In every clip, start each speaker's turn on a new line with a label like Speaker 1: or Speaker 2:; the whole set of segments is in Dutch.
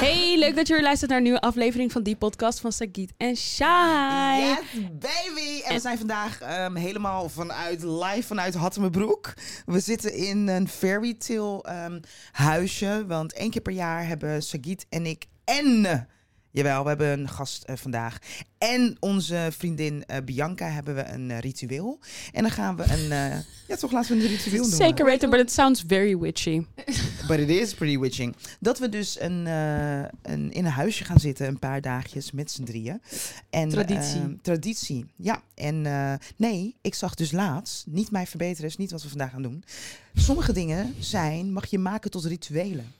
Speaker 1: Hey, leuk dat je weer luistert naar een nieuwe aflevering van die podcast van Sagit en Shai.
Speaker 2: Yes, baby! En we zijn vandaag ehm, helemaal vanuit, live vanuit Hattemerbroek. We zitten in een fairy tale ehm, huisje. Want één keer per jaar hebben Sagit en ik en... Jawel, we hebben een gast eh, vandaag. En onze vriendin eh, Bianca hebben we een eh, ritueel. En dan gaan we een... eh, ja, toch laten we een ritueel doen.
Speaker 1: Zeker weten, but it sounds very witchy.
Speaker 2: But it is pretty witching. Dat we dus een, eh, een, in een huisje gaan zitten, een paar dagjes met z'n drieën. En,
Speaker 1: Traditie.
Speaker 2: eh, traditie, ja. En eh, nee, ik zag dus laatst, niet mij verbeteren, is niet wat we vandaag gaan doen. Sommige dingen zijn, mag je maken tot rituelen.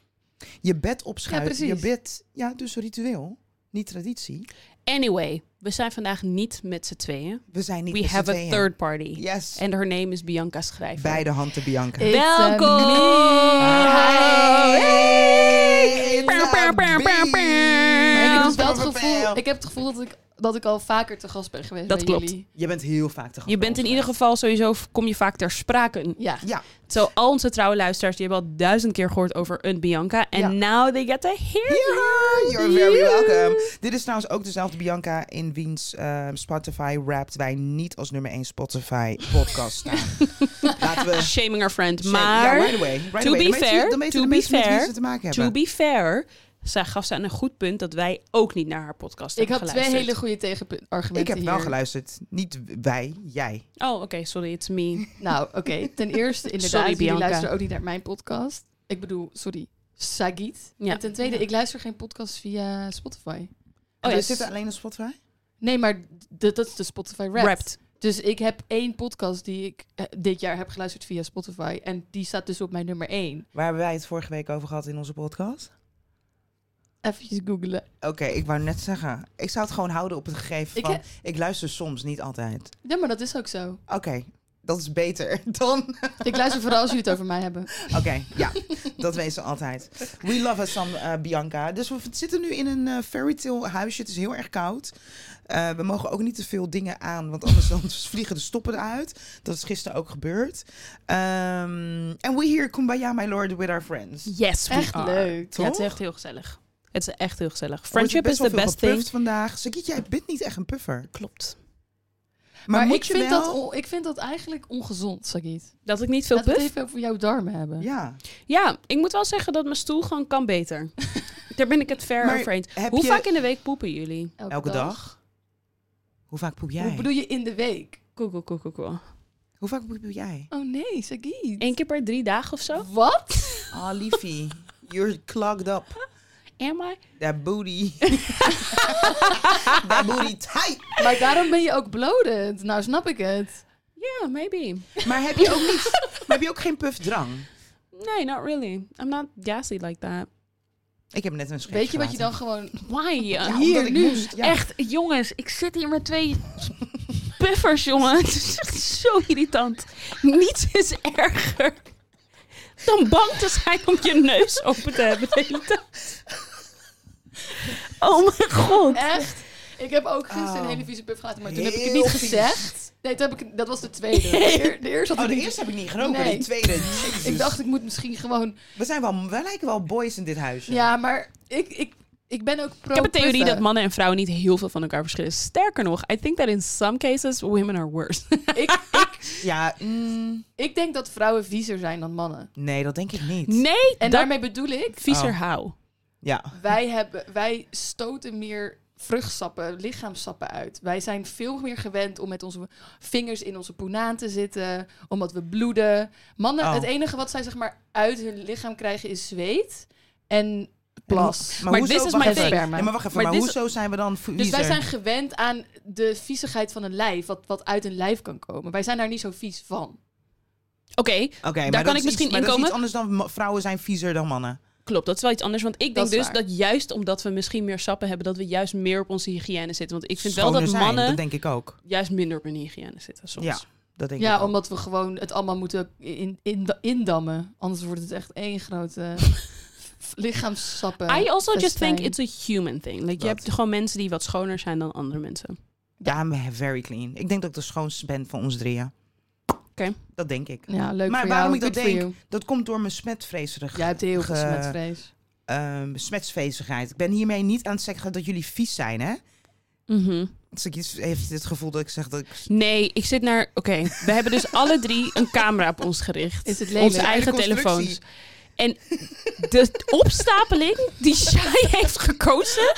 Speaker 2: Je bed opschuiven, je
Speaker 3: Ja, precies.
Speaker 2: bed, ja, dus een ritueel. Niet traditie.
Speaker 1: Anyway, we zijn vandaag niet met z'n tweeën.
Speaker 2: We zijn niet
Speaker 1: We
Speaker 2: met z'n
Speaker 1: have a
Speaker 2: tweeën.
Speaker 1: third party.
Speaker 2: Yes,
Speaker 1: En haar name is Bianca Schrijver.
Speaker 2: beide handen Bianca.
Speaker 3: It's
Speaker 1: Welkom!
Speaker 3: a
Speaker 2: Hey, it's
Speaker 1: Pew, pew, pew, pew,
Speaker 3: Maar ik,
Speaker 1: pew.
Speaker 3: heb dus wel het gevoel, ik heb het gevoel dat ik, dat ik al vaker te gast ben geweest
Speaker 1: Dat
Speaker 3: bij
Speaker 1: klopt.
Speaker 3: jullie.
Speaker 2: Je bent heel vaak te gast
Speaker 1: Je bent in
Speaker 2: bij
Speaker 1: ieder
Speaker 2: ons.
Speaker 1: geval sowieso, kom je vaak ter sprake.
Speaker 3: Ja.
Speaker 2: Ja,
Speaker 1: Zo, al onze trouwe luisteraars, die hebben al duizend keer gehoord over een Bianca. En
Speaker 3: Ja.
Speaker 1: now they get to hear you.
Speaker 2: You're very welcome. Dit is trouwens ook dezelfde Bianca in wiens eh, Spotify Wrapped wij niet als nummer 1 Spotify podcast staan. Laten we...
Speaker 1: Shaming our friend.
Speaker 2: Ja,
Speaker 1: Maar...
Speaker 2: right away. Right
Speaker 1: to be
Speaker 2: away. Dan weten-
Speaker 1: fair,
Speaker 2: dan weten
Speaker 1: to
Speaker 2: de
Speaker 1: be
Speaker 2: mensen met wie
Speaker 1: fair,
Speaker 2: ze te maken hebben.
Speaker 1: To be fair, zij gaf ze aan een goed punt dat wij ook niet naar haar podcast
Speaker 3: Ik
Speaker 1: hebben
Speaker 3: had twee
Speaker 1: geluisterd.
Speaker 3: hele goede tegenargumenten
Speaker 2: ik heb wel
Speaker 3: hier.
Speaker 2: geluisterd. Niet wij, jij.
Speaker 1: Oh, oké, sorry, it's me. Oh,
Speaker 3: Nou, oké. Ten eerste, inderdaad,
Speaker 1: Sorry,
Speaker 3: jullie
Speaker 1: Bianca.
Speaker 3: luisteren ook niet naar mijn podcast. Ik bedoel, sorry, Sagit.
Speaker 1: Ja.
Speaker 3: En ten tweede, ik luister geen podcast via Spotify.
Speaker 1: Oh, ja,
Speaker 2: Oh, ja,
Speaker 1: s-
Speaker 2: zit er alleen op Spotify?
Speaker 3: Nee, maar d- dat is de Spotify Wrapped.
Speaker 1: Wrapped.
Speaker 3: Dus ik heb één podcast die ik eh, dit jaar heb geluisterd via Spotify. En die staat dus op mijn nummer één.
Speaker 2: Waar hebben wij het vorige week over gehad in onze podcast?
Speaker 3: Even googlen.
Speaker 2: Oké, ik wou net zeggen. Ik zou het gewoon houden op het gegeven
Speaker 3: Ik
Speaker 2: van...
Speaker 3: heb-
Speaker 2: Ik luister soms, niet altijd.
Speaker 3: Ja, maar dat is ook zo.
Speaker 2: Oké, dat is beter dan...
Speaker 3: Ik luister vooral als jullie het over mij hebben.
Speaker 2: Oké, ja, dat weten ze altijd. We love us some eh, Bianca. Dus we v- zitten nu in een eh fairy tale huisje. Het is heel erg koud. Eh, we mogen ook niet te veel dingen aan, want anders dan vliegen de stoppen eruit. Dat is gisteren ook gebeurd. Ehm and we here kumbaya, my lord, with our friends.
Speaker 1: Yes, we
Speaker 3: Echt
Speaker 1: are.
Speaker 3: leuk.
Speaker 1: Ja, het is
Speaker 2: Toch?
Speaker 1: echt heel gezellig. Het is echt heel gezellig.
Speaker 2: Er wordt
Speaker 1: Friendship is
Speaker 2: best wel
Speaker 1: the
Speaker 2: veel
Speaker 1: best
Speaker 2: gepufft
Speaker 1: thing.
Speaker 2: vandaag. Sakiet, jij bent niet echt een puffer.
Speaker 1: Klopt.
Speaker 2: Maar, moet
Speaker 3: ik,
Speaker 2: je
Speaker 3: vind
Speaker 2: wel...
Speaker 3: dat on- ik vind dat eigenlijk ongezond, Sagit.
Speaker 1: Dat ik niet veel
Speaker 3: Laten we het
Speaker 1: puff?
Speaker 3: even over jouw darmen hebben.
Speaker 2: Ja.
Speaker 1: Ja, ik moet wel zeggen dat mijn stoel gewoon kan beter. Daar ben ik het fair
Speaker 2: Maar
Speaker 1: over eens.
Speaker 2: Heb
Speaker 1: Hoe
Speaker 2: je...
Speaker 1: vaak in de week poepen jullie?
Speaker 2: Elke dag? Hoe vaak poep jij?
Speaker 3: Hoe bedoel je in de week?
Speaker 1: Koekoe, koekoe, koekoe.
Speaker 2: Hoe vaak poep jij?
Speaker 3: Oh nee, Sagit.
Speaker 1: Eén keer per drie dagen of zo?
Speaker 3: Wat?
Speaker 2: Ah, liefie. You're clogged up.
Speaker 1: Am I?
Speaker 2: That booty. That booty tight.
Speaker 3: Maar daarom ben je ook bloated. Nou snap ik het.
Speaker 1: Yeah, maybe.
Speaker 2: Maar heb je ook niet... Maar heb je ook geen puffdrang?
Speaker 1: Nee, not really. I'm not gassy like that.
Speaker 2: Ik heb net een scheetje
Speaker 3: Weet je wat je dan gewoon...
Speaker 1: Why?
Speaker 2: Ja,
Speaker 3: Hier,
Speaker 2: omdat ik
Speaker 3: nu.
Speaker 2: moest, ja.
Speaker 1: Echt, jongens, ik zit hier met twee puffers, jongen. Het is echt zo irritant. Niets is erger dan bang te zijn om je neus open te hebben de hele tijd. Oh mijn god.
Speaker 3: Echt? Ik heb ook gisteren
Speaker 2: Oh.
Speaker 3: een hele vieze puff gehad, maar toen heb ik het
Speaker 2: Heel
Speaker 3: niet
Speaker 2: vies.
Speaker 3: gezegd. Nee, toen heb ik, dat was de tweede. De, eer- de eerste had
Speaker 2: Oh,
Speaker 3: ik
Speaker 2: de
Speaker 3: niet-
Speaker 2: eerste heb ik niet geroken.
Speaker 3: Nee.
Speaker 2: De tweede. Jezus.
Speaker 3: Ik dacht, ik moet misschien gewoon...
Speaker 2: We, zijn wel, wij lijken wel boys in dit huisje.
Speaker 3: Ja, maar ik, ik, ik ben ook pro
Speaker 1: Ik heb een theorie
Speaker 3: puffen.
Speaker 1: dat mannen en vrouwen niet heel veel van elkaar verschillen. Sterker nog, I think that in some cases women are worse.
Speaker 3: Ik, ik,
Speaker 2: Ja, mm,
Speaker 3: ik denk dat vrouwen viezer zijn dan mannen.
Speaker 2: nee, dat denk ik niet.
Speaker 1: Nee,
Speaker 3: En
Speaker 1: en daarmee
Speaker 3: daarmee bedoel ik,
Speaker 1: viezer
Speaker 2: Oh.
Speaker 1: hou.
Speaker 2: Ja.
Speaker 3: wij, hebben, wij stoten meer vruchtsappen, lichaamsappen uit. Wij zijn veel meer gewend om met onze vingers in onze poenaan te zitten, omdat we bloeden. Mannen,
Speaker 2: Oh.
Speaker 3: het enige wat zij zeg maar uit hun lichaam krijgen is zweet en plas.
Speaker 1: Maar
Speaker 2: hoezo-
Speaker 1: this is
Speaker 2: wacht
Speaker 1: my
Speaker 2: even.
Speaker 1: thing.
Speaker 2: Nee, maar wacht even.
Speaker 1: Maar
Speaker 2: Maar,
Speaker 1: this-
Speaker 2: hoezo zijn we dan
Speaker 3: Dus wij
Speaker 2: viezer?
Speaker 3: zijn gewend aan de viezigheid van een lijf, wat, wat uit een lijf kan komen. Wij zijn daar niet zo vies van.
Speaker 1: Oké,
Speaker 2: Oké, maar
Speaker 1: kan
Speaker 2: dat
Speaker 1: ik
Speaker 2: is
Speaker 1: misschien
Speaker 2: iets, maar
Speaker 1: inkomen.
Speaker 2: dat is iets anders dan ma- vrouwen zijn viezer dan mannen.
Speaker 1: Klopt, dat is wel iets anders. Want ik denk
Speaker 3: Dat is
Speaker 1: dus
Speaker 3: waar.
Speaker 1: dat juist omdat we misschien meer sappen hebben, dat we juist meer op onze hygiëne zitten. Want ik vind wel
Speaker 2: Schoner
Speaker 1: dat
Speaker 2: zijn,
Speaker 1: mannen
Speaker 2: dat denk ik ook.
Speaker 1: juist minder op hun hygiëne zitten soms.
Speaker 2: Ja, dat denk ik
Speaker 3: Ja,
Speaker 2: ook.
Speaker 3: omdat we gewoon het allemaal moeten in, in, indammen. Anders wordt het echt één grote lichaamssappen.
Speaker 1: I also just
Speaker 3: festijn.
Speaker 1: think it's a human thing. Like, je
Speaker 2: Wat?
Speaker 1: hebt gewoon mensen die wat schoner zijn dan andere mensen.
Speaker 2: Ja, I'm very clean. Ik denk dat ik de schoonste ben van ons drieën.
Speaker 1: Oké.
Speaker 2: Dat denk ik.
Speaker 3: Ja, leuk
Speaker 2: Maar
Speaker 3: voor
Speaker 2: waarom
Speaker 3: jou.
Speaker 2: ik dat
Speaker 3: Good
Speaker 2: denk?
Speaker 3: for you.
Speaker 2: Dat komt door mijn smetvreeserig.
Speaker 3: Jij hebt heel veel
Speaker 2: Ge-
Speaker 3: smetvrees.
Speaker 2: ehm besmetsvezigheid. Ik ben hiermee niet aan het zeggen dat jullie vies zijn, hè?
Speaker 1: Mhm.
Speaker 2: Sagiet heeft het gevoel dat ik zeg dat ik...
Speaker 1: Nee, ik zit naar... Oké, we hebben dus alle drie een camera op ons gericht.
Speaker 3: Is het lelijk?
Speaker 1: Onze eigen
Speaker 2: Hele
Speaker 1: telefoons.
Speaker 2: constructie.
Speaker 1: En de opstapeling die Shai heeft gekozen...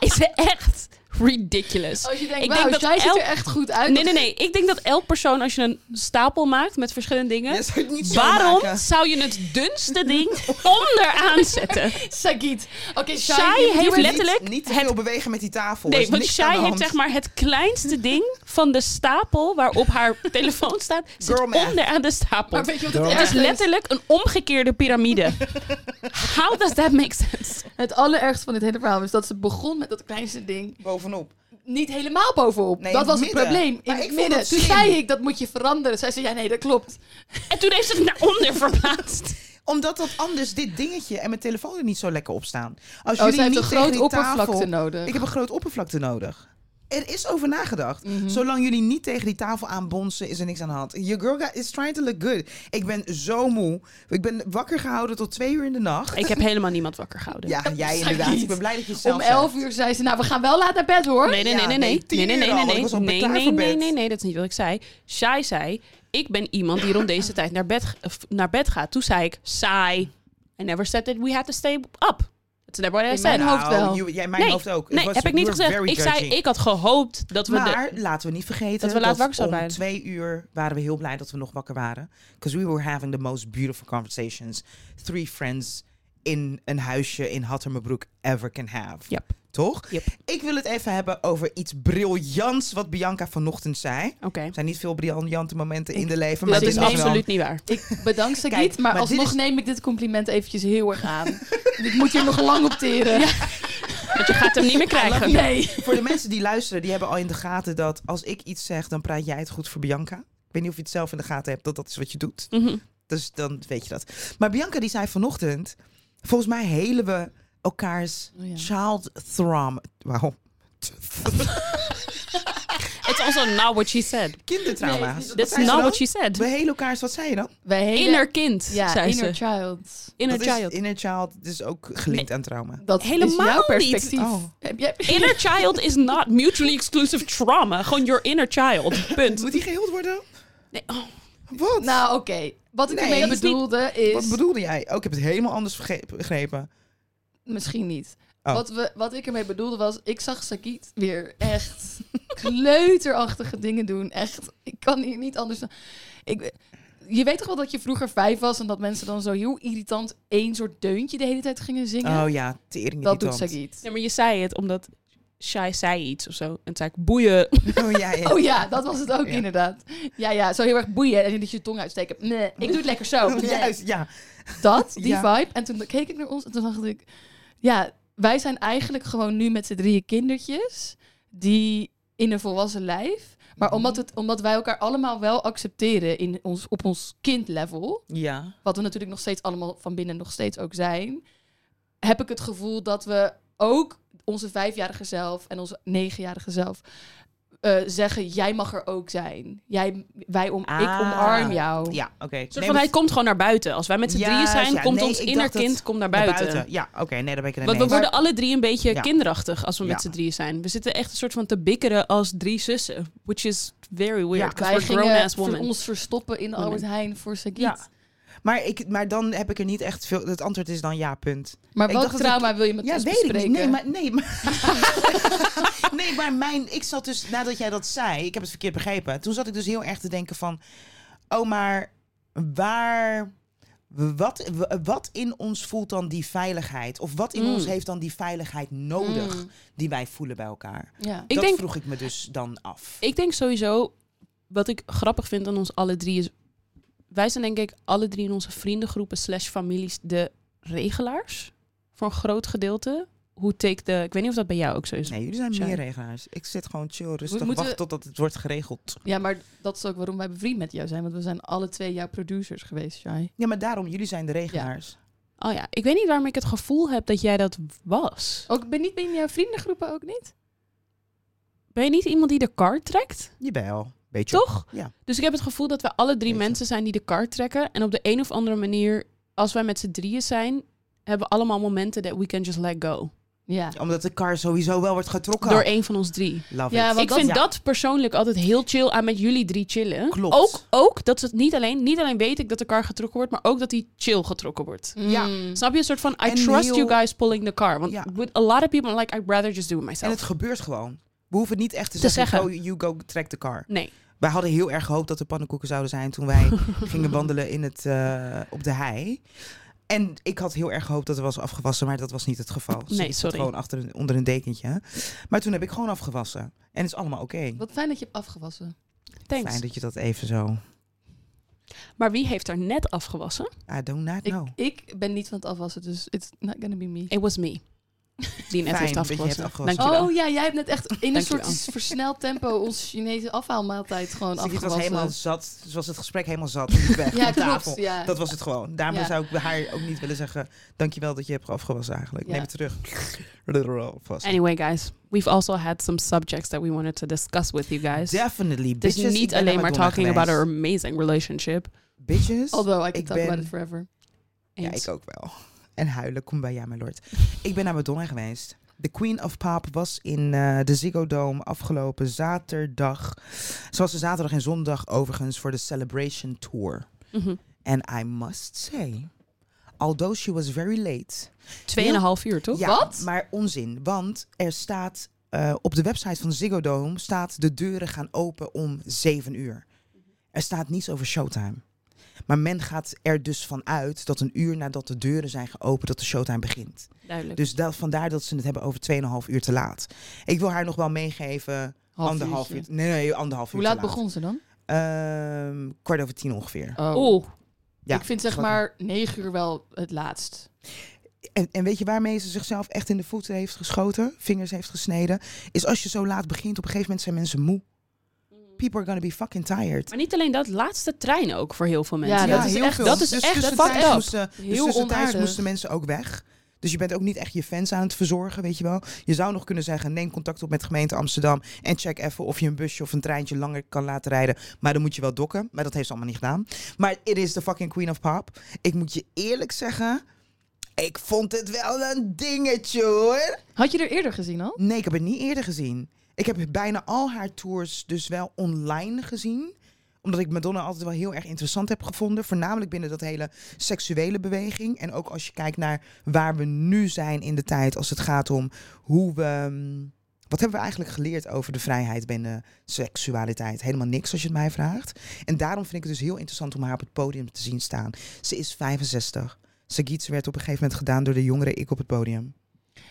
Speaker 1: is echt ridiculous.
Speaker 3: Oh, Als je denkt,
Speaker 1: Ik
Speaker 3: wauw,
Speaker 1: denk dat
Speaker 3: jij ziet
Speaker 1: elk-
Speaker 3: er echt goed uit.
Speaker 1: Nee, nee, nee. Ik denk dat elk persoon, als je een stapel maakt met verschillende dingen...
Speaker 2: Ja, zou ik niet zo
Speaker 1: Waarom
Speaker 2: maken.
Speaker 1: zou je het dunste ding onderaan zetten?
Speaker 3: Sagiet. Oké, Shai,
Speaker 1: Shai
Speaker 3: je- je
Speaker 1: heeft
Speaker 3: wordt-
Speaker 2: Niet-
Speaker 1: letterlijk
Speaker 2: Niet te
Speaker 1: het-
Speaker 2: veel bewegen met die tafel. Er
Speaker 1: Nee,
Speaker 2: is
Speaker 1: want
Speaker 2: niks aan
Speaker 1: Shai
Speaker 2: de
Speaker 1: heeft
Speaker 2: hand.
Speaker 1: zeg maar het kleinste ding van de stapel waarop haar telefoon staat, zit
Speaker 2: Girl math.
Speaker 1: onder aan de stapel.
Speaker 3: Maar weet je wat het
Speaker 1: Het is
Speaker 3: ergste is?
Speaker 1: letterlijk een omgekeerde piramide. How does that make sense?
Speaker 3: Het allerergste van dit hele verhaal is dat ze begon met dat kleinste ding
Speaker 2: Bovenop.
Speaker 3: niet helemaal bovenop.
Speaker 2: Nee,
Speaker 3: dat
Speaker 2: in het
Speaker 3: was het
Speaker 2: midden.
Speaker 3: probleem. In
Speaker 2: Maar
Speaker 3: het
Speaker 2: ik vond
Speaker 3: midden.
Speaker 2: het
Speaker 3: Toen
Speaker 2: slim.
Speaker 3: zei ik, dat moet je veranderen. Zij zei, ja nee, dat klopt.
Speaker 1: En toen heeft ze het naar onder verplaatst.
Speaker 2: Omdat dat anders dit dingetje en mijn telefoon er niet zo lekker op staan. Als
Speaker 3: Oh,
Speaker 2: jullie
Speaker 3: zij heeft
Speaker 2: niet
Speaker 3: een
Speaker 2: tegen
Speaker 3: groot
Speaker 2: die
Speaker 3: oppervlakte
Speaker 2: tafel-
Speaker 3: nodig.
Speaker 2: Ik heb een groot oppervlakte nodig. Er is over nagedacht.
Speaker 3: Mhm.
Speaker 2: Zolang jullie niet tegen die tafel aanbonsen, is er niks aan de hand. Your girl guy is trying to look good. Ik ben zo moe. Ik ben wakker gehouden tot twee uur in de nacht.
Speaker 1: Ik heb helemaal niemand wakker gehouden.
Speaker 2: Ja, jij
Speaker 3: Zeg
Speaker 2: inderdaad.
Speaker 3: niet.
Speaker 2: Ik ben blij dat je het zelf
Speaker 3: Om
Speaker 2: zegt.
Speaker 3: elf uur zei ze, nou we gaan wel laat naar bed hoor.
Speaker 1: Nee, nee, nee,
Speaker 2: Oh, Ja,
Speaker 1: nee,
Speaker 2: nee,
Speaker 1: nee. Nee, nee,
Speaker 2: tien
Speaker 1: nee,
Speaker 2: uur al,
Speaker 1: nee.
Speaker 2: want ik was al
Speaker 1: Nee,
Speaker 2: klaar
Speaker 1: nee,
Speaker 2: voor
Speaker 1: nee,
Speaker 2: bed.
Speaker 1: nee, nee, dat is niet wat ik zei. Shai zei, ik ben iemand die rond deze tijd naar bed, g- of naar bed gaat. Toen zei ik, saai. I never said that we had to stay up. That's never what I
Speaker 3: In
Speaker 1: said.
Speaker 3: mijn hoofd wel.
Speaker 2: Nou, you- jij mijn
Speaker 1: Nee,
Speaker 2: hoofd ook. It
Speaker 1: Nee,
Speaker 2: was-
Speaker 1: heb ik
Speaker 2: you
Speaker 1: niet
Speaker 2: were
Speaker 1: gezegd.
Speaker 2: very
Speaker 1: Ik zei,
Speaker 2: judgy.
Speaker 1: ik had gehoopt dat we... de-
Speaker 2: Maar laten we niet vergeten
Speaker 1: dat we laat wakker
Speaker 2: om
Speaker 1: zouden blijven.
Speaker 2: twee uur waren we heel blij dat we nog wakker waren. Because we were having the most beautiful conversations three friends in een huisje in Hattermerbroek ever can have.
Speaker 1: Yep.
Speaker 2: Toch?
Speaker 1: Yep.
Speaker 2: Ik wil het even hebben over iets briljants wat Bianca vanochtend zei.
Speaker 1: Oké.
Speaker 2: Er zijn niet veel briljante momenten in de leven, maar
Speaker 1: Dat
Speaker 2: dit
Speaker 1: is
Speaker 2: is wel-
Speaker 1: absoluut niet waar.
Speaker 3: Ik bedank Sagiet,
Speaker 2: Kijk,
Speaker 3: maar,
Speaker 2: maar dit
Speaker 3: alsnog
Speaker 2: is-
Speaker 3: neem ik dit compliment eventjes heel erg aan. ik moet hier nog lang op teren.
Speaker 1: Want je gaat hem niet meer krijgen.
Speaker 3: Nee.
Speaker 2: Voor de mensen die luisteren, die hebben al in de gaten dat als ik iets zeg, dan praat jij het goed voor Bianca. Ik weet niet of je het zelf in de gaten hebt, dat dat is wat je doet.
Speaker 1: Mhm.
Speaker 2: Dus dan weet je dat. Maar Bianca die zei vanochtend, volgens mij helen we elkaars
Speaker 3: Oh ja.
Speaker 2: child trauma. Wauw.
Speaker 1: It's also not what she said.
Speaker 3: Nee,
Speaker 2: Kindertrauma's.
Speaker 3: is niet-
Speaker 2: Wat
Speaker 1: That's
Speaker 2: zei ze
Speaker 1: not
Speaker 2: dan?
Speaker 1: what she said.
Speaker 2: We helen elkaars, wat zei je dan?
Speaker 3: Wij hele...
Speaker 1: Inner kind,
Speaker 3: ja,
Speaker 1: zei
Speaker 3: inner
Speaker 1: ze.
Speaker 3: child.
Speaker 1: Inner
Speaker 2: Dat is-
Speaker 1: child.
Speaker 2: Inner child is ook gelinkt aan trauma.
Speaker 3: Dat
Speaker 1: Helemaal
Speaker 3: is jouw
Speaker 1: niet.
Speaker 3: perspectief.
Speaker 2: Oh.
Speaker 3: Heb jij...
Speaker 1: Inner child is not mutually exclusive trauma. Gewoon your inner child. Punt.
Speaker 2: Moet die geheeld worden?
Speaker 1: Nee, oh.
Speaker 2: Wat?
Speaker 3: Nou, oké. Wat ik
Speaker 2: Nee,
Speaker 3: ermee
Speaker 2: dat is
Speaker 1: niet-
Speaker 3: bedoelde
Speaker 2: wat
Speaker 3: is...
Speaker 2: bedoelde jij? Oh, ik heb het helemaal anders verge- begrepen.
Speaker 3: Misschien niet.
Speaker 2: Oh.
Speaker 3: Wat, we, wat ik ermee bedoelde was, ik zag Sakiet weer echt kleuterachtige dingen doen. Echt, ik kan hier niet anders dan... Ik, je weet toch wel dat je vroeger vijf was en dat mensen dan zo heel irritant één soort deuntje de hele tijd gingen zingen?
Speaker 2: Oh ja, tering
Speaker 3: dat doet
Speaker 2: irritant.
Speaker 3: Sakiet.
Speaker 1: Nee, maar je zei het omdat Shai zei iets of zo. En toen zei ik, boeien.
Speaker 2: Oh ja, ja.
Speaker 3: Oh ja, dat was het ook
Speaker 2: Ja.
Speaker 3: inderdaad. Ja, ja, zo heel erg boeien en dat je je tong uitsteken. Nee, ik doe het lekker zo.
Speaker 2: Oh,
Speaker 3: Nee.
Speaker 2: Juist, ja.
Speaker 3: Dat, die
Speaker 2: Ja.
Speaker 3: vibe. En toen keek ik naar ons en toen dacht ik... Ja, wij zijn eigenlijk gewoon nu met z'n drieën kindertjes... die in een volwassen lijf... maar
Speaker 2: Mhm.
Speaker 3: omdat, het, omdat wij elkaar allemaal wel accepteren in ons, op ons kindlevel...
Speaker 2: Ja.
Speaker 3: wat we natuurlijk nog steeds allemaal van binnen nog steeds ook zijn... heb ik het gevoel dat we ook onze vijfjarige zelf... en onze negenjarige zelf... eh, zeggen, jij mag er ook zijn. Jij, wij om,
Speaker 2: Ah.
Speaker 3: ik omarm jou.
Speaker 2: Ja, oké.
Speaker 1: Een soort
Speaker 2: Nee,
Speaker 1: van,
Speaker 2: maar-
Speaker 1: hij komt gewoon naar buiten. Als wij met z'n drieën
Speaker 2: Juist,
Speaker 1: zijn,
Speaker 2: ja.
Speaker 1: komt
Speaker 2: Nee,
Speaker 1: ons
Speaker 2: ik
Speaker 1: inner
Speaker 2: dacht dat-
Speaker 1: kind komt naar
Speaker 2: naar
Speaker 1: buiten.
Speaker 2: Ja, oké. Nee, daar ben ik het
Speaker 1: Want we
Speaker 2: mee eens.
Speaker 1: worden alle drie een beetje
Speaker 2: Ja.
Speaker 1: kinderachtig als we met
Speaker 2: Ja.
Speaker 1: z'n drieën zijn. We zitten echt een soort van te bikkeren als drie zussen. Which is very
Speaker 2: Ja,
Speaker 1: weird. because
Speaker 3: Wij
Speaker 1: we're grown
Speaker 3: gingen
Speaker 1: ass
Speaker 3: voor
Speaker 1: women.
Speaker 3: ons verstoppen in Albert Heijn voor Sagiet.
Speaker 2: Ja. Maar, ik, maar dan heb ik er niet echt veel... Het antwoord is dan ja, punt.
Speaker 3: Maar
Speaker 2: Ik
Speaker 3: welk
Speaker 2: dacht dat
Speaker 3: trauma wil je met
Speaker 2: ja,
Speaker 3: ons
Speaker 2: weet
Speaker 3: bespreken?
Speaker 2: ik niet. Nee, maar... Nee maar, nee, maar mijn... Ik zat dus, nadat jij dat zei, ik heb het verkeerd begrepen. Toen zat ik dus heel erg te denken van... Oh, maar waar... Wat, wat in ons voelt dan die veiligheid? Of wat in
Speaker 1: Mm.
Speaker 2: ons heeft dan die veiligheid nodig
Speaker 3: Mm.
Speaker 2: die wij voelen bij elkaar?
Speaker 3: Ja.
Speaker 1: Ik
Speaker 2: dat
Speaker 1: denk-
Speaker 2: vroeg ik me dus dan af.
Speaker 1: Ik denk sowieso, wat ik grappig vind aan ons alle drie is... Wij zijn denk ik alle drie in onze vriendengroepen slash families de regelaars. Voor een groot gedeelte. Hoe take the... Ik weet niet of dat bij jou ook zo is.
Speaker 2: Nee, jullie zijn
Speaker 1: Sorry.
Speaker 2: meer regelaars. Ik zit gewoon chill, rustig,
Speaker 3: moeten-
Speaker 2: wacht totdat het wordt geregeld.
Speaker 3: ja, maar dat is ook waarom wij bevriend met jou zijn. Want we zijn alle twee jouw producers geweest, Shai.
Speaker 2: Ja, maar daarom, jullie zijn de regelaars.
Speaker 1: Oh ja, ik weet niet waarom ik het gevoel heb dat jij dat was.
Speaker 3: Ook ben niet binnen jouw vriendengroepen ook niet?
Speaker 1: Ben je niet iemand die de kar trekt?
Speaker 2: Jawel, beetje.
Speaker 1: Toch?
Speaker 2: Ja.
Speaker 1: Dus ik heb het gevoel dat we alle drie
Speaker 2: Beetje.
Speaker 1: mensen zijn die de kar trekken. En op de een of andere manier, als wij met z'n drieën zijn, hebben allemaal momenten that we can just let go.
Speaker 3: Ja.
Speaker 2: Omdat de kar sowieso wel wordt getrokken.
Speaker 1: Door één van ons drie.
Speaker 2: Love
Speaker 3: Ja,
Speaker 2: it.
Speaker 3: want
Speaker 1: ik
Speaker 3: dat-
Speaker 1: vind
Speaker 2: ja.
Speaker 1: dat persoonlijk altijd heel chill aan met jullie drie chillen.
Speaker 2: Klopt.
Speaker 1: Ook, ook dat het niet alleen, niet alleen weet ik dat de kar getrokken wordt, maar ook dat die chill getrokken wordt.
Speaker 2: Ja.
Speaker 3: Mm.
Speaker 1: Snap je? Een soort van, I
Speaker 2: Mm. En
Speaker 1: trust
Speaker 2: heel-
Speaker 1: you guys pulling the car. Want
Speaker 2: Ja.
Speaker 1: with a lot of people, like, I'd rather just do it
Speaker 2: En
Speaker 1: myself.
Speaker 2: het gebeurt gewoon. We hoeven niet echt te,
Speaker 1: Te
Speaker 2: zeggen,
Speaker 1: zeggen.
Speaker 2: Go, you go, track the car.
Speaker 1: Nee.
Speaker 2: Wij hadden heel erg gehoopt dat er pannenkoeken zouden zijn toen wij gingen wandelen in het, eh, op de hei. En ik had heel erg gehoopt dat er was afgewassen, maar dat was niet het geval. Ze
Speaker 1: Nee,
Speaker 2: zat
Speaker 1: sorry.
Speaker 2: Gewoon achter een, onder een dekentje. Maar toen heb ik gewoon afgewassen. En het is allemaal oké.
Speaker 3: Wat fijn dat je hebt afgewassen.
Speaker 1: Thanks.
Speaker 2: Fijn dat je dat even zo...
Speaker 1: Maar wie heeft er net afgewassen?
Speaker 2: I do not
Speaker 3: Ik,
Speaker 2: know.
Speaker 3: ik ben niet van het afwassen, dus it's not gonna be me.
Speaker 1: It was me. Die net heeft
Speaker 2: Fijn dat je hebt
Speaker 1: afgewassen.
Speaker 2: afgewassen.
Speaker 1: Dankjewel.
Speaker 3: Oh ja, jij hebt net echt in een soort
Speaker 1: Dankjewel.
Speaker 3: versneld tempo ons Chinese afhaalmaaltijd gewoon
Speaker 2: Sigrid
Speaker 3: afgewassen.
Speaker 2: was helemaal zat. Ze was het gesprek helemaal zat. Ze liep Weg
Speaker 3: ja,
Speaker 2: van tafel.
Speaker 3: klopt. Ja.
Speaker 2: Dat was het gewoon. Daarom
Speaker 3: Ja.
Speaker 2: zou ik haar ook niet willen zeggen... dankjewel dat je hebt afgewassen eigenlijk.
Speaker 3: Ja.
Speaker 2: Neem het terug. Literal vast.
Speaker 1: Anyway, guys, we've also had some subjects that we wanted to discuss with you guys.
Speaker 2: Definitely.
Speaker 1: Dus
Speaker 2: Bitches, ik
Speaker 1: niet
Speaker 2: ben
Speaker 1: alleen
Speaker 2: naar
Speaker 1: maar
Speaker 2: Madonna
Speaker 1: talking
Speaker 2: geweest.
Speaker 1: about our amazing relationship.
Speaker 2: Bitches.
Speaker 3: Although I could
Speaker 2: Ik
Speaker 3: talk
Speaker 2: ben-
Speaker 3: about it forever.
Speaker 2: Ja,
Speaker 1: Eens.
Speaker 2: ik ook wel. En huilen, kom bij ja, mijn lord. Ik ben naar Madonna geweest. De Queen of Pop was in eh, de Ziggo Dome afgelopen zaterdag. Ze was er zaterdag en zondag overigens voor de Celebration Tour.
Speaker 1: Mhm.
Speaker 2: And I must say, although she was very late...
Speaker 1: Tweeënhalf uur, toch?
Speaker 2: Ja,
Speaker 3: Wat?
Speaker 2: maar onzin. Want er staat eh, op de website van Ziggo Dome staat de deuren gaan open om 7 uur. Er staat niets over showtime. Maar men gaat er dus van uit dat een uur nadat de deuren zijn geopend, dat de showtime begint.
Speaker 1: Duidelijk.
Speaker 2: Dus dat, vandaar dat ze het hebben over 2,5 uur te laat. Ik wil haar nog wel meegeven.
Speaker 3: Half
Speaker 2: anderhalf uur.
Speaker 3: uurtje.
Speaker 2: Nee, nee, anderhalf
Speaker 3: Hoe
Speaker 2: uur. te
Speaker 3: laat begon ze dan?
Speaker 2: Ehm, kwart over tien ongeveer.
Speaker 1: Oeh.
Speaker 2: Ja,
Speaker 3: Oh, ik vind zeg
Speaker 2: wakker.
Speaker 3: maar negen uur wel het laatst.
Speaker 2: En, en weet je waarmee ze zichzelf echt in de voeten heeft geschoten, vingers heeft gesneden, is als je zo laat begint, op een gegeven moment zijn mensen moe. People are gonna be fucking tired.
Speaker 1: Maar niet alleen dat, laatste trein ook voor heel veel mensen.
Speaker 3: Ja, dat is echt-
Speaker 1: dat is echt fucked up.
Speaker 2: Dus Moesten, dus
Speaker 3: Heel
Speaker 2: tussentijds
Speaker 3: onaardig.
Speaker 2: moesten mensen ook weg. Dus je bent ook niet echt je fans aan het verzorgen, weet je wel. Je zou nog kunnen zeggen, neem contact op met de gemeente Amsterdam... en check even of je een busje of een treintje langer kan laten rijden. Maar dan moet je wel dokken. Maar dat heeft ze allemaal niet gedaan. Maar it is the fucking queen of pop. Ik moet je eerlijk zeggen... Ik vond het wel een dingetje, hoor.
Speaker 3: Had je er eerder gezien al?
Speaker 2: Nee, ik heb het niet eerder gezien. Ik heb bijna al haar tours dus wel online gezien. Omdat ik Madonna altijd wel heel erg interessant heb gevonden. Voornamelijk binnen dat hele seksuele beweging. En ook als je kijkt naar waar we nu zijn in de tijd. Als het gaat om hoe we... mm, Wat hebben we eigenlijk geleerd over de vrijheid binnen seksualiteit? Helemaal niks als je het mij vraagt. En daarom vind ik het dus heel interessant om haar op het podium te zien staan. Ze is 65. Sagit werd op een gegeven moment gedaan door de jongere ik op het podium.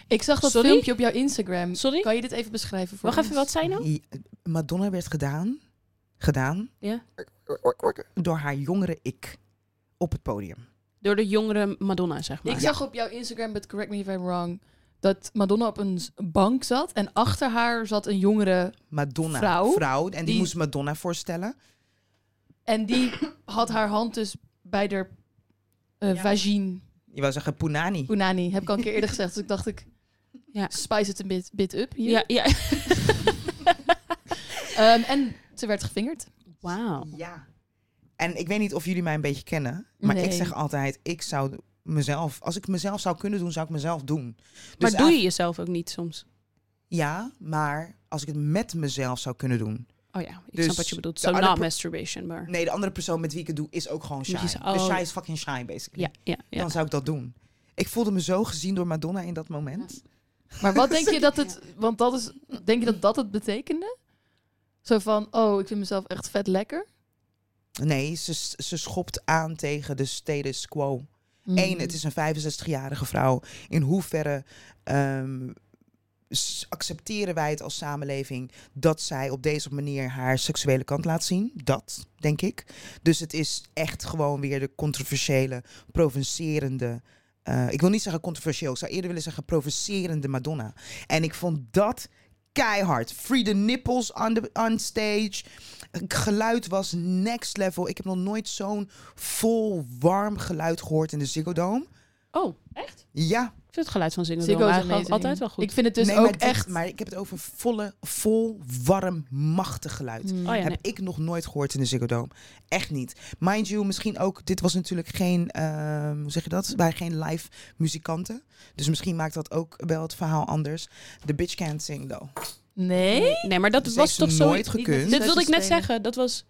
Speaker 3: Ik zag dat
Speaker 1: Sorry?
Speaker 3: filmpje op jouw Instagram.
Speaker 1: Sorry?
Speaker 3: Kan je dit even beschrijven voor
Speaker 1: Wacht even, wat zei je nou?
Speaker 2: I- Madonna werd gedaan, gedaan
Speaker 1: Ja.
Speaker 2: door haar jongere ik op het podium.
Speaker 1: Door de jongere Madonna, zeg maar.
Speaker 3: Ik zag op jouw Instagram, but correct me if I'm wrong, dat Madonna op een s- bank zat en achter haar zat een jongere
Speaker 2: Madonna,
Speaker 3: Vrouw?
Speaker 2: en die,
Speaker 3: Die-
Speaker 2: moest Madonna voorstellen.
Speaker 3: en die had haar hand dus bij haar eh
Speaker 1: Ja.
Speaker 3: vagine.
Speaker 2: Je wou zeggen Punani.
Speaker 3: Punani, heb ik al een keer eerder gezegd, dus ik dacht ik
Speaker 1: Ja.
Speaker 3: spice het een bit, bit up hier.
Speaker 1: Ja, ja.
Speaker 3: Ehm, en ze werd gevingerd.
Speaker 1: Wauw.
Speaker 2: Ja. En ik weet niet of jullie mij een beetje kennen, maar ik
Speaker 3: Nee.
Speaker 2: zeg altijd, ik zou mezelf, als ik mezelf zou kunnen doen, zou ik mezelf doen.
Speaker 1: Maar
Speaker 2: Dus
Speaker 1: doe je jezelf ook niet soms?
Speaker 2: Ja, maar als ik het met mezelf zou kunnen doen.
Speaker 1: Oh ja, ik
Speaker 2: Dus
Speaker 1: snap wat je bedoelt.
Speaker 2: de
Speaker 1: So,
Speaker 2: andere
Speaker 1: not
Speaker 2: pro-
Speaker 1: masturbation, maar...
Speaker 2: Nee, de andere persoon met wie ik het doe is ook gewoon shy.
Speaker 1: Moet je
Speaker 2: Dus
Speaker 1: zeggen, oh.
Speaker 2: shy is fucking shy, basically.
Speaker 1: Ja, ja, ja.
Speaker 2: Dan zou ik dat doen. Ik voelde me zo gezien door Madonna in dat moment.
Speaker 3: Maar wat denk je dat het, want dat is, denk je dat dat het betekende? Zo van, oh, ik vind mezelf echt vet lekker.
Speaker 2: Nee, ze, ze schopt aan tegen de status quo.
Speaker 3: Mm.
Speaker 2: Eén, het is een 65-jarige vrouw. In hoeverre ehm, s- accepteren wij het als samenleving dat zij op deze manier haar seksuele kant laat zien? Dat, denk ik. Dus het is echt gewoon weer de controversiële, provocerende. eh, ik wil niet zeggen controversieel, ik zou eerder willen zeggen provocerende Madonna. En ik vond dat keihard. Free the nipples on, the, on stage. Het Geluid was next level. Ik heb nog nooit zo'n vol warm geluid gehoord in de Ziggo Dome.
Speaker 1: Oh, echt?
Speaker 2: Ja,
Speaker 1: Ik vind het geluid van zingen
Speaker 3: Ziggo
Speaker 1: wel
Speaker 3: is
Speaker 1: eigenlijk
Speaker 3: amazing.
Speaker 1: altijd wel goed.
Speaker 3: Ik vind het dus
Speaker 2: nee, maar
Speaker 3: ook
Speaker 2: dit-
Speaker 3: echt...
Speaker 2: Maar ik heb het over volle, vol, warm, machtig geluid.
Speaker 3: Hmm.
Speaker 1: oh ja, nee.
Speaker 2: Heb ik nog nooit gehoord in de Ziggo Dome. Echt niet. Mind you, misschien ook... Dit was natuurlijk geen... ehm, hoe zeg je dat? Wij geen live muzikanten. Dus misschien maakt dat ook wel het verhaal anders. The bitch can't sing, though.
Speaker 3: Nee?
Speaker 1: nee, maar dat
Speaker 2: Dus
Speaker 1: was
Speaker 2: heeft
Speaker 1: toch
Speaker 2: ze
Speaker 1: zo...
Speaker 2: nooit gekund.
Speaker 1: Dit wilde ik net
Speaker 3: spelen.
Speaker 1: zeggen. Dat was...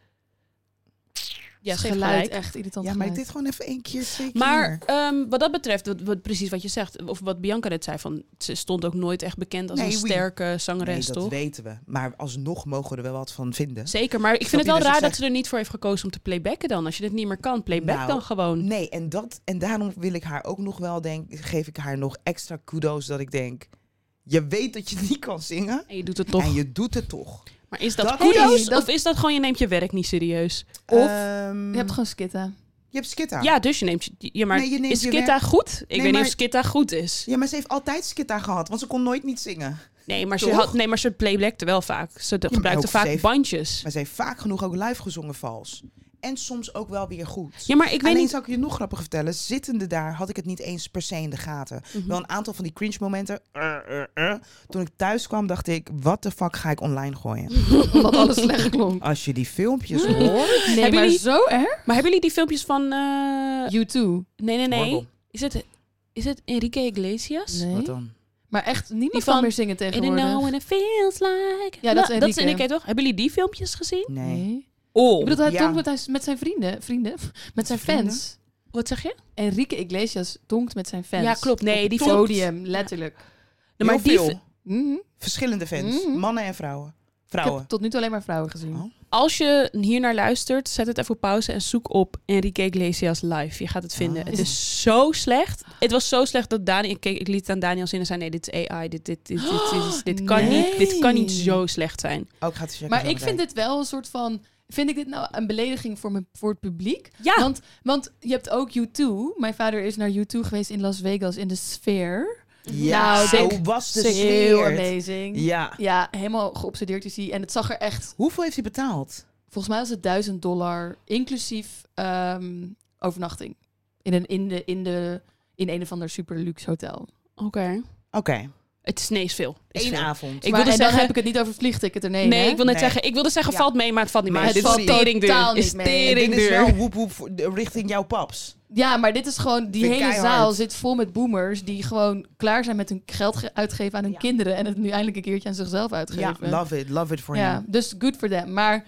Speaker 1: Ja,
Speaker 3: Het
Speaker 1: ze heeft
Speaker 3: geluid
Speaker 1: gelijk.
Speaker 3: echt irritant
Speaker 2: Ja, maar ik
Speaker 3: geluid.
Speaker 2: dit gewoon even één keer, twee keer.
Speaker 1: Maar ehm, wat dat betreft, wat, wat- precies wat je zegt, of wat Bianca net zei, van, ze stond ook nooit echt bekend als
Speaker 2: Nee,
Speaker 1: een
Speaker 2: oui.
Speaker 1: sterke
Speaker 2: Nee,
Speaker 1: zangeres,
Speaker 2: dat
Speaker 1: toch?
Speaker 2: weten we. Maar alsnog mogen we er wel wat van vinden.
Speaker 1: Zeker, maar ik
Speaker 2: Snap
Speaker 1: vind
Speaker 2: je
Speaker 1: het wel
Speaker 2: dus
Speaker 1: raar
Speaker 2: ik
Speaker 1: dat
Speaker 2: zeg-
Speaker 1: ze er niet voor heeft gekozen om te playbacken dan. Als je dit niet meer kan, playback
Speaker 2: Nou,
Speaker 1: dan gewoon.
Speaker 2: Nee, en, dat, en daarom wil ik haar ook nog wel denk, geef ik haar nog extra kudo's dat ik denk. Je weet dat je niet kan zingen.
Speaker 1: En je doet het toch.
Speaker 2: En je doet het toch.
Speaker 1: Maar is dat,
Speaker 2: Dat
Speaker 1: kudos
Speaker 3: is- dat-
Speaker 1: of is dat gewoon je neemt je werk niet serieus?
Speaker 3: Of
Speaker 2: Ehm,
Speaker 3: Je hebt gewoon skitten.
Speaker 2: je hebt Skitta.
Speaker 1: Ja, dus je neemt je... Ja, maar
Speaker 2: Nee, je neemt
Speaker 1: is
Speaker 2: je
Speaker 1: Skitta goed? Ik weet niet
Speaker 2: maar-
Speaker 1: of Skitta goed is.
Speaker 2: Ja, maar ze heeft altijd Skitta gehad, want ze kon nooit niet zingen.
Speaker 1: Nee, maar ze,
Speaker 2: Toch?
Speaker 1: had, nee, maar ze playbackte wel vaak. Ze de-
Speaker 2: maar
Speaker 1: gebruikte
Speaker 2: ook
Speaker 1: vaak
Speaker 2: safe.
Speaker 1: bandjes.
Speaker 2: Maar ze heeft vaak genoeg ook live gezongen vals. En soms ook wel weer goed.
Speaker 1: Ja, maar ik weet
Speaker 2: Alleen
Speaker 1: niet...
Speaker 2: zou ik je nog grappiger vertellen. Zittende daar had ik het niet eens per se in de gaten.
Speaker 1: Mhm.
Speaker 2: Wel een aantal van die cringe momenten. eh, eh, eh. Toen ik thuis kwam dacht ik, wat de fuck ga ik
Speaker 1: Hm.
Speaker 2: online gooien?
Speaker 3: Omdat alles slecht klonk.
Speaker 2: Als je die filmpjes hoort.
Speaker 3: Nee,
Speaker 1: Hebben
Speaker 3: maar
Speaker 1: jullie-
Speaker 3: zo erg?
Speaker 1: Maar hebben jullie die filmpjes van... eh,
Speaker 3: U2.
Speaker 1: Nee, nee, nee.
Speaker 2: Horrible.
Speaker 1: Is het, is het Enrique Iglesias?
Speaker 2: Wat
Speaker 3: Nee.
Speaker 2: dan?
Speaker 3: Maar echt,
Speaker 1: Die
Speaker 3: niemand
Speaker 1: van-
Speaker 3: kan meer zingen
Speaker 1: In and now
Speaker 3: tegenwoordig.
Speaker 1: and it feels like...
Speaker 3: Ja, dat is
Speaker 1: Nou,
Speaker 3: Enrique.
Speaker 1: toch? Hebben jullie die filmpjes gezien?
Speaker 2: Nee.
Speaker 1: Oh.
Speaker 3: Ik bedoel, hij
Speaker 2: Ja.
Speaker 3: tongt met, hij- met zijn vrienden, vrienden, met zijn
Speaker 2: Vrienden?
Speaker 3: fans.
Speaker 1: Wat zeg je?
Speaker 3: Enrique Iglesias tongt met zijn fans.
Speaker 1: Ja, klopt. Nee,
Speaker 3: Op
Speaker 1: die
Speaker 3: het
Speaker 1: tongt.
Speaker 3: podium, letterlijk.
Speaker 1: Nee, maar
Speaker 2: Heel
Speaker 1: die
Speaker 2: veel.
Speaker 1: fi-
Speaker 3: Mhm.
Speaker 2: Verschillende fans.
Speaker 3: Mhm.
Speaker 2: Mannen en vrouwen.
Speaker 3: Ik
Speaker 2: Vrouwen.
Speaker 3: heb tot nu toe alleen maar vrouwen gezien.
Speaker 2: Oh.
Speaker 1: Als je hier naar luistert, zet het even op pauze en zoek op Enrique Iglesias live. Je gaat het vinden.
Speaker 2: Ah.
Speaker 1: Het is zo slecht. Het was zo slecht dat Daniel. Ik, keek- ik liet het aan Daniel zien en zei: Nee, dit is AI. Dit, dit, dit, dit, dit, is- dit kan,
Speaker 3: Nee.
Speaker 1: niet, dit kan niet zo slecht zijn.
Speaker 2: Ook gaat checken.
Speaker 3: Maar ik vind dit wel een soort van... Vind ik dit nou een belediging voor, mijn, voor het publiek?
Speaker 1: Ja,
Speaker 3: Want, want je hebt ook U2. Mijn vader is naar U2 geweest in Las Vegas in de sfeer.
Speaker 2: Ja,
Speaker 3: Nou,
Speaker 2: zo
Speaker 3: sick.
Speaker 2: was de
Speaker 3: Sick. Heel
Speaker 2: sfeer.
Speaker 3: amazing. Ja.
Speaker 2: Ja.
Speaker 3: helemaal geobsedeerd is hij. En het zag er echt...
Speaker 2: Hoeveel heeft hij betaald?
Speaker 3: Volgens mij was het 1000 dollar, inclusief ehm, overnachting. In een, in, de, in, de, in een of ander super luxe hotel.
Speaker 1: oké.
Speaker 2: Oké.
Speaker 1: Het is nee, is veel. Is
Speaker 2: Eén
Speaker 1: veel.
Speaker 2: avond.
Speaker 1: Ik
Speaker 3: maar,
Speaker 1: wilde
Speaker 3: en
Speaker 1: zeggen-
Speaker 3: dan heb ik het niet over vliegticket er nee.
Speaker 1: nee,
Speaker 3: hè?
Speaker 1: ik wil net
Speaker 2: Nee.
Speaker 1: zeggen, ik wilde zeggen,
Speaker 2: Ja.
Speaker 1: valt mee, maar het valt niet
Speaker 2: Maar
Speaker 1: mee.
Speaker 2: het
Speaker 1: Dit is
Speaker 2: valt
Speaker 1: teringduur.
Speaker 3: totaal
Speaker 1: Is
Speaker 3: niet mee.
Speaker 2: En dit is
Speaker 1: teringduur.
Speaker 2: wel woep woep voor- de- richting jouw paps.
Speaker 3: Ja, maar dit is gewoon... Die
Speaker 2: Vind ik
Speaker 3: hele
Speaker 2: keihard.
Speaker 3: zaal zit vol met boomers... die gewoon klaar zijn met hun geld ge- uitgeven aan hun
Speaker 2: Ja.
Speaker 3: kinderen... en het nu eindelijk een keertje aan zichzelf
Speaker 2: Ja,
Speaker 3: uitgeven.
Speaker 2: love it. Love it voor
Speaker 3: ja,
Speaker 2: hem.
Speaker 3: dus good for them. Maar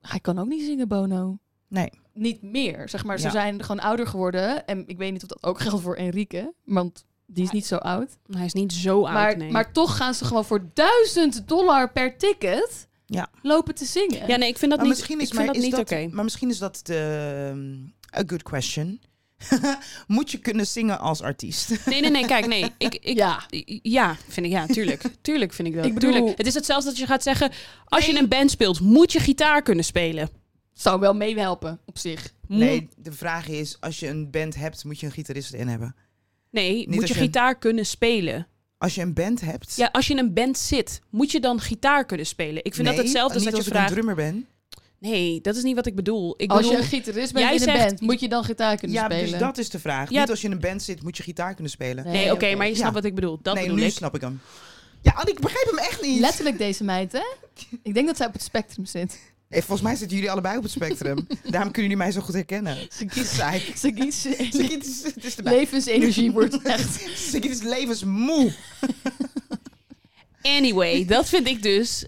Speaker 3: hij kan ook niet zingen, Bono.
Speaker 2: Nee.
Speaker 3: Niet meer, zeg maar. Ze
Speaker 2: Ja.
Speaker 3: zijn gewoon ouder geworden. En ik weet niet of dat ook geldt voor Enrique. Want die is niet zo oud.
Speaker 1: Hij is niet zo oud,
Speaker 3: maar,
Speaker 1: nee.
Speaker 3: maar toch gaan ze gewoon voor 1000 dollar per ticket
Speaker 2: Ja.
Speaker 3: lopen te zingen.
Speaker 1: ja, nee, ik vind dat
Speaker 2: Maar
Speaker 1: niet,
Speaker 2: misschien
Speaker 1: ik
Speaker 2: is,
Speaker 1: vind
Speaker 2: maar
Speaker 1: dat
Speaker 2: is
Speaker 1: niet
Speaker 2: dat,
Speaker 1: oké.
Speaker 2: Maar misschien is dat de, a good question. Moet je kunnen zingen als artiest?
Speaker 1: Nee, nee, nee, kijk, nee. Ik, ik,
Speaker 3: Ja.
Speaker 1: Ja, vind ik, ja, tuurlijk. Tuurlijk vind ik dat.
Speaker 3: Ik bedoel-
Speaker 1: tuurlijk. Het is hetzelfde dat je gaat zeggen, als je in een band speelt, moet je gitaar kunnen spelen.
Speaker 3: Zou wel meehelpen op zich.
Speaker 1: Moet-
Speaker 2: Nee, de vraag is, als je een band hebt, moet je een gitarist erin hebben.
Speaker 1: nee moet
Speaker 2: als
Speaker 1: je
Speaker 2: je-
Speaker 1: gitaar kunnen spelen.
Speaker 2: Als je een band hebt...
Speaker 1: Ja, als je in een band zit, moet je dan gitaar kunnen spelen. Ik vind dat
Speaker 2: Nee,
Speaker 1: hetzelfde als
Speaker 2: niet
Speaker 1: dat je
Speaker 2: als ik
Speaker 1: vraagt...
Speaker 2: een drummer ben.
Speaker 1: Nee, dat is niet wat ik bedoel. Ik
Speaker 3: Als je
Speaker 1: bedoel...
Speaker 3: een gitarist bent
Speaker 1: jij
Speaker 3: in een
Speaker 1: zegt-
Speaker 3: band, moet je dan gitaar kunnen
Speaker 2: ja,
Speaker 3: spelen.
Speaker 2: dus dat is de vraag.
Speaker 1: Ja.
Speaker 2: Niet als je in een band zit, moet je gitaar kunnen spelen.
Speaker 3: Nee.
Speaker 1: Nee, oké,
Speaker 3: oké.
Speaker 1: maar je
Speaker 2: Ja.
Speaker 1: snapt wat ik bedoel. Dat
Speaker 2: nee,
Speaker 1: bedoel
Speaker 2: nu
Speaker 1: ik.
Speaker 2: snap ik hem. Ja, ik begrijp hem echt niet.
Speaker 3: Letterlijk deze meid, hè? Ik denk dat zij op het spectrum zit.
Speaker 2: Eh, volgens mij zitten jullie allebei op het spectrum. Daarom kunnen jullie mij zo goed herkennen.
Speaker 3: Ze kiest...
Speaker 2: Psych.
Speaker 3: Ze kiest...
Speaker 2: Sigit is, het is erbij.
Speaker 3: Levensenergie wordt echt...
Speaker 2: Sigit is levensmoe.
Speaker 1: Anyway, dat vind ik dus.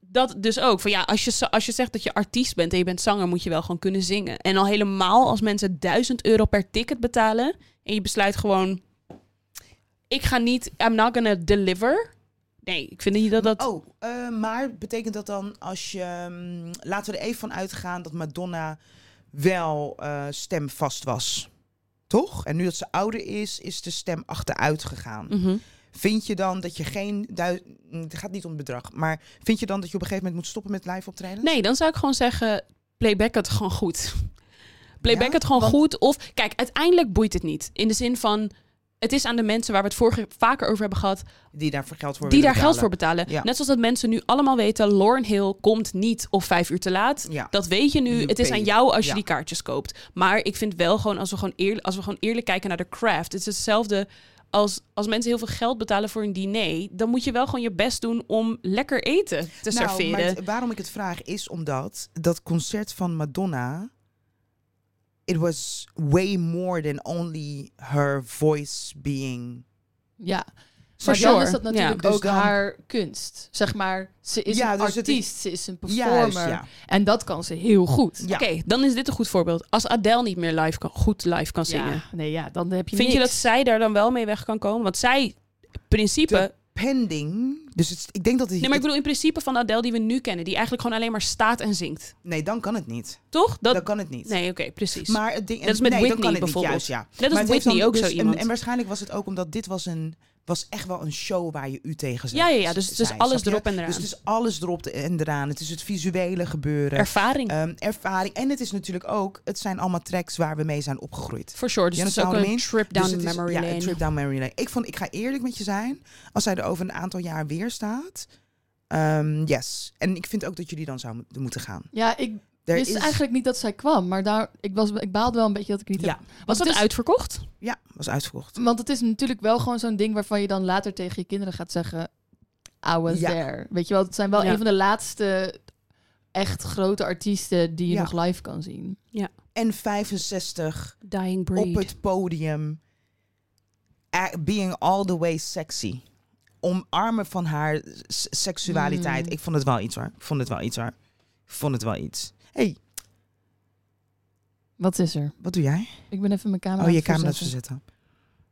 Speaker 1: Dat dus ook. Van ja, als je, za- als je zegt dat je artiest bent en je bent zanger, moet je wel gewoon kunnen zingen. En al helemaal als mensen 1000 euro per ticket betalen. En je besluit gewoon. Ik ga niet. I'm not gonna deliver. Nee, ik vind niet dat dat.
Speaker 2: Oh, eh, maar betekent dat dan als je... mm, laten we er even van uitgaan dat Madonna wel eh, stemvast was. Toch? En nu dat ze ouder is, is de stem achteruit gegaan.
Speaker 1: Mhm.
Speaker 2: Vind je dan dat je geen... du- mm, Het gaat niet om het bedrag. Maar vind je dan dat je op een gegeven moment moet stoppen met live optreden?
Speaker 1: Nee, dan zou ik gewoon zeggen: playback het gewoon goed. Playback
Speaker 2: Ja?
Speaker 1: het gewoon
Speaker 2: Want-
Speaker 1: goed. Of kijk, uiteindelijk boeit het niet. In de zin van. Het is aan de mensen waar we het vorige vaker over hebben gehad,
Speaker 2: Die daar voor geld voor
Speaker 1: die daar
Speaker 2: willen
Speaker 1: geld voor
Speaker 2: betalen.
Speaker 1: betalen.
Speaker 2: Ja.
Speaker 1: Net zoals dat mensen nu allemaal weten, Lorne Hill komt niet of vijf uur te laat.
Speaker 2: Ja.
Speaker 1: Dat weet je nu.
Speaker 2: You
Speaker 1: het is
Speaker 2: pay.
Speaker 1: aan jou als je
Speaker 2: Ja.
Speaker 1: die kaartjes koopt. Maar ik vind wel gewoon als we gewoon eerlijk, als we gewoon eerlijk kijken naar de craft. Het is hetzelfde als als mensen heel veel geld betalen voor een diner. Dan moet je wel gewoon je best doen om lekker eten te
Speaker 2: Nou, maar
Speaker 1: serveren.
Speaker 2: het- waarom ik het vraag is omdat dat concert van Madonna. It was way more than only her voice being.
Speaker 3: Ja.
Speaker 1: For
Speaker 3: Maar dan
Speaker 1: sure.
Speaker 3: is dat natuurlijk
Speaker 2: Ja, dus
Speaker 3: ook
Speaker 2: dan-
Speaker 3: haar kunst. Zeg maar, ze is
Speaker 2: Ja,
Speaker 3: een
Speaker 2: dus het is-
Speaker 3: artiest, ze is een performer.
Speaker 2: Juist, ja.
Speaker 3: En dat kan ze heel goed.
Speaker 2: Ja.
Speaker 1: Oké, dan is dit een goed voorbeeld. Als Adele niet meer live kan, goed live kan zingen.
Speaker 3: Ja, nee, ja, dan heb je
Speaker 1: Vind je dat
Speaker 3: niks.
Speaker 1: zij daar dan wel mee weg kan komen? Want zij, in principe...
Speaker 2: Pending. Dus het, ik denk dat het.
Speaker 1: Nee, maar ik bedoel in principe van de Adele die we nu kennen. Die eigenlijk gewoon alleen maar staat en zingt.
Speaker 2: nee, dan kan het niet.
Speaker 1: Toch? Dat,
Speaker 2: Dan kan het niet.
Speaker 1: Nee, oké, precies.
Speaker 2: Maar het ding,
Speaker 1: Dat is met
Speaker 2: nee,
Speaker 1: Whitney
Speaker 2: dan kan het
Speaker 1: bijvoorbeeld.
Speaker 2: Niet, juist, ja.
Speaker 1: Net als
Speaker 2: Maar het heeft
Speaker 1: Whitney
Speaker 2: dan dus
Speaker 1: ook zo
Speaker 2: een-
Speaker 1: iemand.
Speaker 2: en waarschijnlijk was het ook omdat dit was een was echt wel een show waar je u tegen zei.
Speaker 1: ja, ja, ja. Dus het is
Speaker 2: zei,
Speaker 1: alles
Speaker 2: snap je?
Speaker 1: erop en eraan.
Speaker 2: Dus het is alles erop en eraan. Het is het visuele gebeuren.
Speaker 1: Ervaring,
Speaker 2: ehm, ervaring. En het is natuurlijk ook, het zijn allemaal tracks waar we mee zijn opgegroeid.
Speaker 1: for sure. Dus
Speaker 2: you
Speaker 1: het is ook
Speaker 2: understand
Speaker 1: een
Speaker 2: what
Speaker 1: trip down
Speaker 2: Dus het is-
Speaker 1: memory
Speaker 2: ja,
Speaker 1: lane.
Speaker 2: een trip down memory lane. Ik, vond, ik ga eerlijk met je zijn, als zij er over een aantal jaar weer staat, ehm, yes. En ik vind ook dat jullie dan zouden moeten gaan.
Speaker 3: Ja, ik
Speaker 2: Er
Speaker 3: wist eigenlijk niet dat zij kwam. Maar daar, ik, was, ik baalde wel een beetje dat ik niet
Speaker 2: Ja.
Speaker 3: heb... want
Speaker 1: Was
Speaker 3: het
Speaker 1: dat
Speaker 3: is-
Speaker 1: uitverkocht?
Speaker 2: Ja, was uitverkocht.
Speaker 3: Want het is natuurlijk wel gewoon zo'n ding waarvan je dan later tegen je kinderen gaat zeggen... I was
Speaker 2: Ja.
Speaker 3: there. Weet je wel, het zijn wel
Speaker 1: Ja.
Speaker 3: een van de laatste echt grote artiesten die je
Speaker 2: Ja.
Speaker 3: nog live kan zien.
Speaker 2: En 65
Speaker 1: Dying
Speaker 2: op het podium. a- Being all the way sexy. Omarmen van haar s- seksualiteit.
Speaker 3: Mm.
Speaker 2: Ik vond het wel iets hoor. Ik vond het wel iets hoor. Ik vond het wel iets. hey,
Speaker 3: Wat is er?
Speaker 2: wat doe jij?
Speaker 3: Ik ben even mijn camera
Speaker 2: oh,
Speaker 3: aan
Speaker 2: je
Speaker 3: het
Speaker 2: camera is
Speaker 3: verzetten.
Speaker 2: verzetten.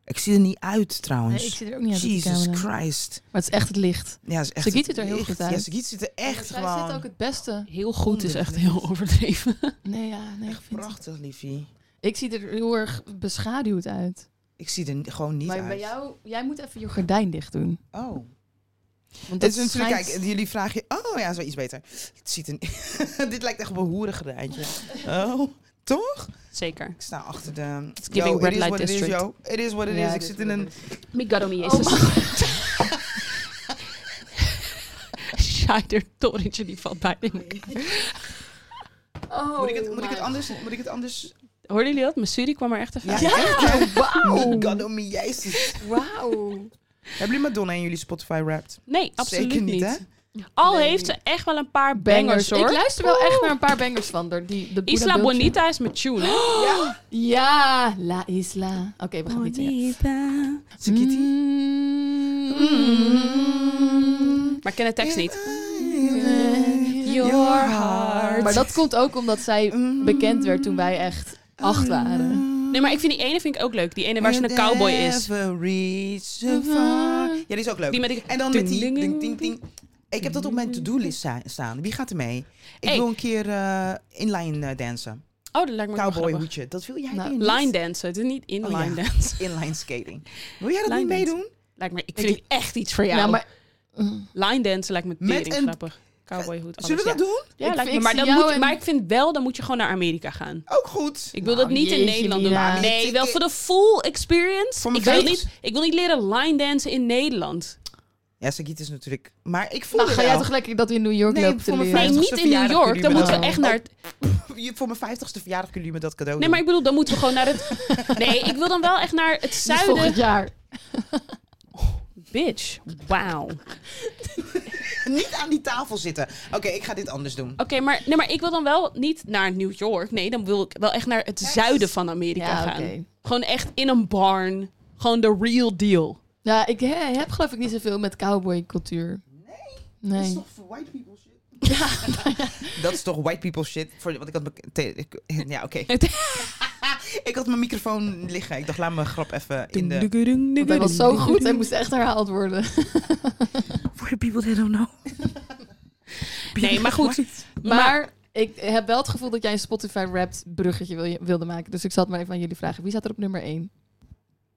Speaker 2: Ik zie er niet uit trouwens.
Speaker 3: Nee, ik zit er ook niet aan te
Speaker 2: Jesus
Speaker 3: camera.
Speaker 2: Christ.
Speaker 3: Maar het is echt het licht.
Speaker 2: Ja, is echt
Speaker 3: Ze
Speaker 2: het
Speaker 3: ziet er heel
Speaker 2: licht.
Speaker 3: goed uit.
Speaker 2: Ja, ze ziet er echt
Speaker 3: Maar zij
Speaker 2: gewoon...
Speaker 3: zit ook het beste.
Speaker 1: Heel goed is echt heel overdreven.
Speaker 3: Nee, ja, nee, ik
Speaker 2: Echt
Speaker 3: vind
Speaker 2: prachtig, liefie.
Speaker 3: Ik zie er heel erg beschaduwd uit.
Speaker 2: Ik zie er n- gewoon niet
Speaker 3: maar
Speaker 2: uit.
Speaker 3: bij jou, jij moet even je gordijn dicht doen.
Speaker 2: Oh.
Speaker 3: Want
Speaker 2: Dit
Speaker 3: dat
Speaker 2: is natuurlijk,
Speaker 3: schijnt-
Speaker 2: kijk, jullie vragen je... Oh ja, zo iets beter. Het ziet er niet- Dit lijkt echt op een hoerengerijntje. Oh, toch?
Speaker 1: Zeker.
Speaker 2: Ik sta achter de... It's
Speaker 1: giving red light
Speaker 2: It is,
Speaker 1: district.
Speaker 2: yo. It is what it
Speaker 3: Ja,
Speaker 2: is. Ik
Speaker 3: dit
Speaker 2: zit
Speaker 3: is
Speaker 2: in
Speaker 3: wat
Speaker 2: een...
Speaker 3: het
Speaker 1: Migado mi
Speaker 3: is. Oh,
Speaker 1: Jezus. Scheider torentje die valt bijna in elkaar.
Speaker 3: Oh,
Speaker 2: Moet ik het, moet ik
Speaker 3: my
Speaker 2: het anders... Moet ik het anders...
Speaker 1: Hoorden jullie dat? Missouri kwam er echt even
Speaker 2: Ja,
Speaker 1: uit.
Speaker 2: echt, hè?
Speaker 3: Wauw.
Speaker 2: God oh me, jezus.
Speaker 3: Wauw.
Speaker 2: Hebben jullie Madonna in jullie Spotify Wrapped?
Speaker 1: Nee, absoluut
Speaker 2: Zeker niet,
Speaker 1: niet.
Speaker 2: hè?
Speaker 1: Al
Speaker 3: Nee.
Speaker 1: heeft ze echt wel een paar bangers,
Speaker 3: Bangers,
Speaker 1: hoor.
Speaker 3: Ik luister wel echt naar een paar bangers van haar. Die, de
Speaker 1: Isla
Speaker 3: Boeddha-bultje.
Speaker 1: Bonita is mijn tune, hè?
Speaker 3: Ja, La Isla. Oké, we gaan niet zingen.
Speaker 2: Sakiti?
Speaker 3: Mm.
Speaker 1: Maar ik ken de tekst niet.
Speaker 2: Your heart.
Speaker 3: Maar dat komt ook omdat zij
Speaker 2: Mm.
Speaker 3: bekend werd toen wij echt acht waren.
Speaker 1: Nee, maar ik vind die ene vind ik ook leuk. Die ene waar ze een cowboy is. Mhm.
Speaker 2: Never reach so far. Ja, die is ook leuk.
Speaker 1: Die met die...
Speaker 2: En dan met die ding, ding, ding. Ik heb dat op mijn to-do-list sta- staan. Wie gaat er mee? Ik
Speaker 1: Hey.
Speaker 2: wil een keer eh, inline eh, dansen.
Speaker 1: Oh, dat lijkt me ook wel
Speaker 2: Cowboy
Speaker 1: grappig.
Speaker 2: hoedje. Dat wil jij
Speaker 3: Nou,
Speaker 2: doen?
Speaker 1: Line dansen. Het is niet inline
Speaker 2: Oh, ja.
Speaker 1: dansen.
Speaker 2: Inline skating. Wil jij dat
Speaker 1: Line
Speaker 2: niet
Speaker 1: dance. Oh,
Speaker 2: meedoen?
Speaker 1: Lijkt me, ik
Speaker 3: Ik-
Speaker 1: vind het echt iets voor jou.
Speaker 3: Ja, maar
Speaker 1: Line dansen lijkt me
Speaker 2: Nou, Met
Speaker 1: tering
Speaker 2: een-
Speaker 1: grappig. Cowboy hoed. alles,
Speaker 2: Zullen we dat
Speaker 1: ja.
Speaker 2: doen?
Speaker 1: Ja,
Speaker 3: Ik
Speaker 1: lijkt me.
Speaker 3: vind-
Speaker 1: Maar,
Speaker 3: ik
Speaker 1: dat
Speaker 3: zie jou
Speaker 1: moet,
Speaker 3: en-
Speaker 1: maar ik vind wel, dan moet je gewoon naar Amerika gaan.
Speaker 2: Ook goed.
Speaker 1: Ik wil
Speaker 3: Nou,
Speaker 1: dat niet in
Speaker 3: jeetje,
Speaker 1: Nederland doen.
Speaker 3: Mina.
Speaker 1: Nee,
Speaker 2: Ik-
Speaker 1: wel voor de full experience.
Speaker 2: Voor mijn
Speaker 1: Ik wil,
Speaker 2: geest.
Speaker 1: niet, ik wil niet leren line dansen in Nederland.
Speaker 2: Ja, Sagiet is natuurlijk... Maar ik voel
Speaker 3: nou,
Speaker 2: het
Speaker 3: ga jij toch lekker dat in New York
Speaker 2: Nee,
Speaker 3: lopen te
Speaker 2: voor mijn
Speaker 1: Nee,
Speaker 3: leren?
Speaker 2: 50ste
Speaker 1: niet in New
Speaker 2: verjaardag
Speaker 1: York.
Speaker 2: jullie
Speaker 1: Dan
Speaker 2: me
Speaker 1: moeten we
Speaker 2: dan.
Speaker 1: echt naar... het-
Speaker 2: Je- Voor mijn vijftigste verjaardag kunnen jullie me dat cadeau
Speaker 1: Nee, maar ik bedoel, dan moeten we gewoon naar het... Nee, ik wil dan wel echt naar het
Speaker 3: Dus
Speaker 1: zuiden.
Speaker 3: volgend jaar.
Speaker 1: Bitch, wauw.
Speaker 2: doen. Niet aan die tafel zitten. Oké, ik ga dit anders doen.
Speaker 1: Oké, maar, nee, maar ik wil dan wel niet naar New York. Nee, dan wil ik wel echt naar het zuiden van Amerika
Speaker 3: Ja,
Speaker 1: gaan.
Speaker 3: oké.
Speaker 1: Gewoon echt in een barn. Gewoon de real deal.
Speaker 3: Ja, ik he- heb geloof ik niet zoveel met cowboycultuur.
Speaker 2: Dat is
Speaker 3: Nee.
Speaker 2: toch voor white people shit? dat is toch white people shit? Voor, want ik had mijn... te- ik- Ja, oké. ik had mijn microfoon liggen. Ik dacht, laat mijn grap even in de...
Speaker 3: Want hij was zo goed en moest echt herhaald worden.
Speaker 2: For the people that don't know.
Speaker 1: Nee, maar goed.
Speaker 3: Maar, ik heb wel het gevoel dat jij een Spotify-wrapped bruggetje wil- wilde maken. Dus ik zal het maar even aan jullie vragen. Wie staat er op nummer 1?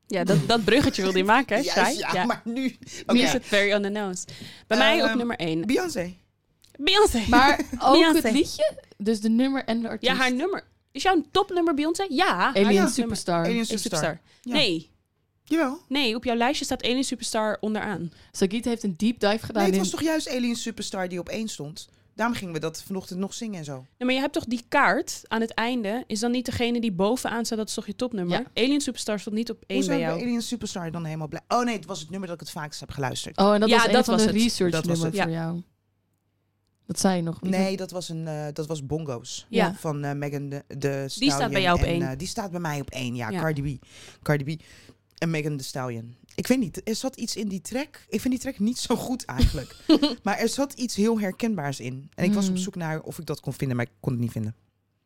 Speaker 1: Ja, dat, dat bruggetje wilde je maken, hè?
Speaker 2: Juist,
Speaker 1: Shai?
Speaker 2: ja,
Speaker 1: Ja.
Speaker 2: maar nu... Oké.
Speaker 1: Music very on the nose. Bij mij op
Speaker 2: Ehm,
Speaker 1: nummer 1.
Speaker 2: Beyoncé.
Speaker 1: Beyoncé.
Speaker 3: Maar ook
Speaker 1: Beyoncé.
Speaker 3: het liedje, dus de nummer en de artiest.
Speaker 1: Ja, haar nummer. Is jouw topnummer Beyoncé? Ja. haar
Speaker 3: Alien
Speaker 1: topnummer
Speaker 3: Superstar.
Speaker 2: Alien
Speaker 1: is
Speaker 2: Superstar.
Speaker 1: Superstar.
Speaker 2: Ja.
Speaker 1: Nee.
Speaker 2: Jawel.
Speaker 1: Nee, op jouw lijstje staat Alien Superstar onderaan. Nou,
Speaker 3: Sagiet heeft een deep dive gedaan
Speaker 2: Nee, het
Speaker 3: in...
Speaker 2: was toch juist Alien Superstar die op één stond? Daarom gingen we dat vanochtend nog zingen en zo.
Speaker 1: Nee, maar je hebt toch die kaart aan het einde? Is dan niet degene die bovenaan staat, dat is toch je topnummer?
Speaker 3: Ja.
Speaker 1: Alien Superstar stond niet op één
Speaker 2: Hoezo
Speaker 1: bij
Speaker 2: hebben
Speaker 1: jou.
Speaker 2: Alien Superstar dan helemaal blij? Oh nee, het was het nummer dat ik het vaakst heb geluisterd.
Speaker 3: Oh, en dat
Speaker 1: Ja,
Speaker 3: was een
Speaker 1: dat
Speaker 3: van
Speaker 1: was
Speaker 3: de
Speaker 1: het.
Speaker 3: research
Speaker 2: Dat was
Speaker 3: nummers
Speaker 1: het.
Speaker 3: voor jou. Dat zei je nog.
Speaker 2: Nee, dat was, een, eh, dat was Bongo's
Speaker 1: Ja.
Speaker 2: van eh, Megan de, de Stallion.
Speaker 1: staat bij jou op
Speaker 2: en,
Speaker 1: één.
Speaker 2: eh, die staat bij mij op één, ja.
Speaker 1: Ja.
Speaker 2: Cardi B. Cardi B en Megan de Stallion. Ik weet niet, er zat iets in die track. Ik vind die track niet zo goed eigenlijk. maar er zat iets heel herkenbaars in. En ik was op
Speaker 3: Hmm.
Speaker 2: zoek naar of ik dat kon vinden, maar ik kon het niet vinden.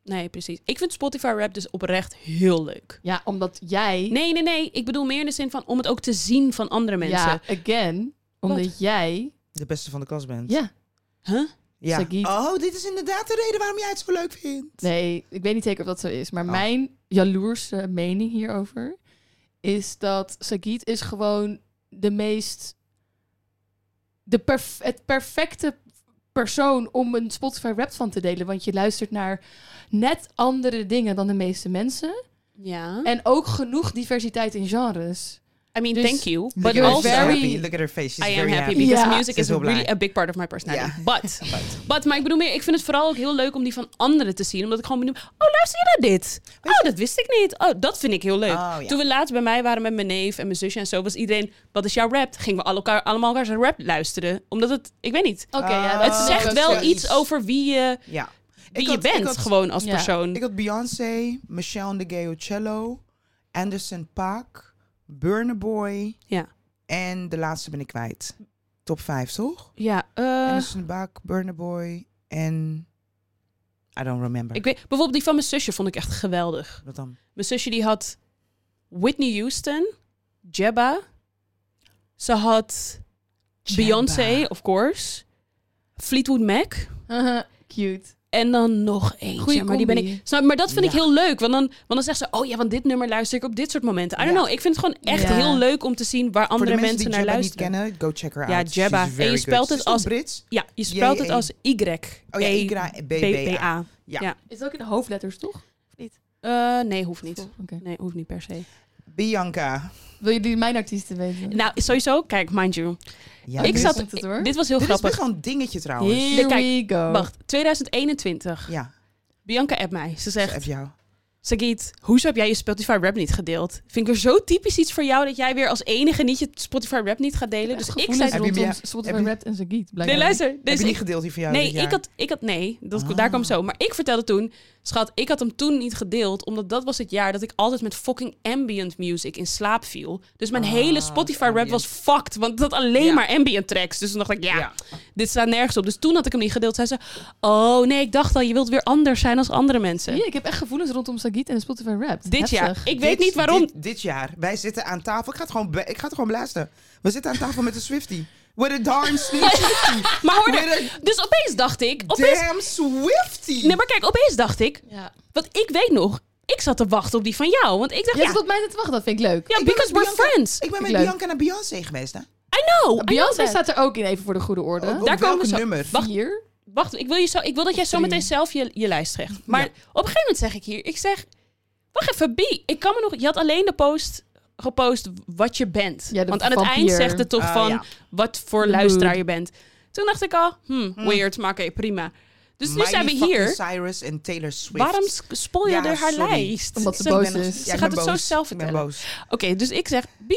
Speaker 1: Nee, precies. Ik vind Spotify Rap dus oprecht heel leuk.
Speaker 3: Ja, omdat jij...
Speaker 1: Nee, nee, nee. Ik bedoel meer in de zin van om het ook te zien van andere mensen.
Speaker 3: Ja, again. Omdat jij...
Speaker 2: De beste van de klas bent.
Speaker 3: Ja.
Speaker 1: Huh?
Speaker 2: Ja.
Speaker 3: Sagiet.
Speaker 2: Oh, dit is inderdaad de reden waarom jij het zo leuk vindt.
Speaker 3: Nee, ik weet niet zeker of dat zo is. Maar
Speaker 2: Oh.
Speaker 3: mijn jaloerse mening hierover is dat Sagiet is gewoon de meest... De perf- het perfecte persoon om een Spotify rap van te delen. Want je luistert naar net andere dingen dan de meeste mensen.
Speaker 1: Ja.
Speaker 3: En ook genoeg diversiteit in genres.
Speaker 1: I mean,
Speaker 3: Dus-
Speaker 1: thank you.
Speaker 2: Look
Speaker 1: But
Speaker 2: at her,
Speaker 3: you're
Speaker 1: also,
Speaker 2: she's
Speaker 3: very-
Speaker 2: happy. Look at her face. She's
Speaker 1: I am
Speaker 2: very
Speaker 1: happy
Speaker 3: happy.
Speaker 1: because
Speaker 3: Ja.
Speaker 1: music
Speaker 2: Ze is
Speaker 1: is
Speaker 2: heel
Speaker 1: really
Speaker 2: blij.
Speaker 1: a big part of my personality.
Speaker 2: Ja.
Speaker 1: But, but, maar ik bedoel meer, ik vind het vooral ook heel leuk om die van anderen te zien. Omdat ik gewoon benieuwd oh luister je naar dit? Oh, dat wist ik niet. Oh, dat vind ik heel leuk.
Speaker 2: Oh, ja.
Speaker 1: Toen we laatst bij mij waren met mijn neef en mijn zusje en zo, was iedereen, wat is jouw rap? Gingen we alle elkaar, allemaal elkaar zijn rap luisteren. Omdat het, ik weet niet.
Speaker 3: Oké,
Speaker 2: Ah.
Speaker 3: ja. dat
Speaker 1: Het
Speaker 3: is
Speaker 1: zegt
Speaker 3: ook
Speaker 1: wel
Speaker 3: zoiets.
Speaker 1: iets over wie je,
Speaker 2: Ja.
Speaker 1: wie
Speaker 2: Ik
Speaker 1: je
Speaker 2: had- ik
Speaker 1: bent
Speaker 2: had-
Speaker 1: gewoon als
Speaker 3: Ja.
Speaker 1: persoon.
Speaker 2: Ik had Beyoncé, Michelle Cello, Anderson Paak, Burner Boy.
Speaker 1: Ja.
Speaker 2: En de laatste ben ik kwijt. Top 5, toch?
Speaker 1: ja, eh,
Speaker 2: Anderson Paak, Burner Boy en. I don't remember.
Speaker 1: ik weet, bijvoorbeeld die van mijn zusje vond ik echt geweldig.
Speaker 2: Wat dan?
Speaker 1: Mijn zusje die had Whitney Houston, Jebba. Ze had Beyoncé, of course. Fleetwood Mac.
Speaker 3: Cute.
Speaker 1: En dan nog eentje.
Speaker 3: Goeie
Speaker 1: maar die ben
Speaker 3: combi.
Speaker 1: ik. Snap, je? maar dat vind ik
Speaker 2: Ja.
Speaker 1: heel leuk. Want dan, want dan zegt ze: Oh ja, want dit nummer luister ik op dit soort momenten. I don't
Speaker 2: Ja.
Speaker 1: know. Ik vind het gewoon echt
Speaker 3: Ja.
Speaker 1: heel leuk om te zien waar andere
Speaker 2: Voor de
Speaker 1: mensen,
Speaker 2: mensen,
Speaker 1: naar
Speaker 2: die Jabba niet
Speaker 1: luisteren.
Speaker 2: kennen, go check her
Speaker 1: Ja,
Speaker 2: out.
Speaker 1: Jabba.
Speaker 2: She's very
Speaker 1: En je spelt
Speaker 2: good.
Speaker 1: het
Speaker 2: Ze is toch
Speaker 1: als-
Speaker 2: Brits?
Speaker 1: Ja, je spelt het
Speaker 2: JE.
Speaker 1: als Y.
Speaker 2: E Oh ja,
Speaker 1: E-
Speaker 2: Y, B, B, A.
Speaker 1: BBA.
Speaker 2: Ja.
Speaker 1: Ja.
Speaker 3: Is het ook in de hoofdletters, toch?
Speaker 1: Eh, nee, hoeft niet.
Speaker 3: Oké.
Speaker 1: Nee, hoeft niet per se.
Speaker 2: Bianca.
Speaker 3: Wil jullie mijn artiesten weten?
Speaker 1: Nou, sowieso, kijk, mind you.
Speaker 2: Ja,
Speaker 1: ik
Speaker 3: nu
Speaker 2: dit-
Speaker 1: zat.
Speaker 3: komt het, hoor.
Speaker 1: Dit was heel
Speaker 2: Dit is
Speaker 1: grappig.
Speaker 2: best wel een dingetje trouwens.
Speaker 3: Here
Speaker 1: kijk,
Speaker 3: we go.
Speaker 1: Wacht, 2021.
Speaker 2: Ja,
Speaker 1: Bianca appt mij. Ze
Speaker 2: echt.
Speaker 1: zegt,
Speaker 2: jou.
Speaker 1: Sagiet, hoezo heb jij je Spotify rap niet gedeeld? Vind ik weer zo typisch iets voor jou dat jij weer als enige niet je Spotify rap niet gaat delen. Dus ik zei...
Speaker 2: Heb je
Speaker 3: rondom
Speaker 2: meer-
Speaker 3: Spotify
Speaker 2: heb je-
Speaker 3: Rap en Zagiet.
Speaker 1: Nee, luister.
Speaker 2: Heb
Speaker 1: Dus
Speaker 2: je niet
Speaker 1: ik,
Speaker 2: gedeeld die van jou
Speaker 1: nee,
Speaker 2: dit jaar?
Speaker 1: ik had, ik had... Nee, dat,
Speaker 2: Ah.
Speaker 1: daar kwam zo. Maar ik vertelde toen, schat, ik had hem toen niet gedeeld. Omdat dat was het jaar dat ik altijd met fucking ambient music in slaap viel. Dus mijn
Speaker 2: Ah,
Speaker 1: hele Spotify rap
Speaker 2: ambient.
Speaker 1: was fucked. Want dat alleen
Speaker 2: Ja.
Speaker 1: maar ambient tracks. Dus toen dacht ik, ja, dit staat nergens op. Dus toen had ik hem niet gedeeld. Zei ze, oh nee, ik dacht al, je wilt weer anders zijn als andere mensen.
Speaker 3: ik heb echt gevoelens rondom Sagiet en Spotify Rap.
Speaker 1: Dit jaar.
Speaker 3: Heftig.
Speaker 1: Ik weet
Speaker 2: Dit-
Speaker 1: niet waarom.
Speaker 2: Dit, dit jaar. Wij zitten aan tafel. Ik ga het gewoon, be- ik ga het gewoon blazen. We zitten aan tafel met de Swifty. With a darn Swifty.
Speaker 1: Maar hoorde,
Speaker 2: With
Speaker 1: dus opeens dacht ik,
Speaker 2: a
Speaker 1: opeens,
Speaker 2: damn Swifty.
Speaker 1: nee maar kijk, opeens dacht ik,
Speaker 3: Ja.
Speaker 1: want ik weet nog, ik zat te wachten op die van jou, want ik dacht
Speaker 3: Jij
Speaker 1: ja,
Speaker 3: zit op dus mij te wachten, dat vind ik leuk.
Speaker 1: ja,
Speaker 2: Ik ben
Speaker 1: because
Speaker 2: met
Speaker 1: we're
Speaker 2: Bianca-
Speaker 1: friends.
Speaker 2: Ik ben
Speaker 3: ik
Speaker 2: met
Speaker 3: leuk.
Speaker 2: Bianca naar Beyoncé geweest, hè?
Speaker 1: I know. I know
Speaker 3: Beyoncé
Speaker 1: that.
Speaker 3: staat er ook in, even voor de goede orde.
Speaker 2: Ook-
Speaker 1: daar
Speaker 2: op welk
Speaker 1: komen ze-
Speaker 2: nummer?
Speaker 1: wacht.
Speaker 3: Vier.
Speaker 1: Wacht, ik wil, je zo, ik wil dat jij zo
Speaker 3: Drie.
Speaker 1: meteen zelf je, je lijst zegt. Maar
Speaker 2: Ja.
Speaker 1: op een gegeven moment zeg ik hier, ik zeg, wacht even, B, ik kan me nog, je had alleen de post gepost wat je bent.
Speaker 3: Ja, de
Speaker 1: want aan het eind
Speaker 3: vampier.
Speaker 1: zegt het toch
Speaker 2: Ah,
Speaker 1: van
Speaker 2: ja.
Speaker 1: wat voor
Speaker 3: De
Speaker 1: luisteraar
Speaker 3: mood.
Speaker 1: je bent. Toen dacht ik al, hmm, weird, maar oké, prima. Dus nu
Speaker 2: Miley
Speaker 1: zijn we
Speaker 2: fucking
Speaker 1: hier.
Speaker 2: Cyrus en Taylor Swift.
Speaker 1: Waarom s- spoil je
Speaker 2: Ja,
Speaker 1: er haar
Speaker 2: sorry.
Speaker 1: lijst?
Speaker 3: Omdat ze
Speaker 1: Zo-
Speaker 3: boos
Speaker 2: Ik ben nog-
Speaker 3: is.
Speaker 2: ja,
Speaker 1: Ze
Speaker 2: ik
Speaker 1: gaat
Speaker 2: ben
Speaker 1: het zo
Speaker 2: boos.
Speaker 1: zelf
Speaker 2: Ik ben
Speaker 1: vertellen.
Speaker 2: boos.
Speaker 1: Oké, dus ik zeg, B,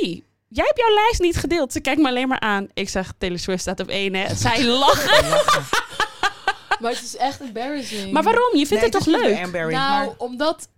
Speaker 1: jij hebt jouw lijst niet gedeeld. Ze kijkt me alleen maar aan. Ik zeg, Taylor Swift staat op één, hè. Zij lacht.
Speaker 3: Maar het is echt embarrassing.
Speaker 1: maar waarom? Je vindt
Speaker 2: Nee,
Speaker 1: het toch
Speaker 2: is niet
Speaker 1: leuk?
Speaker 2: bij Anne Barry,
Speaker 3: Nou, omdat...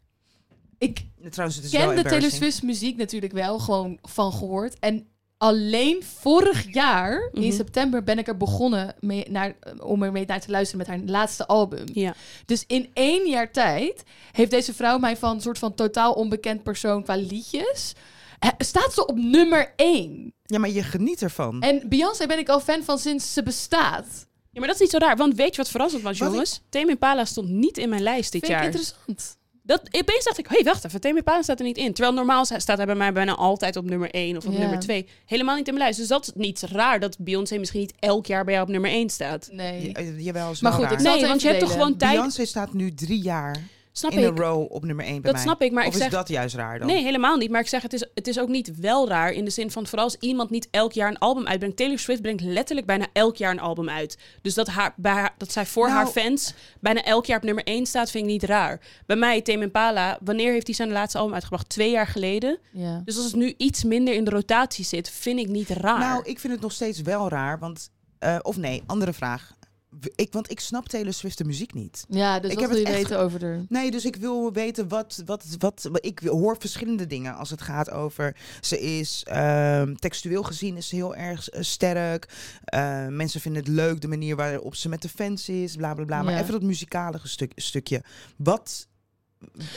Speaker 3: Ik
Speaker 2: maar, trouwens, het is wel
Speaker 3: ken de Taylor
Speaker 2: embarrassing.
Speaker 3: Swift muziek natuurlijk wel gewoon van gehoord. En alleen vorig jaar, in
Speaker 1: Mhm.
Speaker 3: september, ben ik er begonnen mee naar, om er mee naar te luisteren met haar laatste album.
Speaker 1: Ja.
Speaker 3: Dus in één jaar tijd heeft deze vrouw mij van een soort van totaal onbekend persoon qua liedjes. eh, Staat ze op nummer één.
Speaker 2: Ja, maar je geniet ervan.
Speaker 3: En Beyoncé ben ik al fan van sinds ze bestaat.
Speaker 1: ja, maar dat is niet zo raar. Want weet je wat verrassend was,
Speaker 2: Wat ik-
Speaker 1: jongens? Tame Impala stond niet in mijn lijst dit
Speaker 3: Vind ik
Speaker 1: jaar.
Speaker 3: interessant.
Speaker 1: Dat, opeens dacht ik, hé, hey, wacht even. Tame Impala staat er niet in. Terwijl normaal sta- staat hij bij mij bijna altijd op nummer 1 of op
Speaker 3: Ja.
Speaker 1: nummer 2. Helemaal niet in mijn lijst. Dus dat is niet raar dat Beyoncé misschien niet elk jaar bij jou op nummer 1 staat.
Speaker 3: Nee.
Speaker 2: Ja, eh, jawel, is
Speaker 3: Maar
Speaker 2: wel
Speaker 3: goed, ik
Speaker 2: raar.
Speaker 3: zal
Speaker 1: Nee,
Speaker 3: het
Speaker 1: want
Speaker 3: even
Speaker 1: je hebt toch
Speaker 3: delen.
Speaker 1: gewoon tijd...
Speaker 2: Beyoncé staat nu drie jaar
Speaker 1: Snap
Speaker 2: in
Speaker 1: ik.
Speaker 2: een row op nummer 1 bij
Speaker 1: dat
Speaker 2: mij.
Speaker 1: snap ik, maar
Speaker 2: of
Speaker 1: ik zeg...
Speaker 2: is dat juist raar dan?
Speaker 1: Nee, helemaal niet. Maar ik zeg, het is, het is ook niet wel raar in de zin van... vooral als iemand niet elk jaar een album uitbrengt. Taylor Swift brengt letterlijk bijna elk jaar een album uit. Dus dat, haar, bij haar- dat zij voor
Speaker 2: Nou-
Speaker 1: haar fans bijna elk jaar op nummer 1 staat... vind ik niet raar. Bij mij, Tame Impala, wanneer heeft hij zijn laatste album uitgebracht? Twee jaar geleden.
Speaker 3: Ja.
Speaker 1: Dus als het nu iets minder in de rotatie zit, vind ik niet raar.
Speaker 2: Nou, ik vind het nog steeds wel raar, want... eh, of nee, andere vraag. W- Ik, want ik snap Taylor Swift de muziek niet.
Speaker 3: ja, dus
Speaker 2: Ik
Speaker 3: wat
Speaker 2: heb
Speaker 3: wil je
Speaker 2: het echt
Speaker 3: weten over de...
Speaker 2: Nee, dus ik wil weten wat, wat, wat, wat- Ik hoor verschillende dingen als het gaat over... Ze is ehm, textueel gezien is ze heel erg eh, sterk. Eh, mensen vinden het leuk, de manier waarop ze met de fans is, bla bla bla. Maar
Speaker 3: Ja.
Speaker 2: even dat muzikale gestuk, stukje. Wat,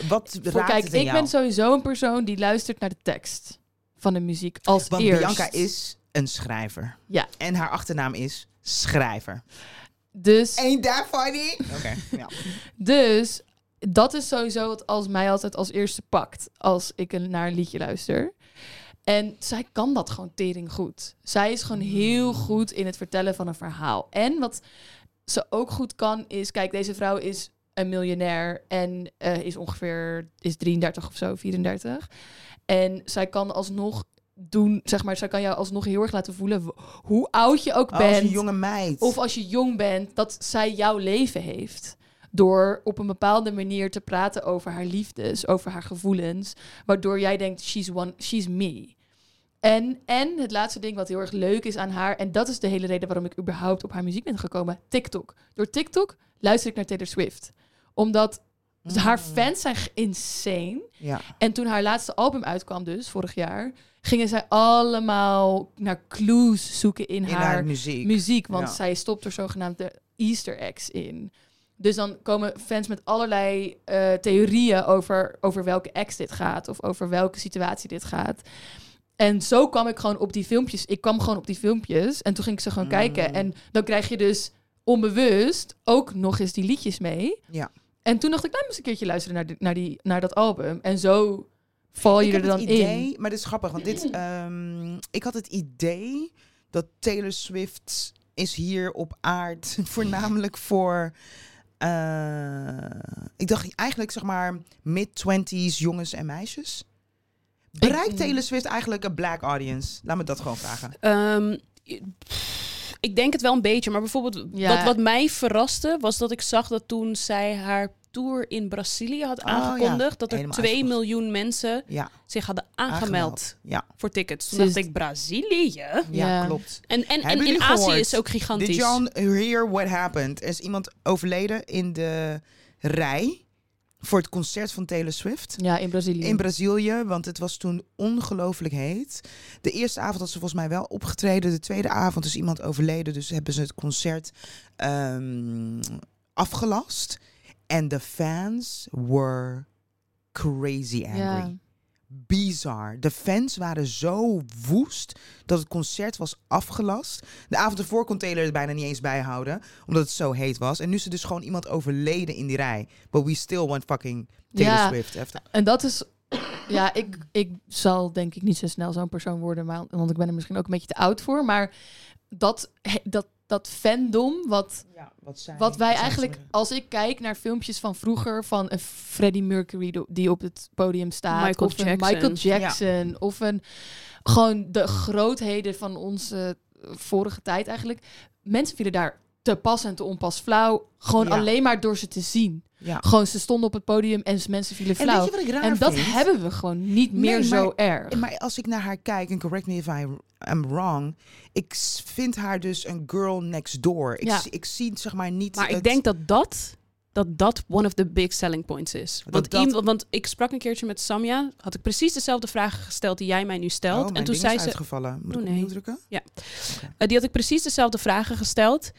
Speaker 2: wat
Speaker 3: Voor,
Speaker 2: raakt
Speaker 3: kijk,
Speaker 2: het in
Speaker 3: ik
Speaker 2: jou?
Speaker 3: ben sowieso een persoon die luistert naar de tekst van de muziek als
Speaker 2: Want
Speaker 3: eerst.
Speaker 2: Bianca is een schrijver.
Speaker 3: Ja.
Speaker 2: En haar achternaam is Schrijver.
Speaker 3: Dus...
Speaker 2: Ain't that funny? Oké, ja.
Speaker 3: Dus dat is sowieso wat als mij altijd als eerste pakt als ik een, naar een liedje luister. En zij kan dat gewoon tering goed. Zij is gewoon
Speaker 2: Mm.
Speaker 3: heel goed in het vertellen van een verhaal. En wat ze ook goed kan is, kijk, deze vrouw is een miljonair en eh, is ongeveer is 33 of zo, 34. En zij kan alsnog doen, zeg maar, zij kan jou alsnog heel erg laten voelen w- hoe oud je ook
Speaker 2: Als
Speaker 3: bent.
Speaker 2: een jonge meid.
Speaker 3: Of als je jong bent, dat zij jouw leven heeft. Door op een bepaalde manier te praten over haar liefdes, over haar gevoelens. Waardoor jij denkt, she's, one, she's me. En, en het laatste ding wat heel erg leuk is aan haar, en dat is de hele reden waarom ik überhaupt op haar muziek ben gekomen, TikTok. Door TikTok luister ik naar Taylor Swift. Omdat
Speaker 2: Mm.
Speaker 3: haar fans zijn g- insane.
Speaker 2: Ja.
Speaker 3: En toen haar laatste album uitkwam, dus vorig jaar, gingen zij allemaal naar clues zoeken in,
Speaker 2: In haar,
Speaker 3: haar
Speaker 2: muziek.
Speaker 3: muziek, want
Speaker 2: Ja.
Speaker 3: zij stopt er zogenaamde Easter eggs in. Dus dan komen fans met allerlei eh, theorieën over, over welke ex dit gaat of over welke situatie dit gaat. En zo kwam ik gewoon op die filmpjes. Ik kwam gewoon op die filmpjes en toen ging ik ze gewoon
Speaker 2: Mm.
Speaker 3: kijken. En dan krijg je dus onbewust ook nog eens die liedjes mee.
Speaker 2: Ja.
Speaker 3: En toen dacht ik, nou, eens een keertje luisteren naar, die, naar, die, naar dat album. En zo val je
Speaker 2: ik
Speaker 3: er
Speaker 2: heb
Speaker 3: dan
Speaker 2: het
Speaker 3: in.
Speaker 2: idee, Maar dit is grappig, want dit, ehm, ik had het idee dat Taylor Swift is hier op aard voornamelijk voor... eh, ik dacht eigenlijk zeg maar mid-twenties jongens en meisjes. Bereikt Taylor Swift eigenlijk een black audience? Laat me dat gewoon vragen.
Speaker 1: Ehm, i- pff, ik denk het wel een beetje, maar bijvoorbeeld
Speaker 3: Ja.
Speaker 1: wat, wat mij verraste was dat ik zag dat toen zij haar tour in Brazilië had
Speaker 2: Oh, ja.
Speaker 1: aangekondigd, dat er
Speaker 2: Helemaal
Speaker 1: 2
Speaker 2: uitverkocht.
Speaker 1: miljoen mensen
Speaker 2: Ja,
Speaker 1: zich hadden aangemeld,
Speaker 2: Aangemeld. ja,
Speaker 1: voor tickets. Toen
Speaker 3: Ze is-
Speaker 1: dacht ik, Brazilië?
Speaker 2: ja,
Speaker 3: Ja.
Speaker 2: klopt.
Speaker 1: En, en, en
Speaker 2: Hebben
Speaker 1: in
Speaker 2: jullie
Speaker 1: Azië
Speaker 2: gehoord?
Speaker 1: is het ook gigantisch.
Speaker 2: Did y'all hear what happened? Er is iemand overleden in de rij voor het concert van Taylor Swift.
Speaker 3: Ja, in Brazilië.
Speaker 2: In Brazilië, want het was toen ongelooflijk heet. De eerste avond had ze volgens mij wel opgetreden. De tweede avond is iemand overleden. Dus hebben ze het concert ehm, afgelast. En de fans were crazy angry.
Speaker 3: ja.
Speaker 2: Bizar. De fans waren zo woest dat het concert was afgelast. De avond ervoor kon Taylor het bijna niet eens bijhouden, omdat het zo heet was. En nu is er dus gewoon iemand overleden in die rij. But we still want fucking Taylor
Speaker 3: Ja.
Speaker 2: Swift. Even-
Speaker 3: En dat is. Ja, ik, ik zal denk ik niet zo snel zo'n persoon worden, maar, want ik ben er misschien ook een beetje te oud voor. Maar dat, he- dat, dat fandom, wat,
Speaker 2: Nou, wat,
Speaker 3: wat wij eigenlijk, als ik kijk naar filmpjes van vroeger, van een Freddie Mercury do- die op het podium staat,
Speaker 1: Michael
Speaker 3: of
Speaker 1: Jackson.
Speaker 3: een Michael Jackson, of een gewoon de grootheden van onze eh, vorige tijd eigenlijk. Mensen vielen daar te pas en te onpas flauw, gewoon
Speaker 2: Ja.
Speaker 3: alleen maar door ze te zien.
Speaker 2: Ja.
Speaker 3: Gewoon ze stonden op het podium en ze- mensen vielen flauw.
Speaker 2: wat ik raar
Speaker 3: En dat
Speaker 2: vind?
Speaker 3: hebben we gewoon niet meer
Speaker 2: Nee,
Speaker 3: zo
Speaker 2: maar-
Speaker 3: erg.
Speaker 2: Maar als ik naar haar kijk, en correct me if I am wrong, ik s- vind haar dus een girl next door. Ik,
Speaker 3: Ja.
Speaker 2: zie- ik zie zeg maar niet.
Speaker 1: Maar ik
Speaker 2: het-
Speaker 1: denk dat dat, dat dat one of the big selling points is.
Speaker 2: Dat
Speaker 1: Want,
Speaker 2: dat-
Speaker 1: iemand, want ik sprak een keertje met Samja, had ik precies dezelfde vragen gesteld die jij mij nu
Speaker 2: Oh,
Speaker 1: stelt.
Speaker 2: mijn
Speaker 1: en toen
Speaker 2: ding
Speaker 1: zei
Speaker 2: is
Speaker 1: ze,
Speaker 2: uitgevallen. Moet
Speaker 1: Oh,
Speaker 2: ik
Speaker 1: nee.
Speaker 2: opnieuw drukken?
Speaker 1: Eh, die had ik precies dezelfde vragen gesteld.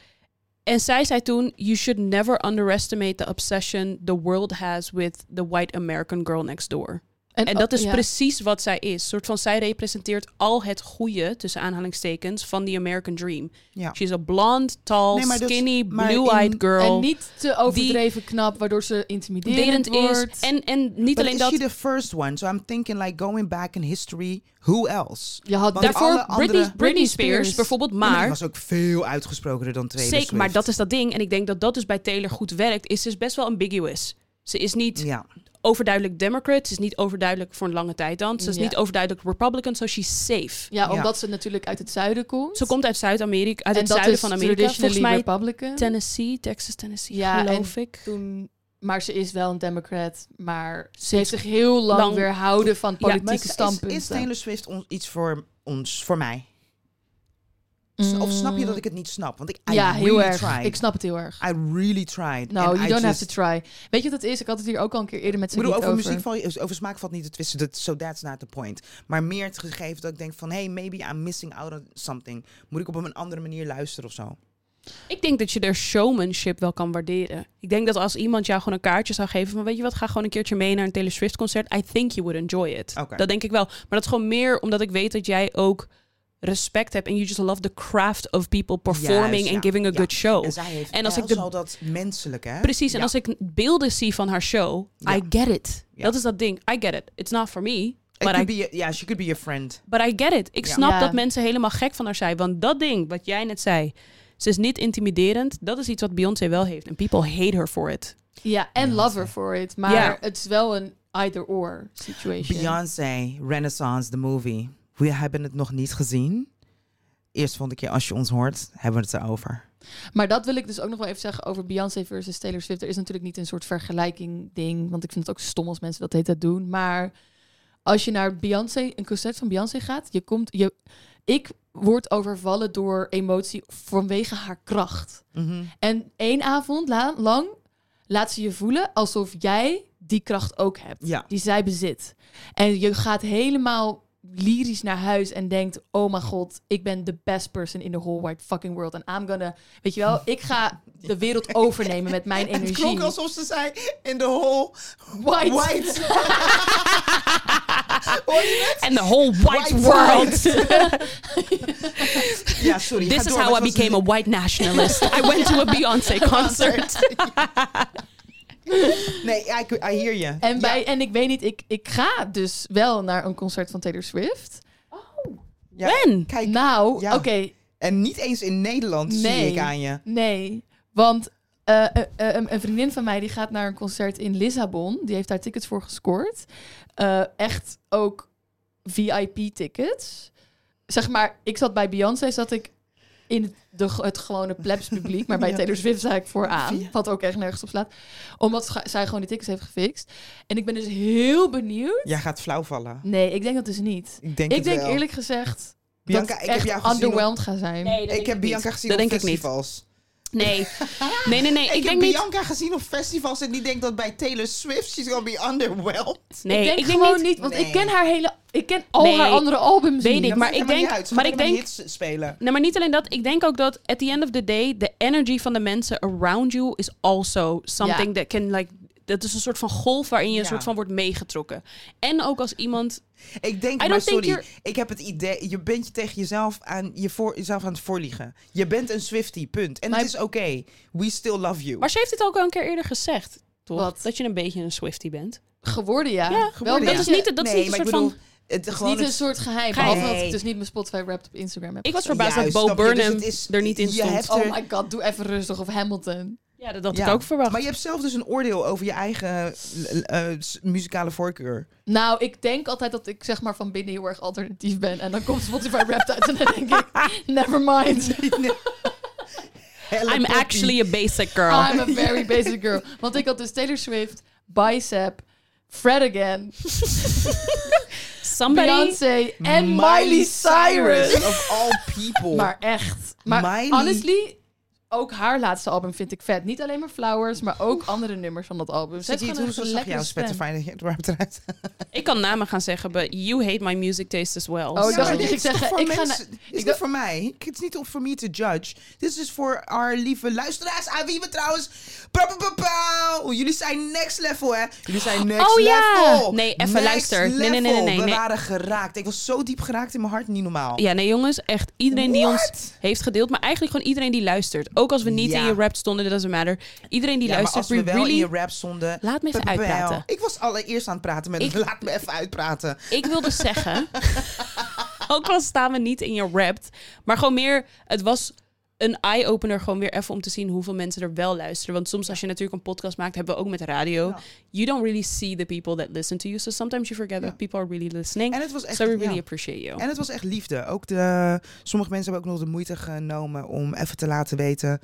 Speaker 1: En zij zei toen: You should never underestimate the obsession the world has with the white American girl next door. En dat is
Speaker 3: ja.
Speaker 1: precies wat zij is. Soort van, zij representeert al het goede, tussen aanhalingstekens, van die American Dream.
Speaker 2: Ja.
Speaker 1: She's a blonde, tall,
Speaker 2: Nee, maar dat-
Speaker 1: skinny,
Speaker 2: maar
Speaker 1: blue-eyed
Speaker 2: in-
Speaker 1: girl.
Speaker 3: En niet te overdreven knap, waardoor ze intimiderend
Speaker 1: Derend
Speaker 3: wordt.
Speaker 1: is. En, en niet
Speaker 2: But
Speaker 1: alleen
Speaker 2: is
Speaker 1: dat.
Speaker 2: she the first one? So I'm thinking like going back in history, who else?
Speaker 3: je had
Speaker 2: Want
Speaker 3: daarvoor...
Speaker 1: Daarvoor
Speaker 2: alle
Speaker 1: Britney,
Speaker 2: andere-
Speaker 1: Britney Spears
Speaker 3: Spears.
Speaker 1: bijvoorbeeld,
Speaker 2: Ja, die
Speaker 1: maar
Speaker 2: was ook veel uitgesprokener dan Taylor
Speaker 1: Zeker, maar
Speaker 2: Swift.
Speaker 1: dat is dat ding. En ik denk dat dat dus bij Taylor goed werkt. Is dus best wel ambiguous. Ze is niet
Speaker 2: Ja.
Speaker 1: overduidelijk Democrat. Ze is niet overduidelijk voor een lange tijd dan. Ze is
Speaker 3: Ja.
Speaker 1: niet overduidelijk Republican, so she's safe.
Speaker 3: Ja,
Speaker 2: Ja.
Speaker 3: omdat ze natuurlijk uit het zuiden komt.
Speaker 1: Ze komt uit Zuid-Amerika, uit
Speaker 3: en
Speaker 1: het
Speaker 3: dat
Speaker 1: zuiden
Speaker 3: is
Speaker 1: van Amerika.
Speaker 3: traditionally
Speaker 1: Volgens mij
Speaker 3: Republican.
Speaker 1: Tennessee, Texas, Tennessee,
Speaker 3: Ja,
Speaker 1: geloof ik.
Speaker 3: Toen, maar ze is wel een Democrat, maar ze heeft zich heel lang,
Speaker 1: Lang-
Speaker 3: weerhouden van politieke
Speaker 2: Maar is-
Speaker 3: standpunten.
Speaker 2: Is, Taylor Swift on- iets voor ons, voor mij? S- Of snap
Speaker 1: Mm.
Speaker 2: je dat ik het niet snap? Want ik I
Speaker 3: ja,
Speaker 2: really
Speaker 3: heel erg.
Speaker 2: tried.
Speaker 3: Ik snap het heel erg.
Speaker 2: I really tried.
Speaker 3: No,
Speaker 2: And
Speaker 3: you
Speaker 2: I
Speaker 3: don't
Speaker 2: just-
Speaker 3: have to try. Weet je wat het is? Ik had het hier ook al een keer eerder met
Speaker 2: Ik
Speaker 3: z'n
Speaker 2: bedoel,
Speaker 3: over.
Speaker 2: over, muziek, val- over smaak valt niet te twisten. Dat, so that's not the point. Maar meer het gegeven dat ik denk van... hey, maybe I'm missing out on something. Moet ik op een andere manier luisteren of zo?
Speaker 1: Ik denk dat je er showmanship wel kan waarderen. Ik denk dat als iemand jou gewoon een kaartje zou geven van weet je wat, ga gewoon een keertje mee naar een Taylor Swift concert. I think you would enjoy it.
Speaker 2: Oké.
Speaker 1: Dat denk ik wel. Maar dat is gewoon meer omdat ik weet dat jij ook respect hebt en you just love the craft of people performing
Speaker 2: Juist,
Speaker 1: and
Speaker 2: ja.
Speaker 1: giving a
Speaker 2: Ja.
Speaker 1: good show.
Speaker 2: En zij heeft
Speaker 1: En als
Speaker 2: wel
Speaker 1: ik de-
Speaker 2: zo dat menselijke, hè?
Speaker 1: Precies, en
Speaker 2: Ja.
Speaker 1: als ik beelden zie van haar show,
Speaker 2: Ja.
Speaker 1: I get it.
Speaker 2: Ja.
Speaker 1: Dat is dat ding. I get it. It's not for me.
Speaker 2: It
Speaker 1: But I,
Speaker 2: could be a- yeah, she could be a friend.
Speaker 1: but I get it. Ik
Speaker 2: Ja.
Speaker 1: snap
Speaker 3: Ja.
Speaker 1: dat mensen helemaal gek van haar zijn. Want dat ding wat jij net zei, ze is niet intimiderend. Dat is iets wat Beyoncé wel heeft. En people hate her for it.
Speaker 3: Ja, en
Speaker 2: Beyoncé.
Speaker 3: lover for it. Maar
Speaker 1: Ja.
Speaker 3: het is wel een either-or situation.
Speaker 2: Beyoncé, Renaissance, the movie. We hebben het nog niet gezien. Eerst vond ik je, als je ons hoort, hebben we het erover.
Speaker 3: Maar dat wil ik dus ook nog wel even zeggen over Beyoncé versus Taylor Swift. Er is natuurlijk niet een soort vergelijking ding, want ik vind het ook stom als mensen dat heet dat doen. Maar als je naar Beyoncé, een concert van Beyoncé gaat, je komt, je, ik word overvallen door emotie vanwege haar kracht.
Speaker 2: Mhm.
Speaker 3: En één avond la- lang laat ze je voelen alsof jij die kracht ook hebt
Speaker 2: Ja.
Speaker 3: die zij bezit. En je gaat helemaal lyrisch naar huis en denkt: Oh mijn god, ik ben de best person in the whole wide fucking world. En I'm gonna, weet je wel, ik ga de wereld overnemen met mijn
Speaker 2: En het
Speaker 3: energie.
Speaker 2: klonk alsof ze zei, in the whole
Speaker 3: White.
Speaker 2: white. Hoor je
Speaker 1: And the whole white,
Speaker 2: White
Speaker 1: world.
Speaker 2: het? Ja, sorry.
Speaker 1: This is how I became a white nationalist. I went to a Beyoncé concert.
Speaker 2: Nee, I, I hear je.
Speaker 3: En, bij, en ik weet niet, ik, ik ga dus wel naar een concert van Taylor Swift.
Speaker 2: Ja.
Speaker 1: When?
Speaker 2: Kijk,
Speaker 3: nou,
Speaker 2: ja.
Speaker 3: oké,
Speaker 2: en niet eens in Nederland zie
Speaker 3: Nee.
Speaker 2: ik aan je.
Speaker 3: nee. Want eh, eh, eh, een- een vriendin van mij die gaat naar een concert in Lissabon. Die heeft daar tickets voor gescoord. Eh, echt ook VIP-tickets. Zeg maar, ik zat bij Beyoncé, zat ik in de, g- het gewone plebs-publiek. Maar bij
Speaker 2: Ja.
Speaker 3: Taylor Swift zat ik vooraan.
Speaker 2: Ja.
Speaker 3: Wat ook echt nergens op slaat. Omdat scha- zij gewoon die tickets heeft gefixt. En ik ben dus heel benieuwd.
Speaker 2: Jij gaat flauw vallen.
Speaker 3: Nee, ik denk dat dus niet.
Speaker 2: Ik denk
Speaker 3: Ik
Speaker 2: het
Speaker 3: denk
Speaker 2: wel.
Speaker 3: eerlijk gezegd
Speaker 2: Bianca,
Speaker 3: dat ik
Speaker 2: ik heb
Speaker 3: echt
Speaker 2: jou gezien op,
Speaker 3: underwhelmed ga zijn.
Speaker 2: Ik heb Bianca gezien
Speaker 1: Dat
Speaker 2: op
Speaker 1: denk ik niet.
Speaker 2: festivals.
Speaker 1: Nee. Nee, nee, nee. Ik,
Speaker 2: Ik, heb
Speaker 1: denk niet.
Speaker 2: Bianca gezien op festivals en die denkt dat bij Taylor Swift she's gonna be underwhelmed.
Speaker 1: Nee,
Speaker 3: ik denk gewoon niet, want
Speaker 2: Nee.
Speaker 3: ik ken haar hele, ik ken al
Speaker 1: Nee,
Speaker 3: haar andere albums
Speaker 1: weet
Speaker 3: niet.
Speaker 1: ik, maar
Speaker 2: maakt helemaal
Speaker 1: denk-
Speaker 2: niet uit. Ze
Speaker 1: maar
Speaker 2: gaat
Speaker 1: ik
Speaker 2: alleen
Speaker 1: denk-
Speaker 2: hits spelen.
Speaker 1: Nee, maar niet alleen dat. Ik denk ook dat at the end of the day, the energy van de mensen around you is also something
Speaker 3: Ja.
Speaker 1: that can like. Dat is een soort van golf waarin je een
Speaker 2: Ja.
Speaker 1: soort van wordt meegetrokken. En ook als iemand.
Speaker 2: Ik
Speaker 1: I don't
Speaker 2: denk, maar
Speaker 1: think
Speaker 2: sorry,
Speaker 1: you're-
Speaker 2: ik heb het idee, je bent je tegen jezelf aan, je voor, jezelf aan het voorliegen. Je bent een Swiftie, punt. En
Speaker 3: Maar-
Speaker 2: het is oké. We still love you.
Speaker 1: Maar ze heeft het ook al een keer eerder gezegd. Toch?
Speaker 3: Wat?
Speaker 1: Dat je een beetje een Swiftie bent.
Speaker 3: geworden, ja.
Speaker 1: Ja,
Speaker 2: Geworden,
Speaker 3: wel een
Speaker 2: ja.
Speaker 1: Dat is
Speaker 3: beetje-
Speaker 1: niet, dat is
Speaker 2: Nee,
Speaker 1: niet een
Speaker 2: maar
Speaker 1: soort
Speaker 2: ik
Speaker 1: van.
Speaker 2: bedoel, Het,
Speaker 3: het is
Speaker 2: gewoon
Speaker 3: niet een
Speaker 2: het-
Speaker 3: soort geheim,
Speaker 1: Geheim.
Speaker 3: behalve dat
Speaker 2: Nee.
Speaker 3: ik dus niet mijn Spotify Wrapped op Instagram heb.
Speaker 1: Ik was
Speaker 3: gezet.
Speaker 1: verbaasd dat
Speaker 2: Juist,
Speaker 1: Bo
Speaker 2: snap je? Dus
Speaker 1: Burnham
Speaker 2: het is-
Speaker 1: er niet in
Speaker 2: je
Speaker 1: stond.
Speaker 2: hebt
Speaker 3: Oh
Speaker 2: er-
Speaker 3: my god, doe even rustig of Hamilton.
Speaker 1: Ja, dat had
Speaker 2: Ja.
Speaker 1: ik ook verwacht.
Speaker 2: Maar je hebt zelf dus een oordeel over je eigen eh, eh, s- muzikale voorkeur.
Speaker 3: Nou, ik denk altijd dat ik zeg maar van binnen heel erg alternatief ben. En dan komt Spotify Wrapped uit en dan denk ik, never mind.
Speaker 2: Hella
Speaker 1: I'm
Speaker 2: poppy.
Speaker 1: actually a basic girl.
Speaker 3: I'm a very basic girl. Want ik had dus Taylor Swift, Bicep, Fred Again,
Speaker 1: Somebody.
Speaker 3: Beyoncé en Miley Cyrus. Oh.
Speaker 2: Of all people.
Speaker 3: Maar echt. Maar
Speaker 2: Miley-
Speaker 3: honestly, ook haar laatste album vind ik vet. Niet alleen maar Flowers, maar ook andere nummers van dat album. Ze
Speaker 2: Zit
Speaker 3: heeft
Speaker 2: je
Speaker 3: gewoon
Speaker 2: toen
Speaker 3: een
Speaker 2: zo zag
Speaker 3: lekkere
Speaker 2: jouw
Speaker 3: stem.
Speaker 2: Spotify eruit?
Speaker 1: Ik kan namen gaan zeggen, but you hate my music taste as well.
Speaker 3: Oh, ik dacht
Speaker 2: maar
Speaker 3: dat je
Speaker 2: dit
Speaker 3: ging
Speaker 2: is toch
Speaker 3: zeggen,
Speaker 2: voor
Speaker 3: ik ga
Speaker 2: mensen-
Speaker 3: naar-
Speaker 2: dit
Speaker 3: ik
Speaker 2: is niet
Speaker 3: dacht-
Speaker 2: voor mij. Het is niet om voor me te judge. Dit is voor our lieve luisteraars. Aan wie we trouwens... Pa, pa, pa, pa. Oeh, Jullie zijn next level, hè? Jullie zijn next
Speaker 1: Oh, ja.
Speaker 2: level.
Speaker 1: Nee, even
Speaker 2: Next
Speaker 1: luister. Nee, nee, nee, nee,
Speaker 2: level.
Speaker 1: nee,
Speaker 2: We
Speaker 1: nee.
Speaker 2: waren geraakt. Ik was zo diep geraakt in mijn hart. Niet normaal.
Speaker 1: Ja, nee jongens, echt iedereen die ons
Speaker 2: What?
Speaker 1: heeft gedeeld, maar eigenlijk gewoon iedereen die luistert. Ook als we niet
Speaker 2: Ja.
Speaker 1: in je rap stonden, dat doesn't matter. Iedereen die
Speaker 2: Ja, maar
Speaker 1: luistert,
Speaker 2: als we
Speaker 1: we
Speaker 2: wel
Speaker 1: really...
Speaker 2: in je rap stonden...
Speaker 1: Laat me even
Speaker 2: pa, pa, pa.
Speaker 1: uitpraten.
Speaker 2: Ik was allereerst aan het praten met...
Speaker 1: Ik-
Speaker 2: Laat me even uitpraten.
Speaker 1: Ik wilde zeggen, ook al staan we niet in je rap, maar gewoon meer, het was een eye-opener gewoon weer even om te zien hoeveel mensen er wel luisteren. Want soms als je natuurlijk een podcast maakt, hebben we ook met radio.
Speaker 2: Ja.
Speaker 1: You don't really see the people that listen to you. So sometimes you forget
Speaker 2: Ja.
Speaker 1: that people are really listening.
Speaker 2: En het was echt...
Speaker 1: so we really
Speaker 2: ja.
Speaker 1: appreciate
Speaker 3: Oh.
Speaker 1: you.
Speaker 2: En het was echt liefde. Ook de, sommige mensen hebben ook nog de moeite genomen om even te laten weten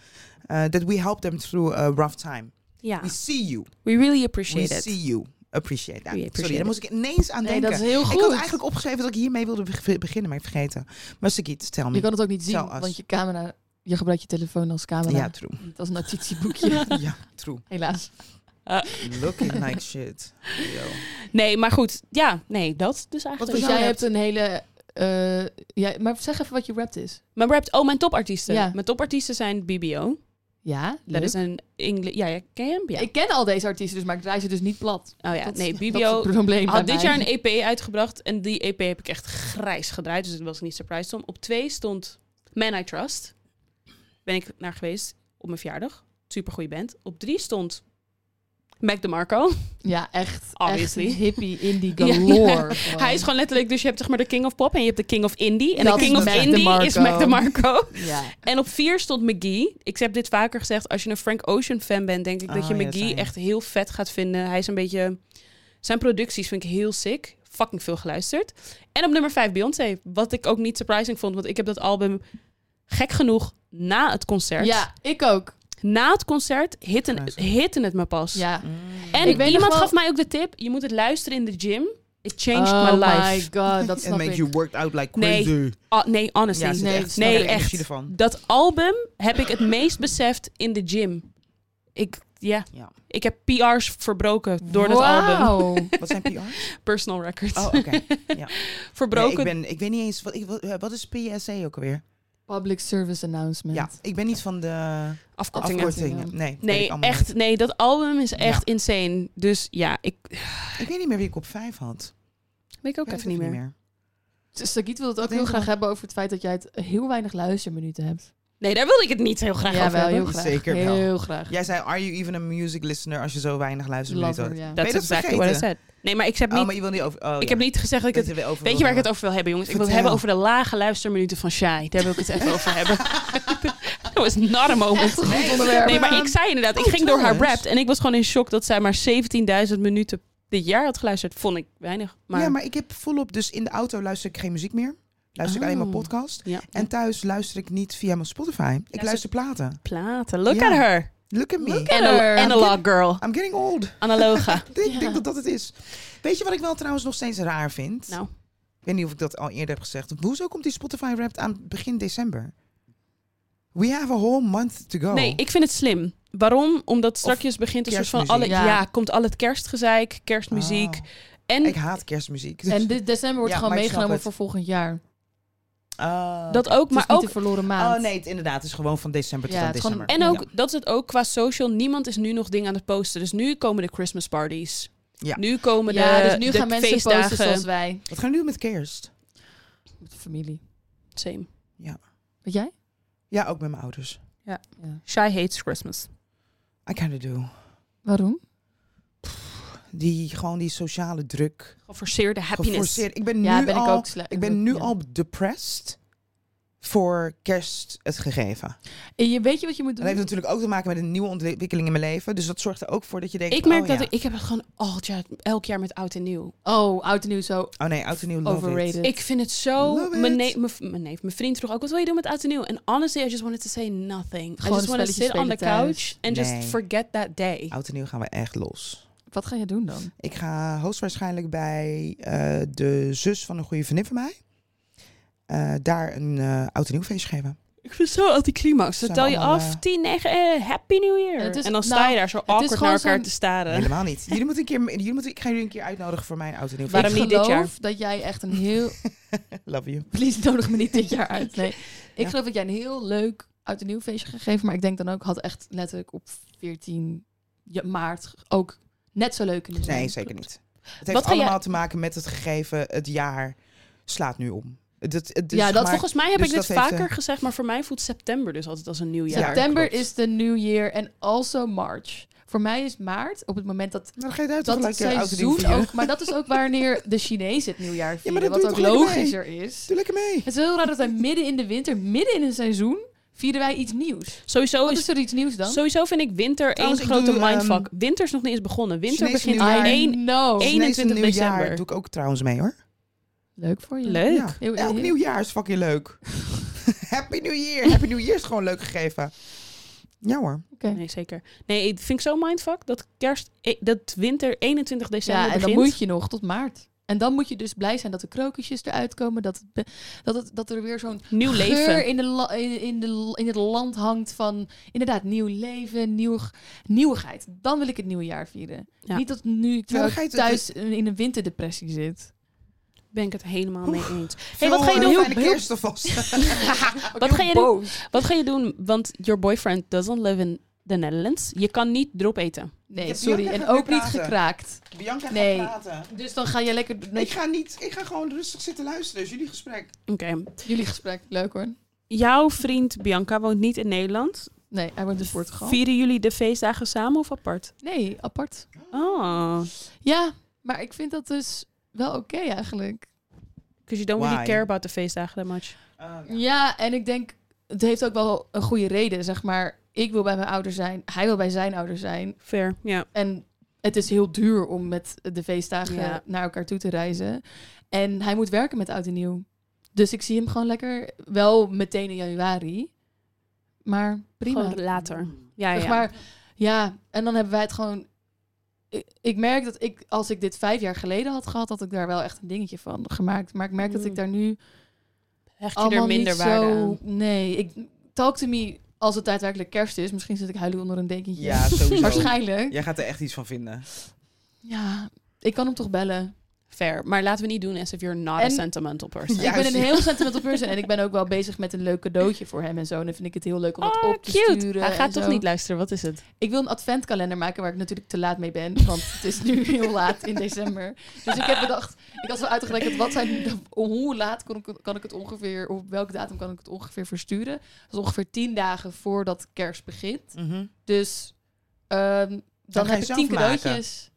Speaker 2: eh, that we help them through a rough time.
Speaker 1: Ja,
Speaker 3: Ah.
Speaker 2: We see you.
Speaker 1: we really
Speaker 2: We
Speaker 1: appreciate it.
Speaker 2: see you. Appreciate that.
Speaker 1: We appreciate
Speaker 2: Sorry,
Speaker 1: it.
Speaker 2: daar moest ik ineens aan
Speaker 3: Nee,
Speaker 2: denken.
Speaker 3: dat is heel goed.
Speaker 2: Ik had eigenlijk opgeschreven dat ik hiermee wilde beg- beginnen, maar ik vergeten. Maar Sagiet, tell
Speaker 3: Je
Speaker 2: me.
Speaker 3: kan het ook niet zien,
Speaker 2: Tell us.
Speaker 3: want je camera... Je gebruikt je telefoon als camera,
Speaker 2: Ja, true.
Speaker 3: niet als notitieboekje.
Speaker 2: Ja, true.
Speaker 3: Helaas.
Speaker 2: Looking like shit. Yo.
Speaker 1: Nee, maar goed. Ja, nee, dat dus eigenlijk.
Speaker 2: Wat
Speaker 3: Dus
Speaker 2: was
Speaker 1: Dus
Speaker 2: jouw
Speaker 3: jij
Speaker 2: rap?
Speaker 3: hebt een hele... eh, ja, maar zeg even wat je rapt is.
Speaker 1: Mijn rap, oh, mijn topartiesten.
Speaker 3: Ja.
Speaker 1: Mijn topartiesten zijn BBO.
Speaker 3: Ja,
Speaker 1: Dat
Speaker 3: leuk.
Speaker 1: is een Engels... Ja, ja, ken je hem? Ja.
Speaker 3: Ik ken al deze artiesten dus, maar ik draai ze dus niet plat.
Speaker 1: oh ja,
Speaker 3: Dat-
Speaker 1: nee,
Speaker 3: dat is
Speaker 1: BBO
Speaker 3: het probleem bij
Speaker 1: had dit
Speaker 3: mij.
Speaker 1: jaar een EP uitgebracht. En die EP heb ik echt grijs gedraaid. Dus daar was ik niet surprised om. Op twee stond Man I Trust. Ben ik naar geweest op mijn verjaardag. Supergoeie band. Op drie stond Mac DeMarco.
Speaker 3: Ja, echt.
Speaker 1: Obviously.
Speaker 3: Echt hippie indie
Speaker 1: Ja, ja.
Speaker 3: galore.
Speaker 1: Hij is gewoon letterlijk... Dus je hebt zeg maar de King of Pop en je hebt de King of Indie. En
Speaker 3: Dat
Speaker 1: de
Speaker 3: is
Speaker 1: King of
Speaker 3: Mac
Speaker 1: Indie is
Speaker 3: DeMarco.
Speaker 1: Mac DeMarco.
Speaker 3: Ja.
Speaker 1: En op vier stond McGee. Ik heb dit vaker gezegd. Als je een Frank Ocean fan bent, denk ik dat
Speaker 2: Ah,
Speaker 1: je
Speaker 2: ja,
Speaker 1: McGee
Speaker 2: zei je.
Speaker 1: echt heel vet gaat vinden. Hij is een beetje... Zijn producties vind ik heel sick. Fucking veel geluisterd. En op nummer vijf Beyoncé. Wat ik ook niet surprising vond. Want ik heb dat album, gek genoeg, na het concert.
Speaker 3: ja, ik ook.
Speaker 1: Na het concert hitten,
Speaker 2: Nice.
Speaker 1: hitten het me pas.
Speaker 3: Ja.
Speaker 2: Mm.
Speaker 1: En
Speaker 3: Ik weet nog
Speaker 1: iemand
Speaker 3: wel-
Speaker 1: gaf mij ook de tip. Je moet het luisteren in de gym. It changed
Speaker 3: oh
Speaker 1: my life.
Speaker 3: my god, dat
Speaker 2: And
Speaker 3: snap
Speaker 2: make
Speaker 3: ik.
Speaker 2: you worked out like
Speaker 1: Nee.
Speaker 2: crazy.
Speaker 1: Ah, nee, honestly.
Speaker 2: Ja, ze
Speaker 3: nee,
Speaker 2: echt,
Speaker 3: snap
Speaker 1: nee,
Speaker 3: ik.
Speaker 1: echt.
Speaker 2: energie ervan.
Speaker 1: Dat album heb ik het meest beseft in de gym. Ik, ja,
Speaker 2: Ja.
Speaker 1: ik heb PR's verbroken door dat album.
Speaker 3: Wauw.
Speaker 2: Wat zijn PR's?
Speaker 1: Personal records.
Speaker 2: Oh, oké. Nee,
Speaker 1: verbroken.
Speaker 2: ik, ben, ik weet niet eens, wat, ik, wat- eh, wat is PSA ook alweer?
Speaker 3: Public service announcement.
Speaker 2: Ja, ik ben niet van de
Speaker 1: Afkortingen.
Speaker 3: Afkorting.
Speaker 2: afkortingen. Nee, weet ik
Speaker 1: Nee,
Speaker 2: allemaal
Speaker 1: echt. Nee, dat album is echt
Speaker 2: Ja.
Speaker 1: insane. Dus ja, ik
Speaker 2: niet. Ik weet niet meer wie ik op vijf had.
Speaker 1: weet ik ook
Speaker 2: Ik weet
Speaker 1: even niet meer.
Speaker 3: Dus Sagiet wil het ook
Speaker 2: Denk
Speaker 3: heel
Speaker 2: ik
Speaker 3: graag
Speaker 2: wel.
Speaker 3: hebben over het feit dat jij het heel weinig luisterminuten hebt.
Speaker 1: Nee, daar wilde ik het niet heel graag
Speaker 3: ja,
Speaker 1: over
Speaker 3: wel,
Speaker 1: hebben.
Speaker 3: heel graag.
Speaker 2: Zeker wel.
Speaker 3: heel graag.
Speaker 2: Jij zei, are you even a music listener als je zo weinig luistert?
Speaker 3: Lover,
Speaker 2: had?
Speaker 3: ja.
Speaker 2: Ben
Speaker 1: That's
Speaker 2: je Dus dat
Speaker 1: exactly what I said. Nee, maar ik heb niet,
Speaker 2: Oh, maar je wil niet over... Oh,
Speaker 1: ik heb niet gezegd dat ik het... Weet je waar ik het over wil hebben, jongens? Ik wil het
Speaker 2: Vertel.
Speaker 1: hebben over de lage luisterminuten van Shai. Daar wil ik het even over hebben. That was not a moment.
Speaker 3: Echt een goed onderwerp.
Speaker 1: Nee, maar ik zei inderdaad, ik
Speaker 2: Oh,
Speaker 1: ging door haar
Speaker 2: trouwens.
Speaker 1: rap en ik was gewoon in shock dat zij maar 17.000 minuten dit jaar had geluisterd. Vond ik weinig. Maar,
Speaker 2: Ja, maar ik heb volop... Dus in de auto luister ik geen muziek meer. Luister ik alleen maar
Speaker 1: Oh.
Speaker 2: podcast.
Speaker 1: Ja.
Speaker 2: En thuis luister ik niet via mijn Spotify. Ik
Speaker 1: ze-
Speaker 2: luister platen.
Speaker 1: platen. Look
Speaker 2: Ja.
Speaker 1: at her.
Speaker 2: Look at me.
Speaker 3: Look at-
Speaker 1: Anal
Speaker 3: her.
Speaker 1: analog girl.
Speaker 2: I'm getting old.
Speaker 1: Analoga.
Speaker 2: Ik denk, ik
Speaker 3: Ja.
Speaker 2: denk dat dat het is. Weet je wat ik wel trouwens nog steeds raar vind?
Speaker 1: Nou.
Speaker 2: Ik weet niet of ik dat al eerder heb gezegd. Hoezo komt die Spotify Wrapped aan begin december? We have a whole month to go.
Speaker 1: Nee, ik vind het slim. Waarom? Omdat strakjes begint een soort van alle, ja.
Speaker 3: kerstmuziek.
Speaker 1: komt al het kerstgezeik, kerstmuziek.
Speaker 2: Oh.
Speaker 1: En
Speaker 2: Ik haat kerstmuziek. Dus-
Speaker 3: En dit december wordt
Speaker 2: Ja,
Speaker 3: gewoon
Speaker 2: maar ik snap
Speaker 3: meegenomen
Speaker 2: het.
Speaker 3: voor volgend jaar.
Speaker 2: Ah.
Speaker 1: dat ook,
Speaker 3: Het
Speaker 1: maar
Speaker 3: is niet
Speaker 1: ook
Speaker 3: de verloren maand.
Speaker 2: Oh nee, het, inderdaad. Het is gewoon van december tot
Speaker 3: Ja,
Speaker 2: aan
Speaker 3: het is gewoon-
Speaker 2: december.
Speaker 1: En ook,
Speaker 2: Ja.
Speaker 1: dat is het ook qua social. Niemand is nu nog dingen aan het posten. Dus nu komen de Christmas parties.
Speaker 2: Ja.
Speaker 1: Nu komen de,
Speaker 3: ja, dus nu
Speaker 1: de
Speaker 3: gaan mensen
Speaker 1: feestdagen.
Speaker 3: posten zoals wij.
Speaker 2: Wat gaan we doen met kerst?
Speaker 3: Met de familie.
Speaker 1: Same.
Speaker 3: Weet jij?
Speaker 2: Ja, ook met mijn ouders.
Speaker 3: Ja.
Speaker 1: Shai hates Christmas.
Speaker 2: I kinda do.
Speaker 3: Waarom?
Speaker 2: Die, gewoon die sociale druk.
Speaker 1: Geforceerde happiness.
Speaker 2: Geforceerd. Ik ben nu
Speaker 3: ja, ben
Speaker 2: al,
Speaker 3: ik ook slecht.
Speaker 2: ik ben nu
Speaker 3: ja.
Speaker 2: al depressed voor kerst het gegeven.
Speaker 3: En je weet je wat je moet
Speaker 2: Dat
Speaker 3: doen?
Speaker 2: heeft natuurlijk ook te maken met een nieuwe ontwikkeling in mijn leven. Dus dat zorgt er ook voor dat je denkt...
Speaker 1: Ik merk
Speaker 2: oh,
Speaker 1: dat
Speaker 2: ja.
Speaker 1: ik, ik heb het gewoon altijd elk jaar met oud en nieuw.
Speaker 3: Oh, oud en nieuw zo
Speaker 2: Oh nee, oud en nieuw love it.
Speaker 3: overrated.
Speaker 1: Ik vind het zo.
Speaker 2: Love
Speaker 1: Mijn
Speaker 2: it.
Speaker 1: neef, mijn v- mijn neef, mijn vriend vroeg ook: wat wil je doen met oud en nieuw? En honestly, I just wanted to say nothing. I
Speaker 3: Gewoon
Speaker 1: just want to
Speaker 3: spelletjes
Speaker 1: sit on the
Speaker 3: spelen thuis.
Speaker 1: couch and
Speaker 2: Nee. Oh.
Speaker 1: just forget that day.
Speaker 2: Oud en nieuw gaan we echt los.
Speaker 3: Wat ga je doen dan?
Speaker 2: Ik ga hoogstwaarschijnlijk bij eh, de zus van een goede vriendin van mij... eh, daar een eh oud en nieuw feestje geven.
Speaker 1: Ik vind het zo anticlimax. Dan
Speaker 2: Zijn
Speaker 1: tel je
Speaker 2: allemaal,
Speaker 1: af,
Speaker 2: eh,
Speaker 1: 10, 9, eh, happy new year.
Speaker 3: Het is-
Speaker 1: en dan sta
Speaker 3: nou,
Speaker 1: je daar zo
Speaker 3: is
Speaker 1: awkward naar
Speaker 3: gewoon
Speaker 1: elkaar
Speaker 3: zo'n-
Speaker 1: te staren.
Speaker 2: Helemaal niet. Jullie moeten een keer, jullie moeten, ik ga jullie een keer uitnodigen voor mijn oud en nieuw
Speaker 1: Waarom
Speaker 3: ik
Speaker 2: feestje.
Speaker 1: niet dit jaar?
Speaker 3: geloof dat jij echt een heel...
Speaker 2: Love you.
Speaker 3: Please, nodig me niet dit jaar uit. Nee. Ik
Speaker 2: Ja.
Speaker 3: geloof dat jij een heel leuk oud en nieuw feestje gaat geven. Maar ik denk dan ook, had echt letterlijk op 14 ja- maart ook net zo leuk kunnen zijn.
Speaker 2: Nee, zeker niet. Het
Speaker 1: Wat
Speaker 2: heeft
Speaker 1: ga jij-
Speaker 2: allemaal te maken met het gegeven, het jaar slaat nu om. Het, het, het is
Speaker 3: Ja, dat
Speaker 2: maar-
Speaker 1: Volgens mij heb
Speaker 2: dus
Speaker 1: ik dit
Speaker 2: dat heeft,
Speaker 1: vaker gezegd, maar voor mij voelt september dus altijd als een nieuw jaar.
Speaker 2: Ja.
Speaker 3: September
Speaker 2: klopt.
Speaker 3: is de new year en also March. Voor mij is maart op het moment dat
Speaker 2: Nou, dan ga je daar toch
Speaker 3: dat het
Speaker 2: gelijk een oud en nieuw
Speaker 3: seizoen
Speaker 2: vieren.
Speaker 3: ook... Maar dat is ook wanneer de Chinezen het nieuwjaar
Speaker 2: Ja, maar
Speaker 3: vieren.
Speaker 2: dat
Speaker 3: wat
Speaker 2: doe
Speaker 3: ook
Speaker 2: je toch lekker mee?
Speaker 3: logischer is.
Speaker 2: Doe lekker mee.
Speaker 3: Het is heel raar dat wij midden in de winter, midden in een seizoen, vieren wij iets nieuws.
Speaker 1: Sowieso,
Speaker 3: Wat
Speaker 1: is,
Speaker 3: is er iets nieuws dan?
Speaker 1: sowieso vind ik winter één
Speaker 2: Trouwens, ik
Speaker 1: grote
Speaker 2: doe, ehm,
Speaker 1: mindfuck. winter is nog niet eens begonnen. Winter
Speaker 2: Chinese
Speaker 1: begint
Speaker 2: nieuwjaar.
Speaker 1: één.
Speaker 3: no.
Speaker 1: één-
Speaker 2: Chinese
Speaker 1: 21
Speaker 2: nieuwjaar
Speaker 1: december.
Speaker 2: doe ik ook trouwens mee hoor.
Speaker 3: Leuk voor je.
Speaker 1: Leuk.
Speaker 2: Ja.
Speaker 3: Heel-
Speaker 2: Elk
Speaker 3: heel-
Speaker 2: nieuwjaar is fucking leuk. Happy New Year. Happy New Year is gewoon leuk gegeven. Ja hoor.
Speaker 1: Nee, zeker. Nee, ik vind ik zo mindfuck dat kerst, eh, dat winter 21 december
Speaker 3: Ja, en dan
Speaker 1: begint.
Speaker 3: moet je nog tot maart. En dan moet je dus blij zijn dat de krokusjes eruit komen. Dat, het be- dat, het, dat er weer zo'n
Speaker 1: Nieuw
Speaker 3: geur
Speaker 1: leven.
Speaker 3: In, de la- in, in, de, in het land hangt van inderdaad nieuw leven, nieuw, nieuwigheid. Dan wil ik het nieuwe jaar vieren.
Speaker 1: Ja.
Speaker 3: Niet dat nu terwijl ik
Speaker 2: ga je het-
Speaker 3: thuis in een winterdepressie zit.
Speaker 1: Ben ik het helemaal mee eens.
Speaker 2: Veel,
Speaker 1: wat ga je
Speaker 2: eh,
Speaker 1: doen?
Speaker 2: Fijne
Speaker 1: Heel-
Speaker 2: kerst alvast.
Speaker 1: Wat ga je Wat ga je doen? Want your boyfriend doesn't live in the Netherlands. Je kan niet drop eten.
Speaker 3: Nee,
Speaker 2: Ik heb
Speaker 3: sorry.
Speaker 2: Bianca
Speaker 3: En
Speaker 2: gaat
Speaker 3: ook
Speaker 2: weer
Speaker 3: niet
Speaker 2: praten.
Speaker 3: gekraakt.
Speaker 2: Bianca
Speaker 3: Nee.
Speaker 2: gaat praten.
Speaker 3: Dus dan ga je lekker
Speaker 2: Ik
Speaker 3: met
Speaker 2: ga, niet, ik ga gewoon rustig zitten luisteren. Dus jullie gesprek.
Speaker 1: Oké.
Speaker 3: jullie gesprek. Leuk hoor.
Speaker 1: Jouw vriend Bianca woont niet in Nederland.
Speaker 3: Nee, hij wordt dus in Portugal.
Speaker 1: Vieren jullie de feestdagen samen of apart?
Speaker 3: Nee, apart.
Speaker 1: Oh.
Speaker 3: Ja, maar ik vind dat dus wel oké eigenlijk.
Speaker 1: Because you don't really
Speaker 2: Why?
Speaker 1: care about the feestdagen that much.
Speaker 3: Ja, en ik denk, het heeft ook wel een goede reden, zeg maar. Ik wil bij mijn ouders zijn, hij wil bij zijn ouders zijn.
Speaker 1: Fair, ja.
Speaker 3: En het is heel duur om met de feestdagen
Speaker 1: Ja.
Speaker 3: naar elkaar toe te reizen. En hij moet werken met oud en nieuw. Dus ik zie hem gewoon lekker, wel meteen in januari. Maar prima.
Speaker 1: Gewoon later. Ja, ja.
Speaker 3: Zeg maar, ja, en dan hebben wij het gewoon... Ik, ik merk dat ik, als ik dit vijf jaar geleden had gehad, had ik daar wel echt een dingetje van gemaakt. Maar ik merk dat ik
Speaker 1: Mm.
Speaker 3: daar nu
Speaker 1: Hecht je er
Speaker 3: allemaal
Speaker 1: minder
Speaker 3: niet
Speaker 1: waarde
Speaker 3: zo...
Speaker 1: aan.
Speaker 3: Nee, ik, talk to me als het daadwerkelijk kerst is. Misschien zit ik huilen onder een dekentje.
Speaker 2: Ja, sowieso.
Speaker 3: Waarschijnlijk. Ja.
Speaker 2: Jij gaat er echt iets van vinden.
Speaker 3: ik kan hem toch bellen.
Speaker 1: Fair. Maar laten we niet doen alsof you're not a
Speaker 3: En-
Speaker 1: sentimental person.
Speaker 2: Ja.
Speaker 3: Ik
Speaker 2: Juist.
Speaker 3: ben een heel sentimental person en ik ben ook wel bezig met een leuk cadeautje voor hem en zo. En dan vind ik het heel leuk om dat
Speaker 1: Oh,
Speaker 3: op te
Speaker 1: cute.
Speaker 3: sturen.
Speaker 1: Hij gaat
Speaker 3: en
Speaker 1: toch
Speaker 3: zo.
Speaker 1: niet luisteren. Wat is het?
Speaker 3: Ik wil een adventkalender maken waar ik natuurlijk te laat mee ben. Want het is nu heel laat in december. Dus ik heb bedacht, ik had wel uitgerekend wat zijn, de- hoe laat kon ik, kan ik het ongeveer, op welke datum kan ik het ongeveer versturen. Dat is ongeveer tien dagen voordat kerst begint.
Speaker 2: Mhm.
Speaker 3: Dus ehm, dan,
Speaker 2: Dan ga je
Speaker 3: heb ik
Speaker 2: zelf
Speaker 3: tien
Speaker 2: maken.
Speaker 3: cadeautjes.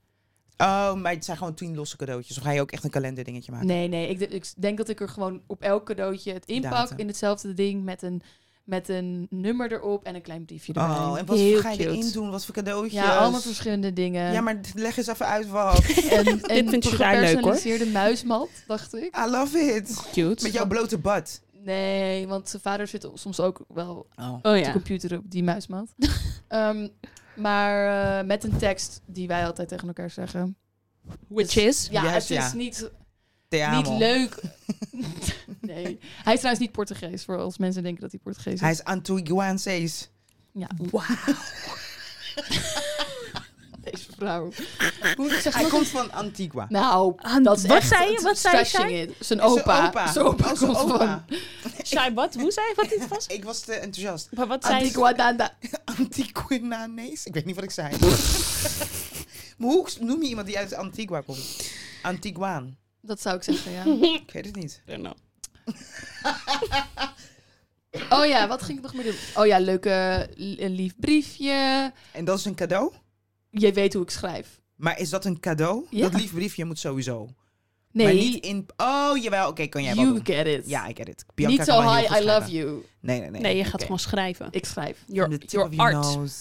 Speaker 2: Oh, maar het zijn gewoon tien losse cadeautjes. Of ga je ook echt een kalenderdingetje maken?
Speaker 3: Nee, nee, ik, d- ik denk dat ik er gewoon op elk cadeautje het inpak
Speaker 2: Datum.
Speaker 3: in hetzelfde ding met een, met een nummer erop en een klein briefje erbij.
Speaker 2: Oh, en wat
Speaker 1: Heel
Speaker 2: ga je erin
Speaker 1: cute.
Speaker 2: doen? Wat voor cadeautjes?
Speaker 3: ja, allemaal verschillende dingen.
Speaker 2: Ja, maar leg eens even uit wat.
Speaker 3: En, en
Speaker 1: vind je
Speaker 3: een
Speaker 1: vrij leuk, hoor.
Speaker 3: gepersonaliseerde muismat, dacht ik.
Speaker 2: I love it. Met
Speaker 1: Cute.
Speaker 2: jouw blote bad.
Speaker 3: Nee, want zijn vader zit soms ook wel op
Speaker 2: Oh.
Speaker 1: Oh
Speaker 3: de
Speaker 1: ja.
Speaker 3: computer op die muismat. Ehm, maar eh, met een tekst die wij altijd tegen elkaar zeggen.
Speaker 1: Which is?
Speaker 3: Ja,
Speaker 2: Juist,
Speaker 3: het is
Speaker 2: ja.
Speaker 3: niet,
Speaker 2: Te
Speaker 3: niet
Speaker 2: amo.
Speaker 3: leuk. nee. Hij is trouwens niet Portugees, voor als mensen denken dat hij Portugees is.
Speaker 2: Hij is Antiguansees.
Speaker 3: Ja,
Speaker 1: Wauw.
Speaker 3: deze vrouw. Hoe zeg
Speaker 2: Hij
Speaker 3: nog
Speaker 2: komt
Speaker 3: een-
Speaker 2: van Antigua.
Speaker 3: Nou,
Speaker 1: Aan-
Speaker 3: dat is
Speaker 1: wat
Speaker 3: echt
Speaker 1: zei je?
Speaker 3: het
Speaker 1: Wat zei
Speaker 3: stretching
Speaker 1: zij?
Speaker 3: it. Zijn
Speaker 2: Zijn
Speaker 3: opa.
Speaker 2: opa.
Speaker 3: Zijn opa
Speaker 2: Oh, zijn
Speaker 3: komt
Speaker 2: opa.
Speaker 3: van
Speaker 1: Zij wat? Hoe zei wat dit was? Ah,
Speaker 2: Ik was te enthousiast.
Speaker 1: Maar wat zei ze?
Speaker 3: Antiguadanda.
Speaker 2: Antiguananees? Ik weet niet wat ik zei. maar hoe noem je iemand die uit Antigua komt? Antiguaan.
Speaker 3: Dat zou ik zeggen, ja.
Speaker 2: Ik weet het niet.
Speaker 1: I don't know.
Speaker 3: Oh ja, wat ging ik nog meer doen? Oh ja, leuke, l- een lief briefje.
Speaker 2: En dat is een cadeau?
Speaker 3: Jij weet hoe ik schrijf.
Speaker 2: Maar is dat een cadeau?
Speaker 3: Ja.
Speaker 2: Dat lief briefje moet sowieso. Maar niet
Speaker 3: Nee,
Speaker 2: in... Oh, jawel. Oké, kan jij wel
Speaker 3: you
Speaker 2: doen.
Speaker 3: get it.
Speaker 2: Ja, ik get it.
Speaker 3: niet zo high, I love
Speaker 2: you.
Speaker 3: you.
Speaker 2: Nee, nee, nee.
Speaker 1: Nee, je gaat
Speaker 3: Oké.
Speaker 1: gewoon schrijven.
Speaker 3: Ik schrijf.
Speaker 2: From the
Speaker 1: Your,
Speaker 2: tip
Speaker 1: your
Speaker 2: of your
Speaker 1: art.
Speaker 2: nose.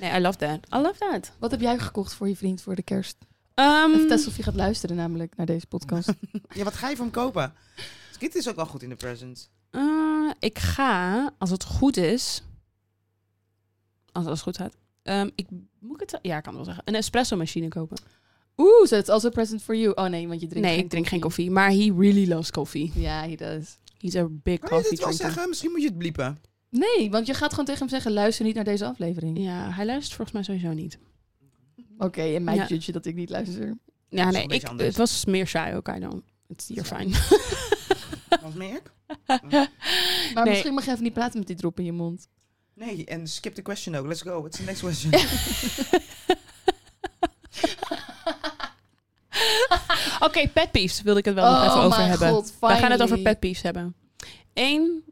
Speaker 1: Nee, I love that. I love that.
Speaker 3: Wat heb jij gekocht voor je vriend voor de kerst?
Speaker 1: Ehm,
Speaker 3: Even testen of je gaat luisteren namelijk naar deze podcast.
Speaker 2: Ja, wat ga je voor hem kopen? Skit is ook wel goed in de presents.
Speaker 1: eh, ik ga, als het goed is... Als alles goed gaat. ehm, ik, moet ik het... Ja, ik kan het wel zeggen. Een espresso machine kopen.
Speaker 3: Oeh, so it's also a present for you. Oh nee, want je drinkt
Speaker 1: nee,
Speaker 3: geen
Speaker 1: ik drink geen koffie. Maar he really loves coffee.
Speaker 3: Ja, he does.
Speaker 1: He's a big
Speaker 2: Kan je
Speaker 1: coffee
Speaker 2: dit wel
Speaker 1: drinker.
Speaker 2: zeggen? Misschien moet je het bliepen.
Speaker 3: Nee, want je gaat gewoon tegen hem zeggen, luister niet naar deze aflevering.
Speaker 1: Ja, hij luistert volgens mij sowieso niet.
Speaker 3: Oké, en mij
Speaker 1: Ja.
Speaker 3: judge je dat ik niet luister.
Speaker 1: Ja,
Speaker 2: is
Speaker 1: nee,
Speaker 2: een beetje
Speaker 1: ik,
Speaker 2: anders.
Speaker 1: het was meer saai ook, I know. It's, you're
Speaker 2: Ja.
Speaker 1: fine.
Speaker 2: Wat merk?
Speaker 3: Maar
Speaker 1: Nee.
Speaker 3: misschien mag je even niet praten met die drop in je mond.
Speaker 2: Nee, en skip the question ook. Let's go. What's the next question?
Speaker 1: Oké, pet peeves wilde ik het wel nog
Speaker 3: Oh
Speaker 1: even over hebben. We gaan het over pet peeves hebben. Eén,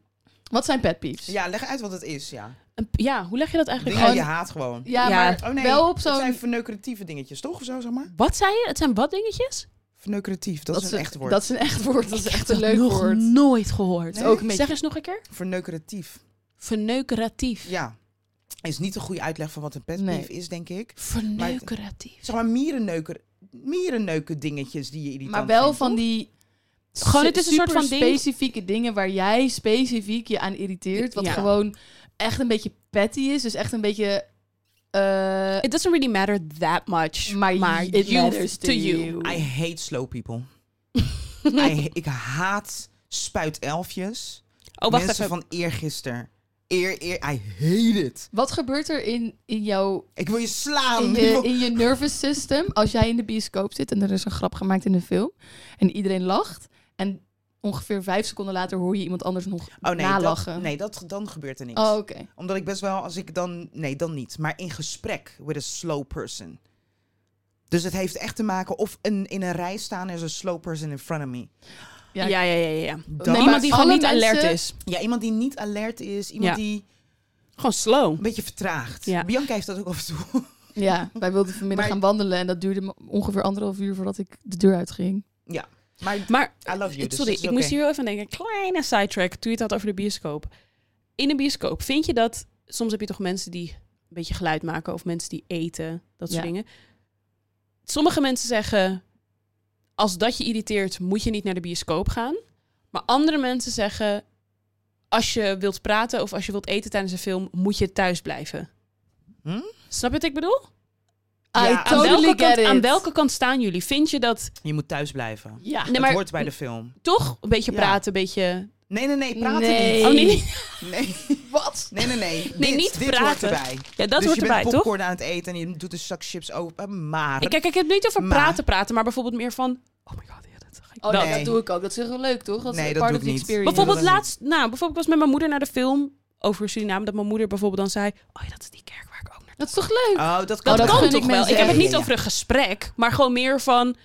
Speaker 3: Wat zijn pet peeves?
Speaker 2: ja, leg uit wat het is. Ja.
Speaker 1: een- ja, hoe leg je dat eigenlijk
Speaker 2: Dingen
Speaker 1: uit?
Speaker 2: die je haat gewoon.
Speaker 3: Ja,
Speaker 1: Ja.
Speaker 3: maar
Speaker 2: Oh nee,
Speaker 3: wel op
Speaker 2: het zijn
Speaker 3: zo'n...
Speaker 2: verneukeratieve dingetjes, toch? Of zo, zeg maar?
Speaker 1: Wat zei je? Het zijn wat dingetjes?
Speaker 2: Verneukeratief, dat, is een echt woord.
Speaker 3: Dat is een echt woord. Dat is
Speaker 1: Ik heb
Speaker 3: echt een
Speaker 1: dat
Speaker 3: leuk
Speaker 1: nog
Speaker 3: woord.
Speaker 1: nooit gehoord.
Speaker 2: Nee?
Speaker 3: Ook een beetje-
Speaker 1: Zeg eens nog een keer.
Speaker 2: Verneukeratief.
Speaker 1: Verneukeratief.
Speaker 2: Ja. Is niet een goede uitleg van wat een pet
Speaker 3: Nee.
Speaker 2: peeve is, denk ik.
Speaker 1: Verneukeratief.
Speaker 2: Zeg maar mierenneuker, mierenneuken dingetjes die je irritant
Speaker 3: Maar wel
Speaker 2: vindt.
Speaker 3: van die.
Speaker 1: Gewoon, het is een soort van ding-
Speaker 3: specifieke dingen waar jij specifiek je aan irriteert. Wat
Speaker 1: Ja.
Speaker 3: gewoon echt een beetje petty is. Dus echt een beetje. eh,
Speaker 1: It doesn't really matter that much.
Speaker 3: Maar
Speaker 1: Maar,
Speaker 3: it
Speaker 1: it
Speaker 3: matters
Speaker 1: matters
Speaker 3: to
Speaker 1: to you.
Speaker 3: you.
Speaker 2: I hate slow people. I- ik haat spuitelfjes.
Speaker 1: Oh, wacht
Speaker 2: Mensen
Speaker 1: even.
Speaker 2: van eergisteren. Eer, eer, I hate it.
Speaker 3: wat gebeurt er in, in jouw
Speaker 2: Ik wil je slaan. Oh,
Speaker 3: in
Speaker 2: Ik
Speaker 3: je,
Speaker 2: wil-
Speaker 3: in je nervous system, als jij in de bioscoop zit en er is een grap gemaakt in de film en iedereen lacht en ongeveer vijf seconden later hoor je iemand anders nog
Speaker 2: Oh nee,
Speaker 3: nalachen.
Speaker 2: dat, nee dat, dan gebeurt er niks.
Speaker 3: Oh, oké.
Speaker 2: Omdat ik best wel, als ik dan... Nee, dan niet. Maar in gesprek with a slow person. Dus het heeft echt te maken... Of een, in een rij staan is een slow person in front of me.
Speaker 3: Ja.
Speaker 1: Ja, ja, ja, ja. ja.
Speaker 2: Dat-
Speaker 3: Nee, maar
Speaker 1: Iemand die gewoon
Speaker 3: alle
Speaker 1: niet
Speaker 3: mensen-
Speaker 1: alert is.
Speaker 2: Ja, iemand die niet alert is. Iemand
Speaker 1: Ja.
Speaker 2: die
Speaker 1: Gewoon slow.
Speaker 2: een beetje vertraagt.
Speaker 1: Ja.
Speaker 2: Bianca heeft dat ook af en toe.
Speaker 3: Ja, wij wilden vanmiddag
Speaker 2: Maar-
Speaker 3: gaan wandelen en dat duurde me ongeveer anderhalf uur voordat ik de deur uitging.
Speaker 2: Maar
Speaker 1: Maar
Speaker 2: I love you. dus
Speaker 1: Sorry,
Speaker 2: dat is
Speaker 1: ik moest
Speaker 2: oké.
Speaker 1: hier heel even aan denken. Kleine sidetrack. Toen je het had over de bioscoop. In een bioscoop vind je dat... Soms heb je toch mensen die een beetje geluid maken. Of mensen die eten. Dat soort
Speaker 3: Ja.
Speaker 1: dingen. Sommige mensen zeggen... Als dat je irriteert, moet je niet naar de bioscoop gaan. Maar andere mensen zeggen... Als je wilt praten of als je wilt eten tijdens een film... moet je thuis blijven.
Speaker 2: Hm?
Speaker 1: Snap je wat ik bedoel?
Speaker 2: Ja,
Speaker 3: I
Speaker 2: aan
Speaker 1: Aan
Speaker 3: totally
Speaker 1: welke,
Speaker 3: get
Speaker 1: kant,
Speaker 3: it.
Speaker 1: aan welke kant staan jullie? Vind je dat
Speaker 2: Je moet thuis blijven.
Speaker 3: Ja.
Speaker 1: Nee, maar-
Speaker 2: Het hoort bij de film.
Speaker 1: toch een beetje
Speaker 2: Ja.
Speaker 1: praten, een beetje...
Speaker 2: Nee, nee, nee. Praten
Speaker 3: Nee.
Speaker 2: niet.
Speaker 1: Oh, nee,
Speaker 2: Nee,
Speaker 3: Wat?
Speaker 2: nee, nee. Nee,
Speaker 1: Nee,
Speaker 2: dit,
Speaker 1: niet
Speaker 2: dit hoort
Speaker 1: praten.
Speaker 2: erbij.
Speaker 1: Ja, dat
Speaker 2: dus
Speaker 1: hoort
Speaker 2: je
Speaker 1: erbij,
Speaker 2: bent
Speaker 1: toch?
Speaker 2: popcorn aan het eten en je doet een zak chips open. Maar...
Speaker 1: Ik, kijk, ik heb het niet over
Speaker 2: Maar-
Speaker 1: praten praten, maar bijvoorbeeld meer van... Oh my god, ja, dat ga ik
Speaker 3: Oh
Speaker 1: dat.
Speaker 3: nee, dat
Speaker 2: Nee.
Speaker 3: doe ik ook. Dat is echt wel leuk, toch? Dat is
Speaker 2: Nee, dat
Speaker 3: part
Speaker 2: doe
Speaker 3: of
Speaker 2: ik
Speaker 3: the
Speaker 2: niet.
Speaker 3: experience.
Speaker 1: Bijvoorbeeld
Speaker 2: dat is
Speaker 1: laatst... Nou, bijvoorbeeld ik was met mijn moeder naar de film over Suriname. Dat mijn moeder bijvoorbeeld dan zei... Oh ja, dat is die kerk waar ik ook naar...
Speaker 3: Dat is toch leuk?
Speaker 2: Oh, dat
Speaker 1: Dat,
Speaker 2: kan, wel.
Speaker 3: dat gun
Speaker 1: kan
Speaker 3: ik
Speaker 1: toch wel?
Speaker 3: mensen
Speaker 1: Ik heb het
Speaker 2: echt.
Speaker 1: niet
Speaker 2: Ja,
Speaker 1: over een gesprek, maar gewoon meer van...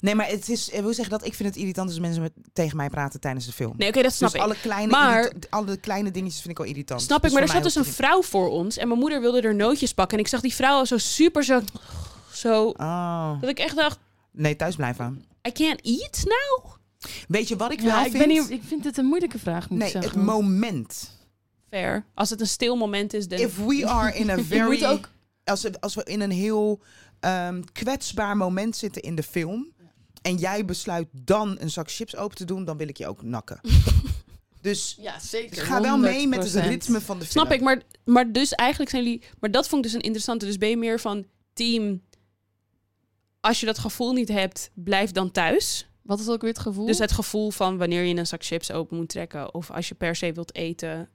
Speaker 2: Nee, maar het is, eh, ik wil zeggen dat ik vind het irritant als mensen met, tegen mij praten tijdens de film.
Speaker 1: Nee, oké, dat snap
Speaker 2: dus
Speaker 1: ik.
Speaker 2: alle kleine,
Speaker 1: Maar-
Speaker 2: irrit- alle kleine dingetjes vind ik al irritant.
Speaker 1: Snap ik,
Speaker 2: Dus
Speaker 1: maar er
Speaker 2: voor
Speaker 1: zat
Speaker 2: mij
Speaker 1: dus een
Speaker 2: hoeft
Speaker 1: vrouw voor ons en mijn moeder wilde er nootjes pakken. En ik zag die vrouw al zo super zo... Zo...
Speaker 2: het niet. Oh.
Speaker 1: Dat ik echt dacht,
Speaker 2: Nee, thuis blijven.
Speaker 1: I can't eat now?
Speaker 2: Weet je wat ik
Speaker 3: ja,
Speaker 2: wel
Speaker 3: ik,
Speaker 2: vind?
Speaker 3: ben hier, ik vind het een moeilijke vraag, moet
Speaker 2: nee,
Speaker 3: ik
Speaker 2: het
Speaker 3: zeggen.
Speaker 2: moment.
Speaker 1: Fair. Als het een stil moment is, dan...
Speaker 2: If we are in a
Speaker 3: Je
Speaker 2: very...
Speaker 3: moet ook...
Speaker 2: als, we- als we in een heel ehm, kwetsbaar moment zitten in de film. En jij besluit dan een zak chips open te doen, dan wil ik je ook nakken. dus
Speaker 3: Ja, zeker.
Speaker 2: ik ga wel mee met het ritme van de film.
Speaker 1: Snap ik, maar, maar dus eigenlijk zijn jullie... Maar dat vond ik dus een interessante. Dus ben je meer van team... Als je dat gevoel niet hebt, blijf dan thuis.
Speaker 3: Wat is ook weer het gevoel?
Speaker 1: Dus het gevoel van wanneer je een zak chips open moet trekken... of als je per se wilt eten,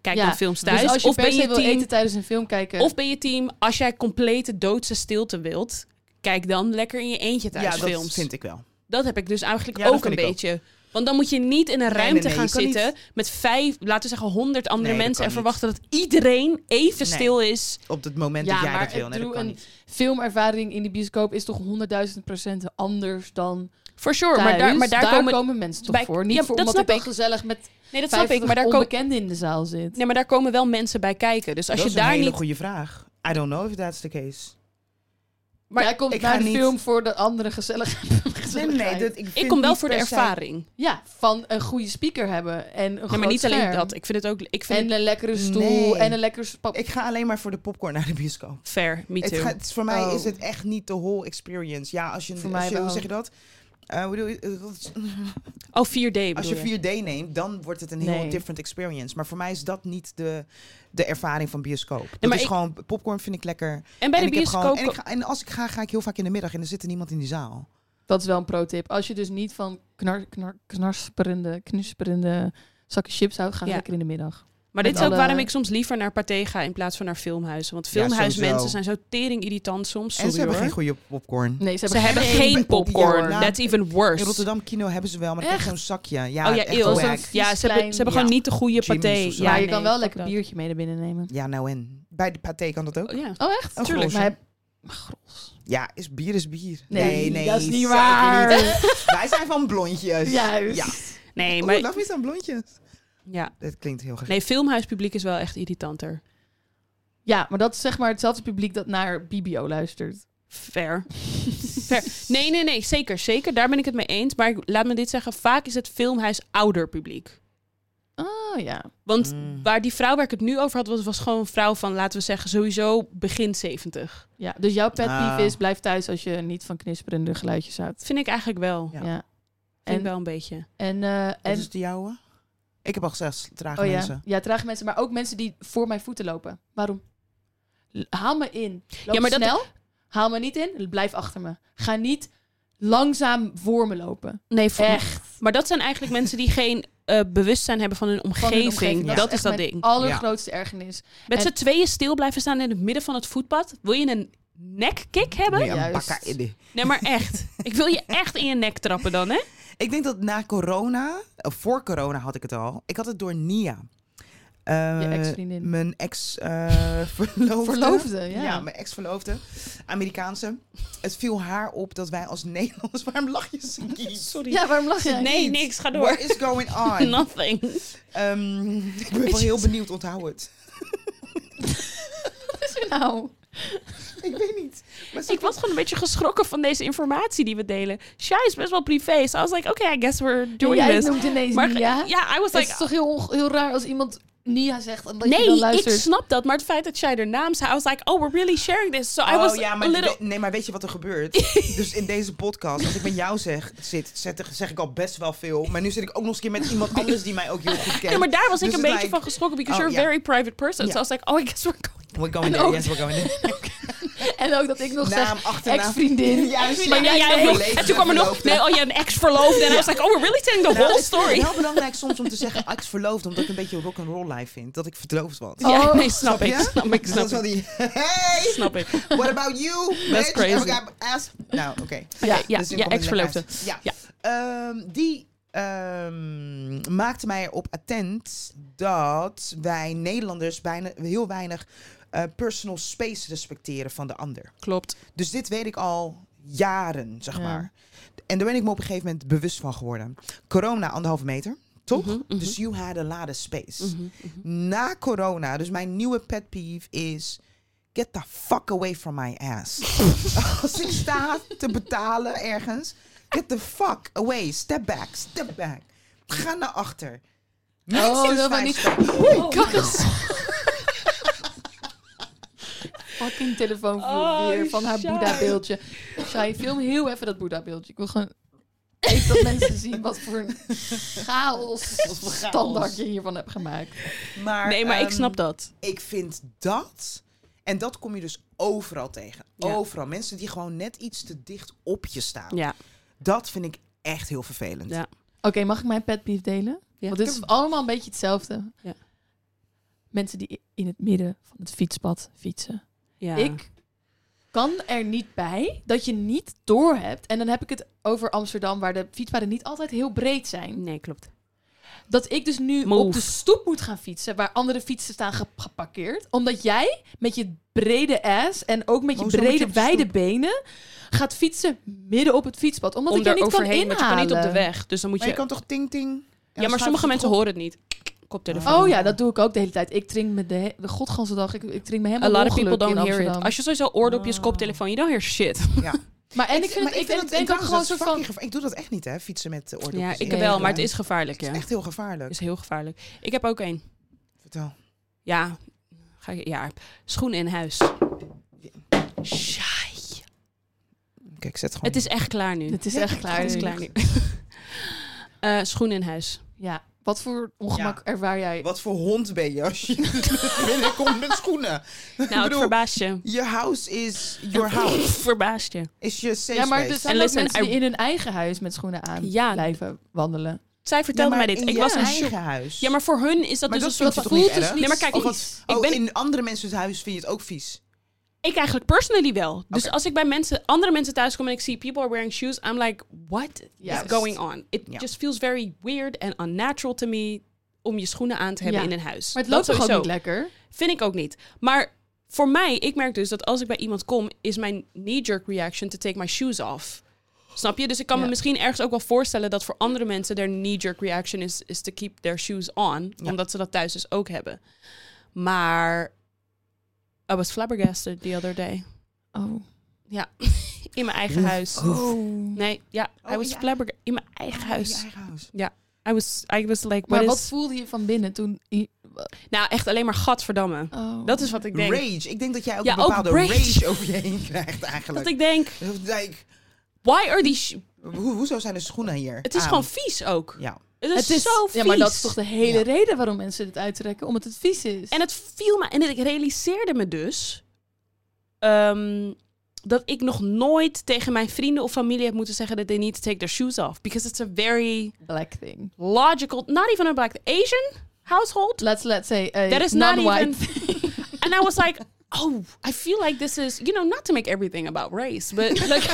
Speaker 1: kijk
Speaker 3: Ja,
Speaker 1: dan films
Speaker 3: Dus
Speaker 1: thuis.
Speaker 3: als je
Speaker 1: of,
Speaker 3: per
Speaker 1: ben
Speaker 3: se
Speaker 1: je
Speaker 3: wil
Speaker 1: team,
Speaker 3: eten tijdens een film kijken...
Speaker 1: of ben je team, als jij complete doodse stilte wilt... kijk dan lekker in je eentje thuis
Speaker 2: Ja, dat
Speaker 1: films.
Speaker 2: vind ik wel.
Speaker 1: Dat heb ik dus eigenlijk
Speaker 2: Ja, dat
Speaker 1: ook een
Speaker 2: vind ik ook.
Speaker 1: beetje. Want dan moet je niet in een
Speaker 2: nee,
Speaker 1: ruimte
Speaker 2: nee,
Speaker 1: gaan
Speaker 2: je kan niet-
Speaker 1: zitten met vijf, laten we zeggen honderd andere
Speaker 2: Nee, dat
Speaker 1: mensen
Speaker 2: kan
Speaker 1: en
Speaker 2: niet.
Speaker 1: verwachten dat iedereen even
Speaker 2: Nee.
Speaker 1: stil is.
Speaker 2: Op het moment
Speaker 3: Ja,
Speaker 2: dat jij
Speaker 3: maar
Speaker 2: dat wil. Nee,
Speaker 3: ik
Speaker 2: dat
Speaker 3: bedoel,
Speaker 2: kan
Speaker 3: een-
Speaker 2: niet.
Speaker 3: filmervaring in de bioscoop is toch 100.000 procent anders dan
Speaker 1: For sure,
Speaker 3: thuis.
Speaker 1: maar daar, maar daar, komen.
Speaker 3: mensen toch
Speaker 1: bij-
Speaker 3: voor. Niet
Speaker 1: Ja,
Speaker 3: voor
Speaker 1: dat
Speaker 3: omdat
Speaker 1: snap
Speaker 3: ik dan
Speaker 1: ik.
Speaker 3: gezellig met
Speaker 1: nee, dat snap
Speaker 3: 50
Speaker 1: ik, maar daar, komen
Speaker 3: onbekenden in de zaal zit.
Speaker 1: nee, maar daar komen wel mensen bij kijken. Dus als
Speaker 2: dat
Speaker 1: je
Speaker 2: is een
Speaker 1: daar
Speaker 2: hele
Speaker 1: niet.
Speaker 2: goede vraag. I don't know if that's the case.
Speaker 3: Maar jij komt
Speaker 2: ik
Speaker 3: naar
Speaker 2: ga
Speaker 3: de
Speaker 2: niet-
Speaker 3: film voor de andere gezellig.
Speaker 2: Nee, nee, dat, ik,
Speaker 1: Ik
Speaker 2: vind
Speaker 1: kom wel
Speaker 2: niet
Speaker 1: voor de
Speaker 2: per se-
Speaker 1: ervaring.
Speaker 3: Ja, van een goede speaker hebben en een
Speaker 1: Nee, maar
Speaker 3: groot
Speaker 1: niet alleen
Speaker 3: scherm.
Speaker 1: dat. Ik vind het ook. Ik vind
Speaker 3: En een lekkere stoel
Speaker 2: Nee.
Speaker 3: en een lekker pap.
Speaker 2: Ik ga alleen maar voor de popcorn naar de bioscoop.
Speaker 1: het fair, me
Speaker 2: Het
Speaker 1: too.
Speaker 2: gaat- voor mij
Speaker 3: Oh.
Speaker 2: is het echt niet de whole experience. Ja, als je,
Speaker 3: Voor
Speaker 2: als
Speaker 3: mij
Speaker 2: je- hoe
Speaker 3: wel.
Speaker 2: zeg je dat? Eh, hoe doe je- eh, dat is-
Speaker 1: Oh, 4D bedoel
Speaker 2: Als je
Speaker 1: je.
Speaker 2: 4D neemt, dan wordt het een heel
Speaker 3: Nee.
Speaker 2: different experience. Maar voor mij is dat niet de, de ervaring van bioscoop. dat
Speaker 1: maar
Speaker 2: is
Speaker 1: ik-
Speaker 2: gewoon, popcorn vind ik lekker.
Speaker 1: En bij
Speaker 2: en,
Speaker 1: de
Speaker 2: ik heb
Speaker 1: bioscoop.
Speaker 2: gewoon- en, ik ga- en als ik ga, ga ik heel vaak in de middag en er zit er niemand in die zaal.
Speaker 3: Dat is wel een pro-tip. Als je dus niet van knar, knar, knarperende, knusperende zakken chips houdt, ga
Speaker 1: Ja.
Speaker 3: lekker in de middag.
Speaker 1: Maar
Speaker 3: Met
Speaker 1: dit is ook
Speaker 3: alle-
Speaker 1: waarom ik soms liever naar Pathé ga in plaats van naar filmhuizen. Want
Speaker 2: Ja,
Speaker 1: filmhuismensen
Speaker 2: sowieso.
Speaker 1: zijn zo tering irritant soms. Sorry,
Speaker 2: en ze hebben
Speaker 1: hoor.
Speaker 2: geen goede popcorn.
Speaker 3: Nee, ze
Speaker 1: Ze
Speaker 3: hebben,
Speaker 1: hebben geen popcorn.
Speaker 2: Ja,
Speaker 1: That's even
Speaker 2: In
Speaker 1: worse.
Speaker 2: Rotterdam Kino hebben ze wel, maar ik heb
Speaker 3: Echt?
Speaker 2: zo'n zakje. Ja,
Speaker 1: oh ja,
Speaker 2: echt
Speaker 1: eeuw.
Speaker 2: wack.
Speaker 3: Zo'n-
Speaker 1: Ja, ze hebben,
Speaker 3: Viesplein.
Speaker 1: ze hebben
Speaker 2: Ja.
Speaker 1: gewoon niet de goede
Speaker 2: Jimmy's
Speaker 1: paté.
Speaker 2: of zo.
Speaker 1: Ja,
Speaker 3: maar je
Speaker 1: nee,
Speaker 3: kan wel
Speaker 1: fuck
Speaker 3: lekker
Speaker 1: dat.
Speaker 3: biertje mee naar binnen nemen.
Speaker 2: Ja, nou en. Bij de paté kan dat ook.
Speaker 1: Oh, ja.
Speaker 3: Oh, echt?
Speaker 2: Een
Speaker 1: tuurlijk.
Speaker 2: grote.
Speaker 3: Maar heb... Gros.
Speaker 2: Ja, is bier is bier.
Speaker 3: Nee, dat is niet
Speaker 2: zeker
Speaker 3: waar.
Speaker 2: niet. Wij zijn van blondjes.
Speaker 3: Juist.
Speaker 2: Ja.
Speaker 1: Nee,
Speaker 2: Maar...
Speaker 1: maar
Speaker 2: Oeh, love me some blondjes.
Speaker 1: ja.
Speaker 2: Dat klinkt heel gek.
Speaker 1: nee, filmhuispubliek is wel echt irritanter.
Speaker 3: Ja, maar dat is zeg maar hetzelfde publiek dat naar BBO luistert.
Speaker 1: Fair. Fair. Nee, nee, nee, zeker, zeker. Daar ben ik het mee eens. Maar ik- laat me dit zeggen, vaak is het filmhuis ouder publiek.
Speaker 3: Ah, Oh ja.
Speaker 1: Want
Speaker 2: Mm.
Speaker 1: waar die vrouw waar ik het nu over had, was, was gewoon een vrouw van, laten we zeggen, sowieso begin 70.
Speaker 3: ja. Dus jouw pet peeve
Speaker 2: Ah.
Speaker 3: is, blijf thuis als je niet van knisperende geluidjes houdt.
Speaker 1: Dat vind ik eigenlijk wel.
Speaker 2: Ja.
Speaker 3: Ja.
Speaker 1: Vind ik
Speaker 3: En,
Speaker 1: wel een beetje.
Speaker 3: en, eh,
Speaker 2: Wat
Speaker 3: en
Speaker 2: is de jouwe? Ik heb al gezegd, trage
Speaker 3: oh ja,
Speaker 2: mensen.
Speaker 3: ja, trage mensen, maar ook mensen die voor mijn voeten lopen. Waarom? L- Haal me in. Loop
Speaker 1: Ja, maar dat-
Speaker 3: snel. Haal me niet in. Blijf achter me. Ga niet langzaam voor me lopen.
Speaker 1: Nee, voor-
Speaker 3: Echt.
Speaker 1: Maar dat zijn eigenlijk mensen die geen eh, bewustzijn hebben van hun
Speaker 3: Van
Speaker 1: omgeving.
Speaker 3: hun omgeving.
Speaker 1: Dat,
Speaker 3: echt
Speaker 1: is dat
Speaker 3: mijn
Speaker 1: ding.
Speaker 3: allergrootste ergernis.
Speaker 1: Met
Speaker 3: En-
Speaker 1: z'n tweeën stil blijven staan in het midden van het voetpad. Wil je een nekkick hebben?
Speaker 2: Moet je een
Speaker 3: Juist.
Speaker 2: bakka in de-
Speaker 1: Nee, maar echt. Ik wil je echt in je nek trappen dan, hè?
Speaker 2: Ik denk dat na corona, of voor corona had ik het al. Ik had het door Nia. Eh,
Speaker 3: Je ex-vriendin.
Speaker 2: Mijn ex-verloofde.
Speaker 3: Verloofde, ja.
Speaker 2: mijn ex-verloofde. Amerikaanse. Het viel haar op dat wij als Nederlanders... Waarom lach je, Sinkie?
Speaker 1: Sorry.
Speaker 3: Ja, waarom lach je?
Speaker 1: nee, niks. Ga door.
Speaker 2: What is going on?
Speaker 1: Nothing.
Speaker 2: Ehm, ik ben wel heel benieuwd, onthoud het.
Speaker 3: Wat is er nou?
Speaker 2: ik weet niet. Maar ze-
Speaker 1: Ik was gewoon een beetje geschrokken van deze informatie die we delen. Shai is best wel privé. So I was like, okay, I guess we're doing
Speaker 3: Jij
Speaker 1: this.
Speaker 3: noemt ineens
Speaker 1: Maar
Speaker 3: Nia.
Speaker 1: ja, I was
Speaker 3: Het is
Speaker 1: like...
Speaker 3: toch heel, onge- heel raar als iemand Nia zegt en dat je dan
Speaker 1: Nee, ik
Speaker 3: luistert.
Speaker 1: snap dat. Maar het feit dat Shai haar naam zei, I was like, oh, we're really sharing this. So I was
Speaker 2: oh ja, maar,
Speaker 1: a little...
Speaker 2: we- nee, maar weet je wat er gebeurt? dus in deze podcast, als ik met jou zeg, zit, zet- zeg ik al best wel veel. Maar nu zit ik ook nog eens een keer met iemand anders die mij ook heel goed kent.
Speaker 1: Ja, maar daar was ik
Speaker 2: Dus
Speaker 1: een
Speaker 2: het
Speaker 1: beetje
Speaker 2: lijkt-
Speaker 1: van geschrokken. Because
Speaker 2: Oh,
Speaker 1: you're a
Speaker 2: ja.
Speaker 1: very private person.
Speaker 2: Ja.
Speaker 1: So I was like, oh, I guess we're going...
Speaker 2: We're going
Speaker 3: En
Speaker 2: there,
Speaker 1: Oh.
Speaker 3: ook-
Speaker 2: yes, we're going there.
Speaker 3: En ook dat ik nog
Speaker 2: Naam,
Speaker 3: zeg,
Speaker 2: achternaam.
Speaker 3: ex-vriendin.
Speaker 2: Juist.
Speaker 1: Maar
Speaker 3: Maar
Speaker 1: jij,
Speaker 3: jij
Speaker 1: jij
Speaker 3: bent
Speaker 1: ook.
Speaker 2: verloofd,
Speaker 1: En toen kwam er nog,
Speaker 2: verloofd, hè?
Speaker 1: nee, oh, je een ex-verloofde. En hij was like, oh, we're really telling the
Speaker 2: Nou,
Speaker 1: whole
Speaker 2: Ik
Speaker 1: story.
Speaker 2: vind het wel belangrijk soms om te zeggen ex-verloofd, omdat ik een beetje rock'n'roll life vind. Dat ik verloofd was.
Speaker 3: Oh,
Speaker 1: Ja, nee, snap
Speaker 2: snap
Speaker 1: ik,
Speaker 2: je?
Speaker 1: snap ik,
Speaker 2: Dus dat
Speaker 1: snap
Speaker 2: is wel
Speaker 1: ik.
Speaker 2: die, hey,
Speaker 1: Snap ik.
Speaker 2: what about you? bitch?
Speaker 1: crazy.
Speaker 2: Have I got ass? Nou, oké.
Speaker 1: Ja, ja,
Speaker 2: Dus nu
Speaker 1: ja
Speaker 2: komt het
Speaker 1: ex-verloofde.
Speaker 2: lekker uit. Ja. Ehm, die ehm, maakte mij erop attent dat wij Nederlanders bijna heel weinig eh, personal space respecteren van de ander.
Speaker 1: Klopt.
Speaker 2: Dus dit weet ik al jaren, zeg
Speaker 3: Ja.
Speaker 2: maar. En daar ben ik me op een gegeven moment bewust van geworden. Corona, anderhalve meter, toch?
Speaker 1: Mhm,
Speaker 2: Dus you had a lot of space. Na corona, dus mijn nieuwe pet peeve is... Get the fuck away from my ass. Als ik sta te betalen ergens... Get the fuck away. Step back, step back. Ga naar achter. Mensen, dus
Speaker 3: dat was
Speaker 2: vijf
Speaker 3: niet-
Speaker 2: stappen.
Speaker 3: Oh, Fucking telefoon
Speaker 1: Oh,
Speaker 3: weer van haar
Speaker 1: Shai.
Speaker 3: Boeddha-beeldje. Shai, film heel even dat Boeddha-beeldje. Ik wil gewoon even dat mensen zien wat voor een chaos
Speaker 2: Wat voor chaos.
Speaker 3: standaard je hiervan hebt gemaakt.
Speaker 2: Maar,
Speaker 1: Nee, maar ik
Speaker 2: ehm,
Speaker 1: snap dat.
Speaker 2: ik vind dat. En dat kom je dus overal tegen.
Speaker 1: Ja.
Speaker 2: Overal. Mensen die gewoon net iets te dicht op je staan.
Speaker 1: Ja.
Speaker 2: Dat vind ik echt heel vervelend.
Speaker 1: Ja.
Speaker 3: Oké, mag ik mijn pet peeve delen?
Speaker 1: Ja.
Speaker 3: Want dit is allemaal een beetje hetzelfde.
Speaker 1: Ja.
Speaker 3: Mensen die in het midden van het fietspad fietsen.
Speaker 1: Ja.
Speaker 3: Ik kan er niet bij dat je niet doorhebt. En dan heb ik het over Amsterdam, waar de fietspaden niet altijd heel breed zijn.
Speaker 1: Nee, klopt.
Speaker 3: Dat ik dus nu
Speaker 1: Move.
Speaker 3: op de stoep moet gaan fietsen, waar andere fietsen staan ge- geparkeerd. Omdat jij met je brede ass en ook met je
Speaker 2: Hoezo moet je
Speaker 3: brede,
Speaker 2: op de
Speaker 3: wijde
Speaker 2: stoep?
Speaker 3: benen gaat fietsen midden op het fietspad. Omdat
Speaker 1: Om
Speaker 3: ik je
Speaker 1: er
Speaker 3: niet kan
Speaker 1: overheen,
Speaker 3: inhalen.
Speaker 1: want je kan niet op de weg. Dus dan moet
Speaker 2: Maar
Speaker 1: je...
Speaker 2: je kan toch ting ting.
Speaker 1: ja, maar sommige mensen horen het niet. Koptelefoon.
Speaker 3: Oh ja, dat doe ik ook de hele tijd. Ik drink me de, he- de godganse dag. Ik, ik drink me
Speaker 1: A
Speaker 3: helemaal
Speaker 1: lot of
Speaker 3: ongeluk
Speaker 1: people don't
Speaker 3: in
Speaker 1: hear
Speaker 3: Amsterdam.
Speaker 1: it. Als je sowieso oordopjes,
Speaker 2: Ah.
Speaker 1: koptelefoon, you don't hear shit.
Speaker 2: Ja.
Speaker 3: Maar en ik vind, het- ik vind, het denk ook gewoon zo van...
Speaker 2: Ik doe dat echt niet, hè? Fietsen met de oordopjes.
Speaker 1: Ja, ik
Speaker 3: Nee,
Speaker 1: wel, maar
Speaker 3: klopt.
Speaker 1: het is gevaarlijk,
Speaker 2: Het
Speaker 1: ja.
Speaker 2: is echt heel gevaarlijk.
Speaker 1: is heel gevaarlijk. Ik heb ook één.
Speaker 2: Vertel.
Speaker 1: Ja, ga ik, ja. Schoen in huis. Shy.
Speaker 2: Kijk, ik zet gewoon.
Speaker 1: Het is echt klaar nu.
Speaker 3: Het is
Speaker 2: Ja,
Speaker 3: echt klaar.
Speaker 1: Het is
Speaker 3: nu.
Speaker 1: klaar nu. Eh, schoen in huis.
Speaker 3: Ja, wat voor ongemak ervaar jij?
Speaker 2: Wat voor hond ben je als je binnenkomt met schoenen?
Speaker 1: Nou, het
Speaker 2: bedoel-
Speaker 1: verbaast je.
Speaker 2: Your house is your house.
Speaker 1: Verbaast je.
Speaker 2: Is your safe
Speaker 3: Ja, maar er
Speaker 2: space.
Speaker 3: zijn
Speaker 1: En
Speaker 3: ook
Speaker 1: listen,
Speaker 3: mensen die
Speaker 1: I-
Speaker 3: in hun eigen huis met schoenen aan
Speaker 1: Ja.
Speaker 3: blijven wandelen.
Speaker 1: Zij vertelde
Speaker 2: Ja, maar
Speaker 1: mij dit.
Speaker 2: in
Speaker 1: Ik
Speaker 2: je
Speaker 1: was een shock.
Speaker 2: eigen huis.
Speaker 1: Ja, maar voor hun is dat
Speaker 2: Maar
Speaker 1: dus
Speaker 2: dat
Speaker 1: een soort
Speaker 2: vind je
Speaker 1: van-
Speaker 2: toch niet erg?
Speaker 1: Nee, maar kijk,
Speaker 2: Of
Speaker 1: ik,
Speaker 3: Precies.
Speaker 1: ik
Speaker 2: oh,
Speaker 1: ben-
Speaker 2: in andere mensen's huis vind je het ook vies.
Speaker 1: ik eigenlijk personally wel. Dus
Speaker 2: Oké.
Speaker 1: als ik bij mensen, andere mensen thuis kom en ik zie people are wearing shoes, I'm like, what
Speaker 3: Juist.
Speaker 1: is going on? It
Speaker 2: Ja.
Speaker 1: just feels very weird and unnatural to me om je schoenen aan te hebben
Speaker 3: Ja.
Speaker 1: in een huis.
Speaker 3: Maar het
Speaker 1: Dat
Speaker 3: loopt toch ook
Speaker 1: sowieso.
Speaker 3: niet lekker?
Speaker 1: Vind ik ook niet. Maar voor mij, ik merk dus dat als ik bij iemand kom, is mijn knee-jerk reaction to take my shoes off. Snap je? Dus ik kan
Speaker 3: Ja.
Speaker 1: me misschien ergens ook wel voorstellen dat voor andere mensen their knee-jerk reaction is, is to keep their shoes on.
Speaker 2: Ja.
Speaker 1: Omdat ze dat thuis dus ook hebben. Maar I was flabbergasted the other day.
Speaker 3: Oh.
Speaker 1: In mijn eigen
Speaker 2: Oef.
Speaker 1: huis.
Speaker 2: Oef.
Speaker 1: Nee, ja,
Speaker 2: Oh,
Speaker 1: I was
Speaker 2: ja. Oh,
Speaker 1: flabbergasted. In mijn eigen
Speaker 2: Ja,
Speaker 1: huis.
Speaker 2: je eigen huis.
Speaker 1: Ja. I was, I was like,
Speaker 3: Maar
Speaker 1: what
Speaker 3: wat
Speaker 1: is-
Speaker 3: voelde je van binnen toen... je-
Speaker 1: Nou, echt alleen maar gadverdamme.
Speaker 3: Oh.
Speaker 1: Dat is wat ik denk.
Speaker 2: Rage. Ik denk dat jij ook
Speaker 1: Ja,
Speaker 2: een
Speaker 1: ook
Speaker 2: bepaalde
Speaker 1: rage.
Speaker 2: rage. over je heen krijgt eigenlijk.
Speaker 1: Dat ik denk,
Speaker 2: Like,
Speaker 1: why are die... sh-
Speaker 2: ho- hoezo zijn de schoenen hier?
Speaker 1: Het is
Speaker 2: aan?
Speaker 1: gewoon vies ook.
Speaker 2: Ja.
Speaker 1: Het is,
Speaker 3: Het is-
Speaker 1: zo vies.
Speaker 3: dus Ja, maar dat is toch de hele
Speaker 2: Ja.
Speaker 3: reden waarom mensen dit uittrekken? Omdat het vies is.
Speaker 1: En het viel me. En ik realiseerde me dus. ehm, dat ik nog nooit tegen mijn vrienden of familie heb moeten zeggen dat they need to take their shoes off. Because it's a very
Speaker 3: black thing.
Speaker 1: logical, not even a black Asian household.
Speaker 3: Let's, let's say a
Speaker 1: That is not
Speaker 3: non-white
Speaker 1: even- And I was like, oh, I feel like this is, you know, not to make everything about race, but like,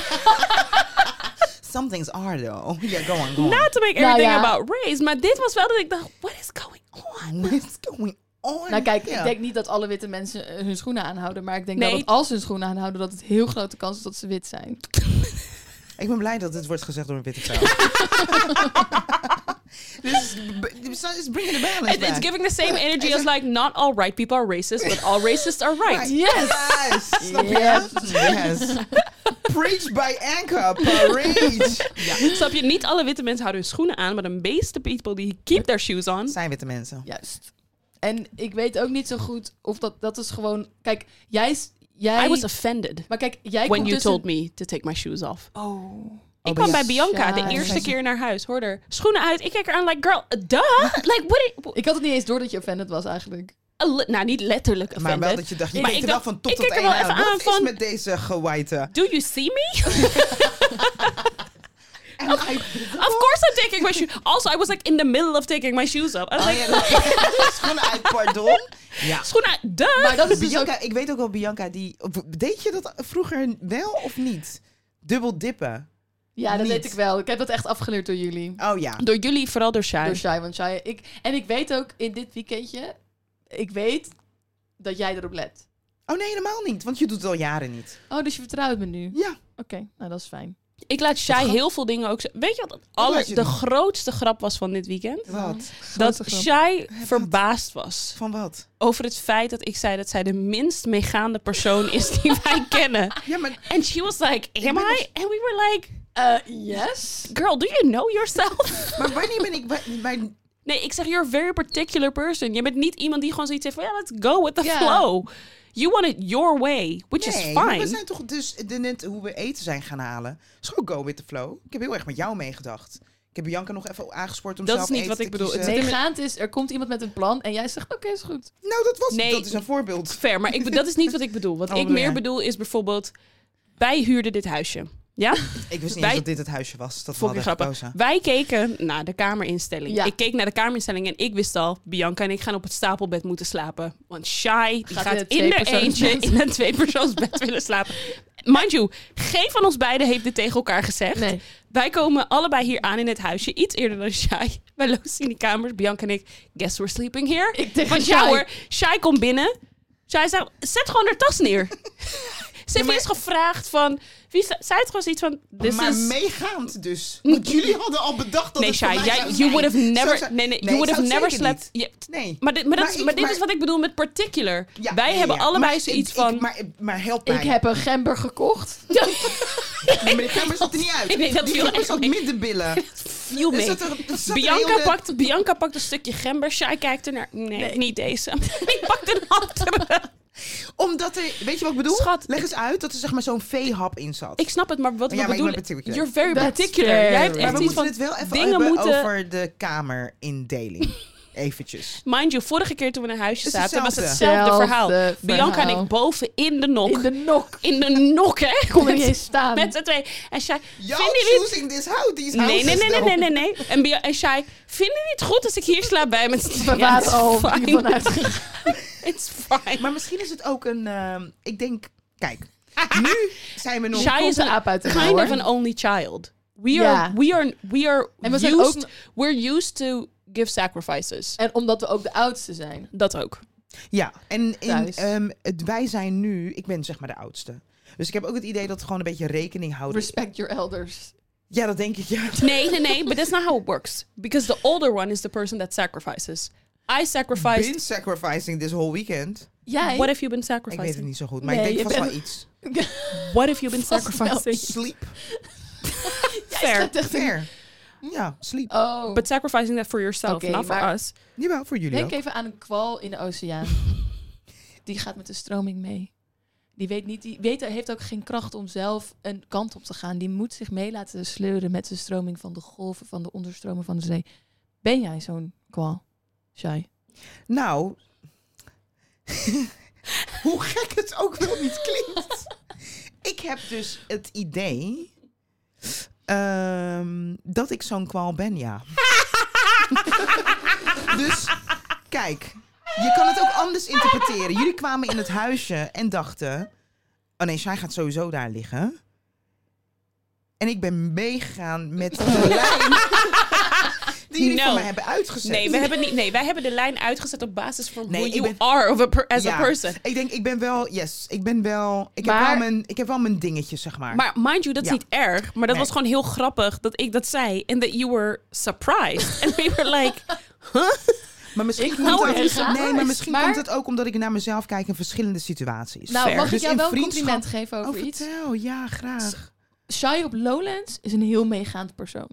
Speaker 2: Some things are though. Yeah, go on, go on.
Speaker 1: not to make
Speaker 3: Nou
Speaker 1: everything
Speaker 3: ja.
Speaker 1: about race. Maar dit was wel dat ik dacht, what is going on?
Speaker 2: What's going on?
Speaker 3: Nou kijk,
Speaker 2: Ja.
Speaker 3: ik denk niet dat alle witte mensen eh, hun schoenen aanhouden. Maar ik denk wel
Speaker 1: Nee.
Speaker 3: dat als ze hun schoenen aanhouden, dat het heel grote kans is dat ze wit zijn.
Speaker 2: Ik ben blij dat dit wordt gezegd door een witte vrouw. This is b- it's bringing the balance
Speaker 1: It- it's
Speaker 2: back.
Speaker 1: giving the same energy as like, not all white people are racist, but all racists are right.
Speaker 3: Yes!
Speaker 2: Yes. Snap je? Yes. Preach by anchor, parade. Ja.
Speaker 1: Snap je? Niet alle witte mensen houden hun schoenen aan, maar de meeste people die keep their shoes on.
Speaker 2: Zijn witte mensen.
Speaker 3: Juist. En ik weet ook niet zo goed of dat, dat is gewoon... Kijk, jij... is- jij
Speaker 1: I was offended
Speaker 3: maar kijk, jij
Speaker 1: when
Speaker 3: komt
Speaker 1: you
Speaker 3: tussen-
Speaker 1: told me to take my shoes off.
Speaker 3: Oh.
Speaker 1: ik kwam bij
Speaker 2: bij
Speaker 1: Bianca de
Speaker 3: Ja.
Speaker 1: eerste
Speaker 2: Zij-
Speaker 1: keer naar huis, hoor er schoenen uit. Ik kijk eraan like, girl, duh. Like, what? i-
Speaker 3: Ik had het niet eens door dat je offended was eigenlijk.
Speaker 1: a li- nou, niet letterlijk
Speaker 2: Maar
Speaker 1: offended.
Speaker 2: wel dat je dacht, je
Speaker 1: Maar
Speaker 2: kijkt
Speaker 1: ik
Speaker 2: er wel
Speaker 1: dacht-
Speaker 2: van top
Speaker 1: ik
Speaker 2: tot
Speaker 1: kijk er
Speaker 2: teen
Speaker 1: wel even aan
Speaker 2: Wat
Speaker 1: van-
Speaker 2: is met deze gewaaite?
Speaker 1: Do you see me?
Speaker 2: En hij- Oh,
Speaker 1: Of course I'm taking my shoes. Also, I was like in the middle of taking my shoes off. I was
Speaker 2: Oh
Speaker 1: like,
Speaker 2: ja, dat- schoenen uit, pardon. Ja.
Speaker 1: schoenen uit, duh.
Speaker 3: Maar dat is dus ook...
Speaker 2: Bianca, ik weet ook wel Bianca die... Deed je dat vroeger wel of niet? Dubbel dippen.
Speaker 3: Ja, dat
Speaker 2: niet.
Speaker 3: weet ik wel. Ik heb dat echt afgeleerd door jullie.
Speaker 2: Oh ja.
Speaker 1: Door jullie, vooral door Shai.
Speaker 3: Door Shai, want Shai... Ik, en ik weet ook in dit weekendje... Ik weet dat jij erop let.
Speaker 2: Oh nee, helemaal niet. Want je doet het al jaren niet.
Speaker 3: Oh, dus je vertrouwt me nu. Oké,
Speaker 2: Ja.
Speaker 3: nou dat is fijn.
Speaker 1: Ik laat Shai
Speaker 2: grap-
Speaker 1: heel veel dingen ook... z- Weet je wat het aller,
Speaker 2: laat je
Speaker 1: de
Speaker 2: doen?
Speaker 1: grootste grap was van dit weekend?
Speaker 2: Wat?
Speaker 1: Dat
Speaker 3: Grote grap.
Speaker 1: Shai verbaasd was.
Speaker 2: Van wat?
Speaker 1: over het feit dat ik zei dat zij de minst meegaande persoon is die wij kennen.
Speaker 2: Ja, maar...
Speaker 1: And she was like, am
Speaker 2: ben
Speaker 1: I?
Speaker 2: nog-
Speaker 1: And we were like,
Speaker 3: Eh, yes?
Speaker 1: girl, do you know yourself?
Speaker 2: Maar wanneer ben ik... wa- Mijn,
Speaker 1: nee, ik zeg, you're a very particular person. Je bent niet iemand die gewoon zoiets heeft van, yeah, let's go with the
Speaker 3: Ja.
Speaker 1: flow. You want it your way, which
Speaker 2: nee,
Speaker 1: is
Speaker 2: maar
Speaker 1: fine.
Speaker 2: we zijn toch dus de, net hoe we eten zijn gaan halen. Is gewoon go with the flow. Ik heb heel erg met jou meegedacht. Ik heb Bianca nog even aangespoord om
Speaker 1: Dat
Speaker 2: zelf
Speaker 1: is niet
Speaker 2: eten
Speaker 1: wat ik
Speaker 2: te
Speaker 1: bedoel.
Speaker 2: kiezen.
Speaker 1: Het
Speaker 3: Meegaand is, er komt iemand met een plan en jij zegt, oké, is goed.
Speaker 2: Nou, dat was
Speaker 1: Nee.
Speaker 2: dat is een voorbeeld.
Speaker 1: Fair, maar ik, dat is niet wat ik bedoel. Wat
Speaker 2: Oh,
Speaker 1: ik
Speaker 2: bedoel
Speaker 1: meer
Speaker 2: jij?
Speaker 1: bedoel is bijvoorbeeld, wij huurden dit huisje. Ja?
Speaker 2: Ik wist niet
Speaker 1: Wij-
Speaker 2: eens dat dit het huisje was.
Speaker 1: Vond
Speaker 2: Dat vond
Speaker 1: ik
Speaker 2: ik
Speaker 1: grappig.
Speaker 2: gekozen.
Speaker 1: Wij keken naar de kamerinstelling.
Speaker 3: Ja.
Speaker 1: Ik keek naar de kamerinstelling en ik wist al, Bianca en ik gaan op het stapelbed moeten slapen. Want Shai die
Speaker 3: Gaat
Speaker 1: gaat,
Speaker 3: in het
Speaker 1: in de
Speaker 3: tweepersoonsbed.
Speaker 1: eentje in een tweepersoonsbed willen slapen. Mind you, geen van ons beiden heeft dit tegen elkaar gezegd.
Speaker 3: Nee.
Speaker 1: Wij komen allebei hier aan in het huisje, iets eerder dan Shai. Wij lozen in die kamers, Bianca en ik. Guess we're sleeping here.
Speaker 3: Ik tegen
Speaker 1: Want ja
Speaker 3: Shai.
Speaker 1: hoor, Shai komt binnen. Shai zei, zet gewoon haar tas neer. Ze heeft
Speaker 2: maar-
Speaker 1: eerst gevraagd van... Wie zei zei het gewoon zoiets van... This
Speaker 2: maar
Speaker 1: is...
Speaker 2: meegaand dus. Want jullie hadden al bedacht dat
Speaker 1: Nee,
Speaker 2: het voor
Speaker 1: Shai,
Speaker 2: mij
Speaker 1: jij,
Speaker 2: zou
Speaker 1: you
Speaker 2: zijn.
Speaker 1: would have
Speaker 2: Zou
Speaker 1: never,
Speaker 2: ze-
Speaker 1: nee, nee,
Speaker 2: ik
Speaker 1: you would
Speaker 2: zou
Speaker 1: have
Speaker 2: het
Speaker 1: never
Speaker 2: zeker niet.
Speaker 1: slept. je-
Speaker 2: Nee.
Speaker 1: maar dit, maar dat
Speaker 2: Maar
Speaker 1: is,
Speaker 2: ik-
Speaker 1: maar dit
Speaker 2: maar-
Speaker 1: is wat ik bedoel met particular.
Speaker 2: Ja,
Speaker 1: Wij
Speaker 2: ja,
Speaker 1: hebben
Speaker 2: ja.
Speaker 1: allebei
Speaker 2: Maar
Speaker 1: zoiets
Speaker 2: ik-
Speaker 1: van.
Speaker 2: Ik, maar, maar help mij.
Speaker 3: Ik heb een gember gekocht.
Speaker 2: Maar de kamer zat er niet uit.
Speaker 1: Nee, dat
Speaker 2: die
Speaker 1: viel
Speaker 2: kamer
Speaker 1: echt
Speaker 2: zat
Speaker 1: mee.
Speaker 2: middenbillen.
Speaker 1: viel
Speaker 2: Er
Speaker 1: mee.
Speaker 2: zat er- er zat er heel
Speaker 1: Bianca
Speaker 2: de-
Speaker 1: pakt, Bianca pakt een stukje gember. Shai kijkt er naar. Nee, niet deze. ik pak een andere.
Speaker 2: Omdat er... Weet je wat ik bedoel?
Speaker 1: Schat,
Speaker 2: Leg eens uit dat er zeg maar zo'n veehap in zat.
Speaker 1: Ik snap het, maar wat
Speaker 2: Ja,
Speaker 1: we
Speaker 2: maar ik ben
Speaker 1: bedoelen.
Speaker 2: particular.
Speaker 1: You're very
Speaker 3: That's
Speaker 1: particular.
Speaker 3: fair.
Speaker 1: Jij hebt
Speaker 3: Maar
Speaker 1: echt
Speaker 2: maar we
Speaker 1: iets
Speaker 2: moeten
Speaker 1: van.
Speaker 2: het wel even
Speaker 1: dingen
Speaker 2: hebben
Speaker 1: moeten-
Speaker 2: over de kamerindeling. Eventjes.
Speaker 1: Mind you, vorige keer toen we in een huisje
Speaker 2: Is
Speaker 1: zaten, was
Speaker 2: hetzelfde.
Speaker 1: hetzelfde verhaal.
Speaker 3: Hetzelfde
Speaker 1: Bianca en
Speaker 3: verhaal.
Speaker 1: ik boven in de nok.
Speaker 3: In de nok.
Speaker 1: In de nok, hè?
Speaker 3: Ik kon er niet eens staan.
Speaker 1: Met z'n twee. En Shai,
Speaker 2: Y'all
Speaker 1: vinden jullie het
Speaker 2: choosing this house, these
Speaker 1: Nee,
Speaker 2: houses
Speaker 1: nee, nee, nee,
Speaker 2: though.
Speaker 1: nee, nee, nee. En, Bia en Shai, vinden jullie het goed als ik hier slaap bij met z'n
Speaker 3: We
Speaker 1: tweeën? Ja,
Speaker 3: waren al
Speaker 1: it's fine.
Speaker 3: hiervan uitgegaan.
Speaker 1: It's fine.
Speaker 2: Maar misschien is het ook een... ehm, ik denk... Kijk. Nu zijn we nog...
Speaker 1: Shai
Speaker 3: komt
Speaker 1: is
Speaker 3: een
Speaker 1: een
Speaker 3: aap uit de mouw,
Speaker 1: kind of
Speaker 3: hoor.
Speaker 1: an only child. We
Speaker 3: Ja.
Speaker 1: are, we are, we are
Speaker 3: En we zijn
Speaker 1: used,
Speaker 3: ook-
Speaker 1: we're used to give sacrifices.
Speaker 3: En omdat we ook de oudste zijn.
Speaker 1: Dat ook.
Speaker 2: Ja, en in,
Speaker 3: Thuis.
Speaker 2: ehm, het, wij zijn nu, ik ben zeg maar de oudste. Dus ik heb ook het idee dat we gewoon een beetje rekening houden.
Speaker 3: Respect your elders.
Speaker 2: ja, dat denk ik, ja.
Speaker 1: Nee, nee, nee, but that's not how it works. Because the older one is the person that sacrifices. I sacrificed.
Speaker 2: Been sacrificing this whole weekend.
Speaker 3: Jij?
Speaker 1: What have you been
Speaker 2: Ik weet het
Speaker 1: sacrificing?
Speaker 2: niet zo goed, maar
Speaker 3: Nee,
Speaker 2: ik denk
Speaker 3: je
Speaker 2: vast
Speaker 3: bent-
Speaker 2: wel iets.
Speaker 1: What have you been
Speaker 3: Vast wel.
Speaker 1: sacrificing?
Speaker 2: Sleep.
Speaker 1: Fair.
Speaker 3: Echt een-
Speaker 2: Fair. Ja, sleep.
Speaker 3: Oh.
Speaker 1: But sacrificing that for yourself,
Speaker 3: Oké,
Speaker 1: not for
Speaker 3: maar-
Speaker 1: us.
Speaker 2: Jawel, voor jullie
Speaker 3: Denk
Speaker 2: ook.
Speaker 3: even aan een kwal in de oceaan. Die gaat met de stroming mee. Die, weet niet, die weet, heeft ook geen kracht om zelf een kant op te gaan. Die moet zich mee laten sleuren met de stroming van de golven, van de onderstromen van de zee. Ben jij zo'n kwal? Shai.
Speaker 2: Nou, hoe gek het ook wel niet klinkt. Ik heb dus het idee ehm, dat ik zo'n kwaal ben, ja. dus kijk, je kan het ook anders interpreteren. Jullie kwamen in het huisje en dachten: oh nee, zij gaat sowieso daar liggen. En ik ben meegegaan met de lijn die jullie
Speaker 1: No.
Speaker 2: van mij hebben uitgezet.
Speaker 1: Nee, we hebben niet, nee, wij hebben de lijn uitgezet op basis van
Speaker 2: Nee,
Speaker 1: who
Speaker 2: ik
Speaker 1: you
Speaker 2: ben-
Speaker 1: are of a per- as
Speaker 2: Ja.
Speaker 1: a person.
Speaker 2: Ik denk, ik ben wel, yes, ik ben wel, ik, heb,
Speaker 3: Maar-
Speaker 2: wel mijn, ik heb wel mijn dingetje, zeg maar.
Speaker 1: Maar mind you, dat is
Speaker 2: Ja.
Speaker 1: niet erg. Maar dat
Speaker 2: Nee.
Speaker 1: was gewoon heel grappig dat ik dat zei. En that you were surprised. And we were like,
Speaker 2: maar misschien,
Speaker 3: Ik
Speaker 2: komt,
Speaker 3: hou
Speaker 2: het,
Speaker 3: er echt aan.
Speaker 2: nee, maar misschien
Speaker 3: Maar-
Speaker 2: komt het ook omdat ik naar mezelf kijk in verschillende situaties.
Speaker 3: Nou,
Speaker 1: Fair.
Speaker 3: mag ik
Speaker 2: Dus
Speaker 3: jou
Speaker 2: in
Speaker 3: wel een
Speaker 2: vriendschap-
Speaker 3: compliment geven over
Speaker 2: oh,
Speaker 3: iets?
Speaker 2: vertel, ja, graag.
Speaker 3: Shai op Lowlands is een heel meegaand persoon.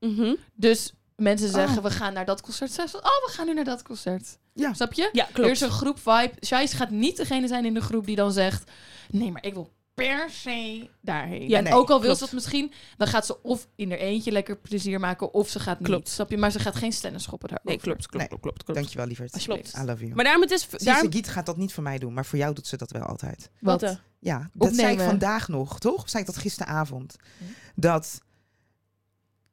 Speaker 1: mhm.
Speaker 3: Dus mensen
Speaker 2: Oh.
Speaker 3: zeggen, we gaan naar dat concert. Zij zegt, oh, we gaan nu naar dat concert.
Speaker 2: Ja.
Speaker 3: Snap je?
Speaker 1: ja,
Speaker 3: Er is
Speaker 1: klopt.
Speaker 3: een groep vibe. Shais gaat niet degene zijn in de groep die dan zegt... Nee, maar ik wil per se daarheen.
Speaker 1: Ja,
Speaker 3: en
Speaker 2: nee,
Speaker 3: ook al wil
Speaker 1: klopt.
Speaker 3: ze dat misschien... dan gaat ze of in haar eentje lekker plezier maken... of ze gaat niet,
Speaker 1: Klopt.
Speaker 3: snap je? Maar ze gaat geen stennis schoppen daarover.
Speaker 1: Nee, klopt, klopt,
Speaker 2: Nee.
Speaker 1: klopt, klopt. klopt.
Speaker 2: Dankjewel, lieverd.
Speaker 1: Alsjeblieft.
Speaker 2: I love you.
Speaker 1: Maar daarom het is...
Speaker 2: Zie,
Speaker 1: Daar,
Speaker 2: Sagiet gaat dat niet voor mij doen, maar voor jou doet ze dat wel altijd.
Speaker 3: Wat?
Speaker 1: Wat, eh?
Speaker 2: Ja, dat zei ik
Speaker 3: Opnemen.
Speaker 2: vandaag nog, toch? Of zei ik dat gisteravond?
Speaker 3: Hm.
Speaker 2: Dat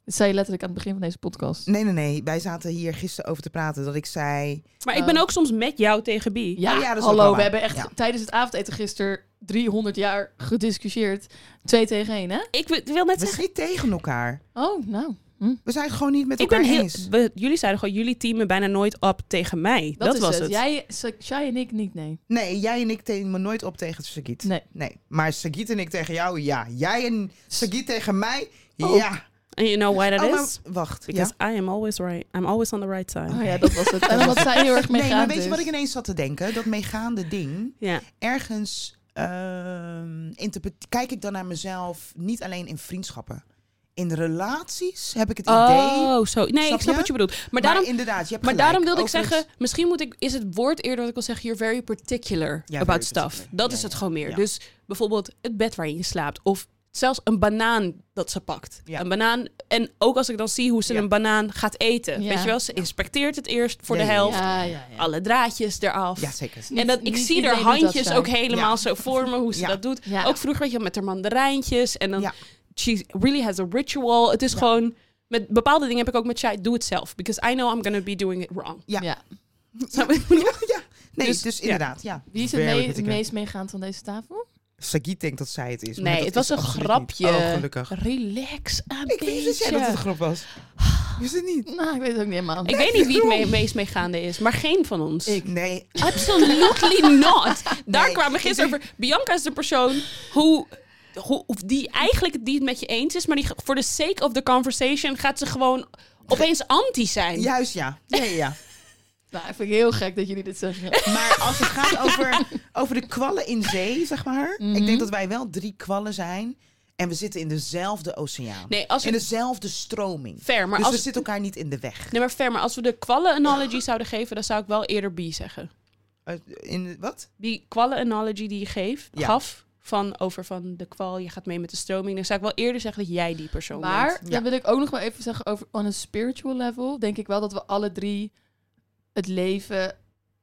Speaker 3: Dat zei je letterlijk aan het begin van deze podcast.
Speaker 2: Nee, nee, nee. Wij zaten hier gisteren over te praten. Dat ik zei.
Speaker 1: maar ik ben ook soms met jou tegen Bi.
Speaker 3: Ja,
Speaker 2: Eh. Oh ja, dat is ook wel
Speaker 3: hallo, we
Speaker 2: waar.
Speaker 3: hebben echt
Speaker 2: Ja.
Speaker 3: tijdens het avondeten gisteren 300 jaar gediscussieerd. Twee tegen één, hè?
Speaker 1: Ik wil- wil net
Speaker 2: We
Speaker 1: zeggen...
Speaker 2: zijn niet tegen elkaar.
Speaker 3: Oh, nou.
Speaker 2: We zijn het gewoon niet met
Speaker 1: Ik
Speaker 2: elkaar
Speaker 1: ben heel,
Speaker 2: eens.
Speaker 1: we- jullie zeiden gewoon, jullie teamen bijna nooit op tegen mij. Dat,
Speaker 3: Dat, is
Speaker 1: was
Speaker 3: het.
Speaker 1: het.
Speaker 3: Jij, Sa- Shai en ik niet, nee.
Speaker 2: Nee, jij en ik tegen me nooit op tegen Sagiet.
Speaker 3: Nee.
Speaker 2: Maar Sagiet en ik tegen jou, ja. Jij en Sagiet tegen mij,
Speaker 1: Oh,
Speaker 2: ja.
Speaker 1: And you know why that
Speaker 2: Oh, maar
Speaker 1: is?
Speaker 2: wacht.
Speaker 1: Because
Speaker 2: ja.
Speaker 1: I am always right. I'm always on the right side.
Speaker 3: Oh ja, dat was het. En omdat zij heel erg mee
Speaker 2: Nee, maar weet je
Speaker 1: dus.
Speaker 2: wat ik ineens zat te denken? Dat meegaande ding,
Speaker 1: Ja.
Speaker 2: ergens ehm, interpret- kijk ik dan naar mezelf niet alleen in vriendschappen. In relaties heb ik het idee.
Speaker 1: Oh, zo. Nee,
Speaker 2: Snap
Speaker 1: ik snap
Speaker 2: je?
Speaker 1: wat je bedoelt. Maar,
Speaker 2: Maar
Speaker 1: daarom,
Speaker 2: inderdaad, je hebt
Speaker 1: maar
Speaker 2: gelijk.
Speaker 1: daarom wilde ik
Speaker 2: Over het-
Speaker 1: zeggen, misschien moet ik, is het woord eerder dat ik wil zeggen, you're very particular
Speaker 2: Ja,
Speaker 1: about
Speaker 2: very
Speaker 1: stuff.
Speaker 2: particular.
Speaker 1: Dat
Speaker 2: Ja,
Speaker 1: is het
Speaker 2: ja,
Speaker 1: gewoon meer.
Speaker 2: ja.
Speaker 1: Dus bijvoorbeeld het bed waarin je slaapt. Of zelfs een banaan dat ze pakt.
Speaker 2: Ja.
Speaker 1: Een banaan. En ook als ik dan zie hoe ze
Speaker 2: Ja.
Speaker 1: een banaan gaat eten.
Speaker 3: Ja.
Speaker 1: Weet je wel, ze inspecteert het eerst voor
Speaker 2: Ja,
Speaker 1: de
Speaker 2: ja, ja.
Speaker 1: helft.
Speaker 3: Ja, ja, ja.
Speaker 1: Alle draadjes eraf.
Speaker 2: Ja, zeker.
Speaker 1: En dat, ik
Speaker 3: Niet-
Speaker 1: zie
Speaker 3: niet
Speaker 1: haar
Speaker 3: iedereen doet dat,
Speaker 1: handjes
Speaker 3: Shai.
Speaker 1: ook helemaal
Speaker 2: Ja.
Speaker 1: zo voor me, hoe ze
Speaker 2: Ja.
Speaker 1: dat doet.
Speaker 3: Ja.
Speaker 1: Ook vroeger, weet je, wel, met haar mandarijntjes. En dan,
Speaker 2: Ja.
Speaker 1: she really has a ritual. Het is
Speaker 2: Ja.
Speaker 1: gewoon, met bepaalde dingen heb ik ook met Shai, doe het zelf. Because I know I'm gonna be doing it wrong.
Speaker 2: Ja.
Speaker 3: Ja.
Speaker 1: Snap je wat ik bedoel?
Speaker 2: Ja, nee,
Speaker 1: Dus,
Speaker 2: dus,
Speaker 1: ja.
Speaker 2: inderdaad, ja.
Speaker 3: Wie is het,
Speaker 2: Very
Speaker 3: mee- het
Speaker 2: particular.
Speaker 3: meest meegaand van deze tafel?
Speaker 2: Sagiet denkt dat zij het is. maar
Speaker 1: Nee,
Speaker 2: dat
Speaker 1: het was
Speaker 2: is
Speaker 1: een
Speaker 2: absoluut
Speaker 1: grapje.
Speaker 2: niet. Oh, gelukkig.
Speaker 1: Relax een
Speaker 2: Ik wist dat jij dat het een
Speaker 1: beetje.
Speaker 2: grap was. Wist het niet?
Speaker 3: Nou, ik weet het ook niet helemaal.
Speaker 1: Ik weet niet wie het mee, meest meegaande is, maar geen van ons.
Speaker 2: Nee,
Speaker 1: Absolutely not. Daar
Speaker 2: Nee,
Speaker 1: kwamen we
Speaker 2: ik
Speaker 1: gisteren
Speaker 2: denk-
Speaker 1: over. Bianca is de persoon hoe, hoe, of die eigenlijk het niet met je eens is, maar die ge- voor de sake of the conversation gaat ze gewoon opeens anti zijn.
Speaker 2: juist ja. Ja, ja, ja.
Speaker 3: Nou, ik vind het heel gek dat jullie dit zeggen.
Speaker 2: Maar als het gaat over, over de kwallen in zee, zeg maar. Ik
Speaker 1: Mhm.
Speaker 2: denk dat wij wel drie kwallen zijn. En we zitten in dezelfde oceaan.
Speaker 1: Nee, als we-
Speaker 2: in dezelfde stroming.
Speaker 1: Fair, maar
Speaker 2: dus
Speaker 1: als-
Speaker 2: we zitten elkaar niet in de weg.
Speaker 1: Nee, maar ver, maar als we de kwallen-analogy zouden geven, dan zou ik wel eerder B zeggen.
Speaker 2: Eh, In, wat?
Speaker 1: Die kwallen-analogy die je geeft,
Speaker 2: Ja.
Speaker 1: gaf van over van de kwal, je gaat mee met de stroming, dan zou ik wel eerder zeggen dat jij die persoon bent.
Speaker 3: Maar
Speaker 2: Ja.
Speaker 3: dan wil ik ook nog wel even zeggen over on a spiritual level. Denk ik wel dat we alle drie het leven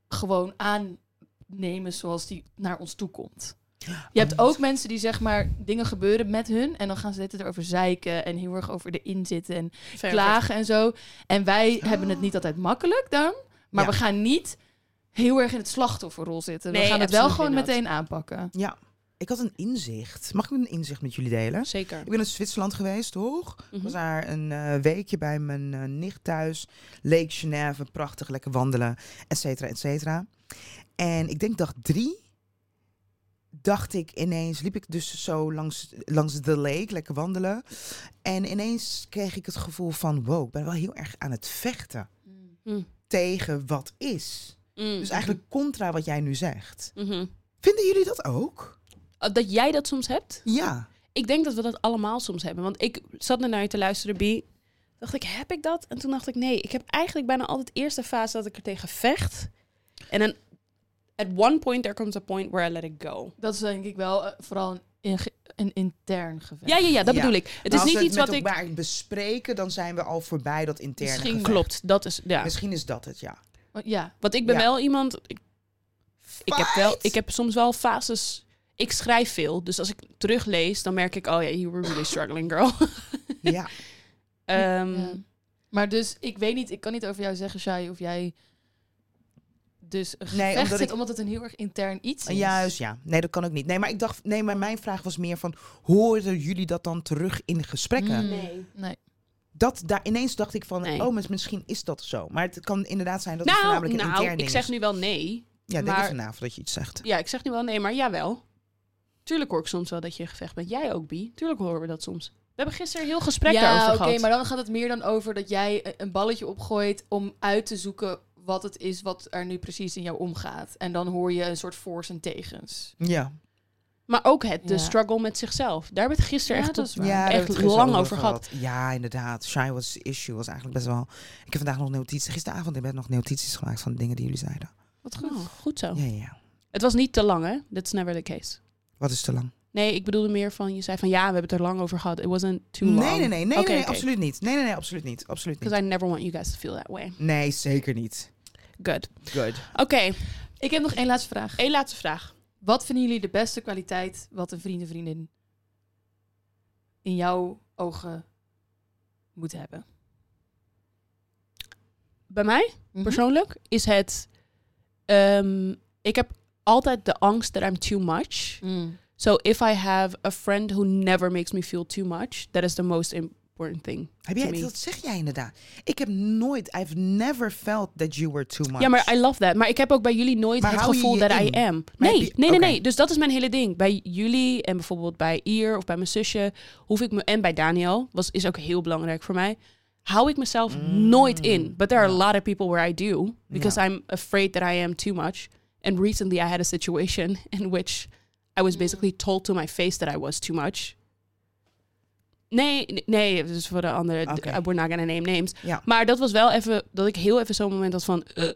Speaker 3: gewoon aannemen zoals die naar ons toe komt. Je hebt ook mensen die zeg maar dingen gebeuren met hun en dan gaan ze dit erover zeiken en heel erg over de inzitten en
Speaker 1: Fair,
Speaker 3: klagen en zo. En wij hebben het niet altijd makkelijk dan, maar
Speaker 2: Ja.
Speaker 3: we gaan niet heel erg in het slachtofferrol zitten.
Speaker 1: Nee,
Speaker 3: we gaan het wel
Speaker 1: absoluut
Speaker 3: gewoon
Speaker 1: niet dat.
Speaker 3: meteen aanpakken.
Speaker 2: Ja, ik had een inzicht. Mag ik een inzicht met jullie delen?
Speaker 1: fair. Zeker.
Speaker 2: Ik ben in Zwitserland geweest, toch? Ik
Speaker 1: Mhm.
Speaker 2: was daar een eh, weekje bij mijn eh, nicht thuis. Lake Genève, prachtig, lekker wandelen, et cetera, et cetera. En ik denk dag drie, dacht ik ineens, liep ik dus zo langs, langs de lake, lekker wandelen. En ineens kreeg ik het gevoel van, wow, ik ben wel heel erg aan het vechten
Speaker 3: Mm.
Speaker 2: tegen wat is.
Speaker 1: Mm.
Speaker 2: Dus eigenlijk contra wat jij nu zegt.
Speaker 1: Mhm.
Speaker 2: Vinden jullie dat ook?
Speaker 1: Uh, Dat jij dat soms hebt?
Speaker 2: Ja.
Speaker 1: Ik denk dat we dat allemaal soms hebben. Want ik zat net naar je te luisteren, Bi. dacht ik, heb ik dat? En toen dacht ik, nee, ik heb eigenlijk bijna altijd eerst de fase dat ik er tegen vecht. En dan, at one point, there comes a point where I let it go.
Speaker 3: Dat is denk ik wel eh, vooral een, inge- een intern gevecht.
Speaker 1: Ja, ja, ja, dat
Speaker 2: Ja.
Speaker 1: bedoel ik. Het
Speaker 2: Maar
Speaker 1: is
Speaker 2: Nou, als
Speaker 1: niet
Speaker 2: we
Speaker 1: iets
Speaker 2: met
Speaker 1: wat ik...
Speaker 2: elkaar bespreken, dan zijn we al voorbij dat interne.
Speaker 3: Misschien
Speaker 2: gevecht. Dus
Speaker 1: Klopt, dat is... Ja.
Speaker 2: Misschien is dat het, ja.
Speaker 3: Want- ja.
Speaker 1: Want ik ben
Speaker 2: Ja.
Speaker 1: wel iemand... Ik, ik heb wel,
Speaker 2: Fight!
Speaker 1: ik heb soms wel fases... Ik schrijf veel, dus als ik teruglees, dan merk ik... Oh ja, you were really struggling, girl.
Speaker 2: Ja.
Speaker 1: Ehm,
Speaker 3: Ja.
Speaker 2: Hmm.
Speaker 3: Maar dus, ik weet niet, ik kan niet over jou zeggen, Shai, of jij dus een
Speaker 2: Nee,
Speaker 3: gevecht
Speaker 2: omdat
Speaker 3: zit,
Speaker 2: ik-
Speaker 3: omdat het een heel erg intern iets is.
Speaker 2: Juist, ja. Nee, dat kan ook niet. Nee, maar ik dacht, nee, maar mijn vraag was meer van, horen jullie dat dan terug in gesprekken?
Speaker 3: Mm.
Speaker 1: Nee.
Speaker 3: Nee.
Speaker 2: Dat daar ineens dacht ik van,
Speaker 1: Nee.
Speaker 2: oh, maar misschien is dat zo. Maar het kan inderdaad zijn dat het
Speaker 1: Nou,
Speaker 2: voornamelijk een
Speaker 1: nou
Speaker 2: intern
Speaker 1: ik
Speaker 2: ding
Speaker 1: zeg
Speaker 2: is.
Speaker 1: nu wel nee.
Speaker 2: ja, denk
Speaker 1: maar-
Speaker 2: je vanavond dat je iets zegt.
Speaker 1: Ja, ik zeg nu wel nee, maar jawel. Tuurlijk hoor ik soms wel dat je in gevecht bent. Jij ook, Bi. Tuurlijk horen we dat soms. We hebben gisteren heel gesprek
Speaker 3: Ja,
Speaker 1: daarover
Speaker 3: oké,
Speaker 1: gehad.
Speaker 3: maar dan gaat het meer dan over dat jij e- een balletje opgooit om uit te zoeken wat het is wat er nu precies in jou omgaat. En dan hoor je een soort voor's en tegens.
Speaker 2: Ja.
Speaker 1: Maar ook het, de
Speaker 3: Ja.
Speaker 1: struggle met zichzelf. Daar hebben we het gisteren
Speaker 3: Ja,
Speaker 1: echt
Speaker 3: dat
Speaker 1: tot
Speaker 3: is waar.
Speaker 2: Ja, daar
Speaker 1: echt
Speaker 2: hebben we het
Speaker 1: lang
Speaker 2: gisteren
Speaker 1: over gehad.
Speaker 2: Ja, inderdaad. Shy was the issue was eigenlijk best wel... Ik heb vandaag nog notities... Gisteravond heb ik nog notities gemaakt van de dingen die jullie zeiden.
Speaker 1: Wat
Speaker 3: Oh.
Speaker 1: goed. goed zo.
Speaker 2: Ja, ja, ja. Het
Speaker 1: Het was niet te lang, hè? That's never the case.
Speaker 2: Wat is te lang?
Speaker 1: Nee, ik bedoelde meer van, je zei van ja, we hebben het er lang over gehad. It wasn't too long.
Speaker 2: Nee, nee, nee. Nee,
Speaker 1: Oké,
Speaker 2: nee,
Speaker 1: oké.
Speaker 2: absoluut niet. Nee, nee, nee, absoluut niet. Absoluut niet.
Speaker 1: Because I never want you guys to feel that way.
Speaker 2: Nee, zeker niet.
Speaker 1: Good.
Speaker 2: Good.
Speaker 1: Oké,
Speaker 3: Ik heb nog één laatste vraag.
Speaker 1: één laatste vraag.
Speaker 3: Wat vinden jullie de beste kwaliteit wat een vriend en vriendin in jouw ogen moet hebben?
Speaker 1: Bij mij?
Speaker 2: Mhm.
Speaker 1: persoonlijk, is het... ehm, ik heb altijd de angst that I'm too much.
Speaker 2: Mhm.
Speaker 3: Mm.
Speaker 1: So if I have a friend who never makes me feel too much, that is the most important thing.
Speaker 2: Heb
Speaker 1: to
Speaker 2: jij,
Speaker 1: me.
Speaker 2: dat zeg jij inderdaad. Ik heb nooit... I've never felt that you were too much.
Speaker 1: Ja, maar I love that. Maar ik heb ook bij jullie nooit
Speaker 2: Maar
Speaker 1: het
Speaker 2: hou je
Speaker 1: gevoel
Speaker 2: je
Speaker 1: dat I
Speaker 2: in?
Speaker 1: am.
Speaker 2: Maar
Speaker 1: Nee,
Speaker 2: heb
Speaker 1: nee,
Speaker 2: je-
Speaker 1: nee,
Speaker 2: oké.
Speaker 1: nee. Dus dat is mijn hele ding. Bij jullie en bijvoorbeeld bij Ier of bij mijn zusje hoef ik me en bij Daniel was is ook heel belangrijk voor mij. Hou ik mezelf
Speaker 2: Mm.
Speaker 1: nooit in. But there are
Speaker 2: Ja.
Speaker 1: a lot of people where I do because
Speaker 2: Ja.
Speaker 1: I'm afraid that I am too much. And recently I had a situation in which I was
Speaker 3: Mm.
Speaker 1: basically told to my face that I was too much. Nee, nee, nee, dus voor de andere,
Speaker 2: Oké.
Speaker 1: we're not gonna name names.
Speaker 2: Ja.
Speaker 1: Maar dat was wel even dat ik heel even zo'n moment had van. eh,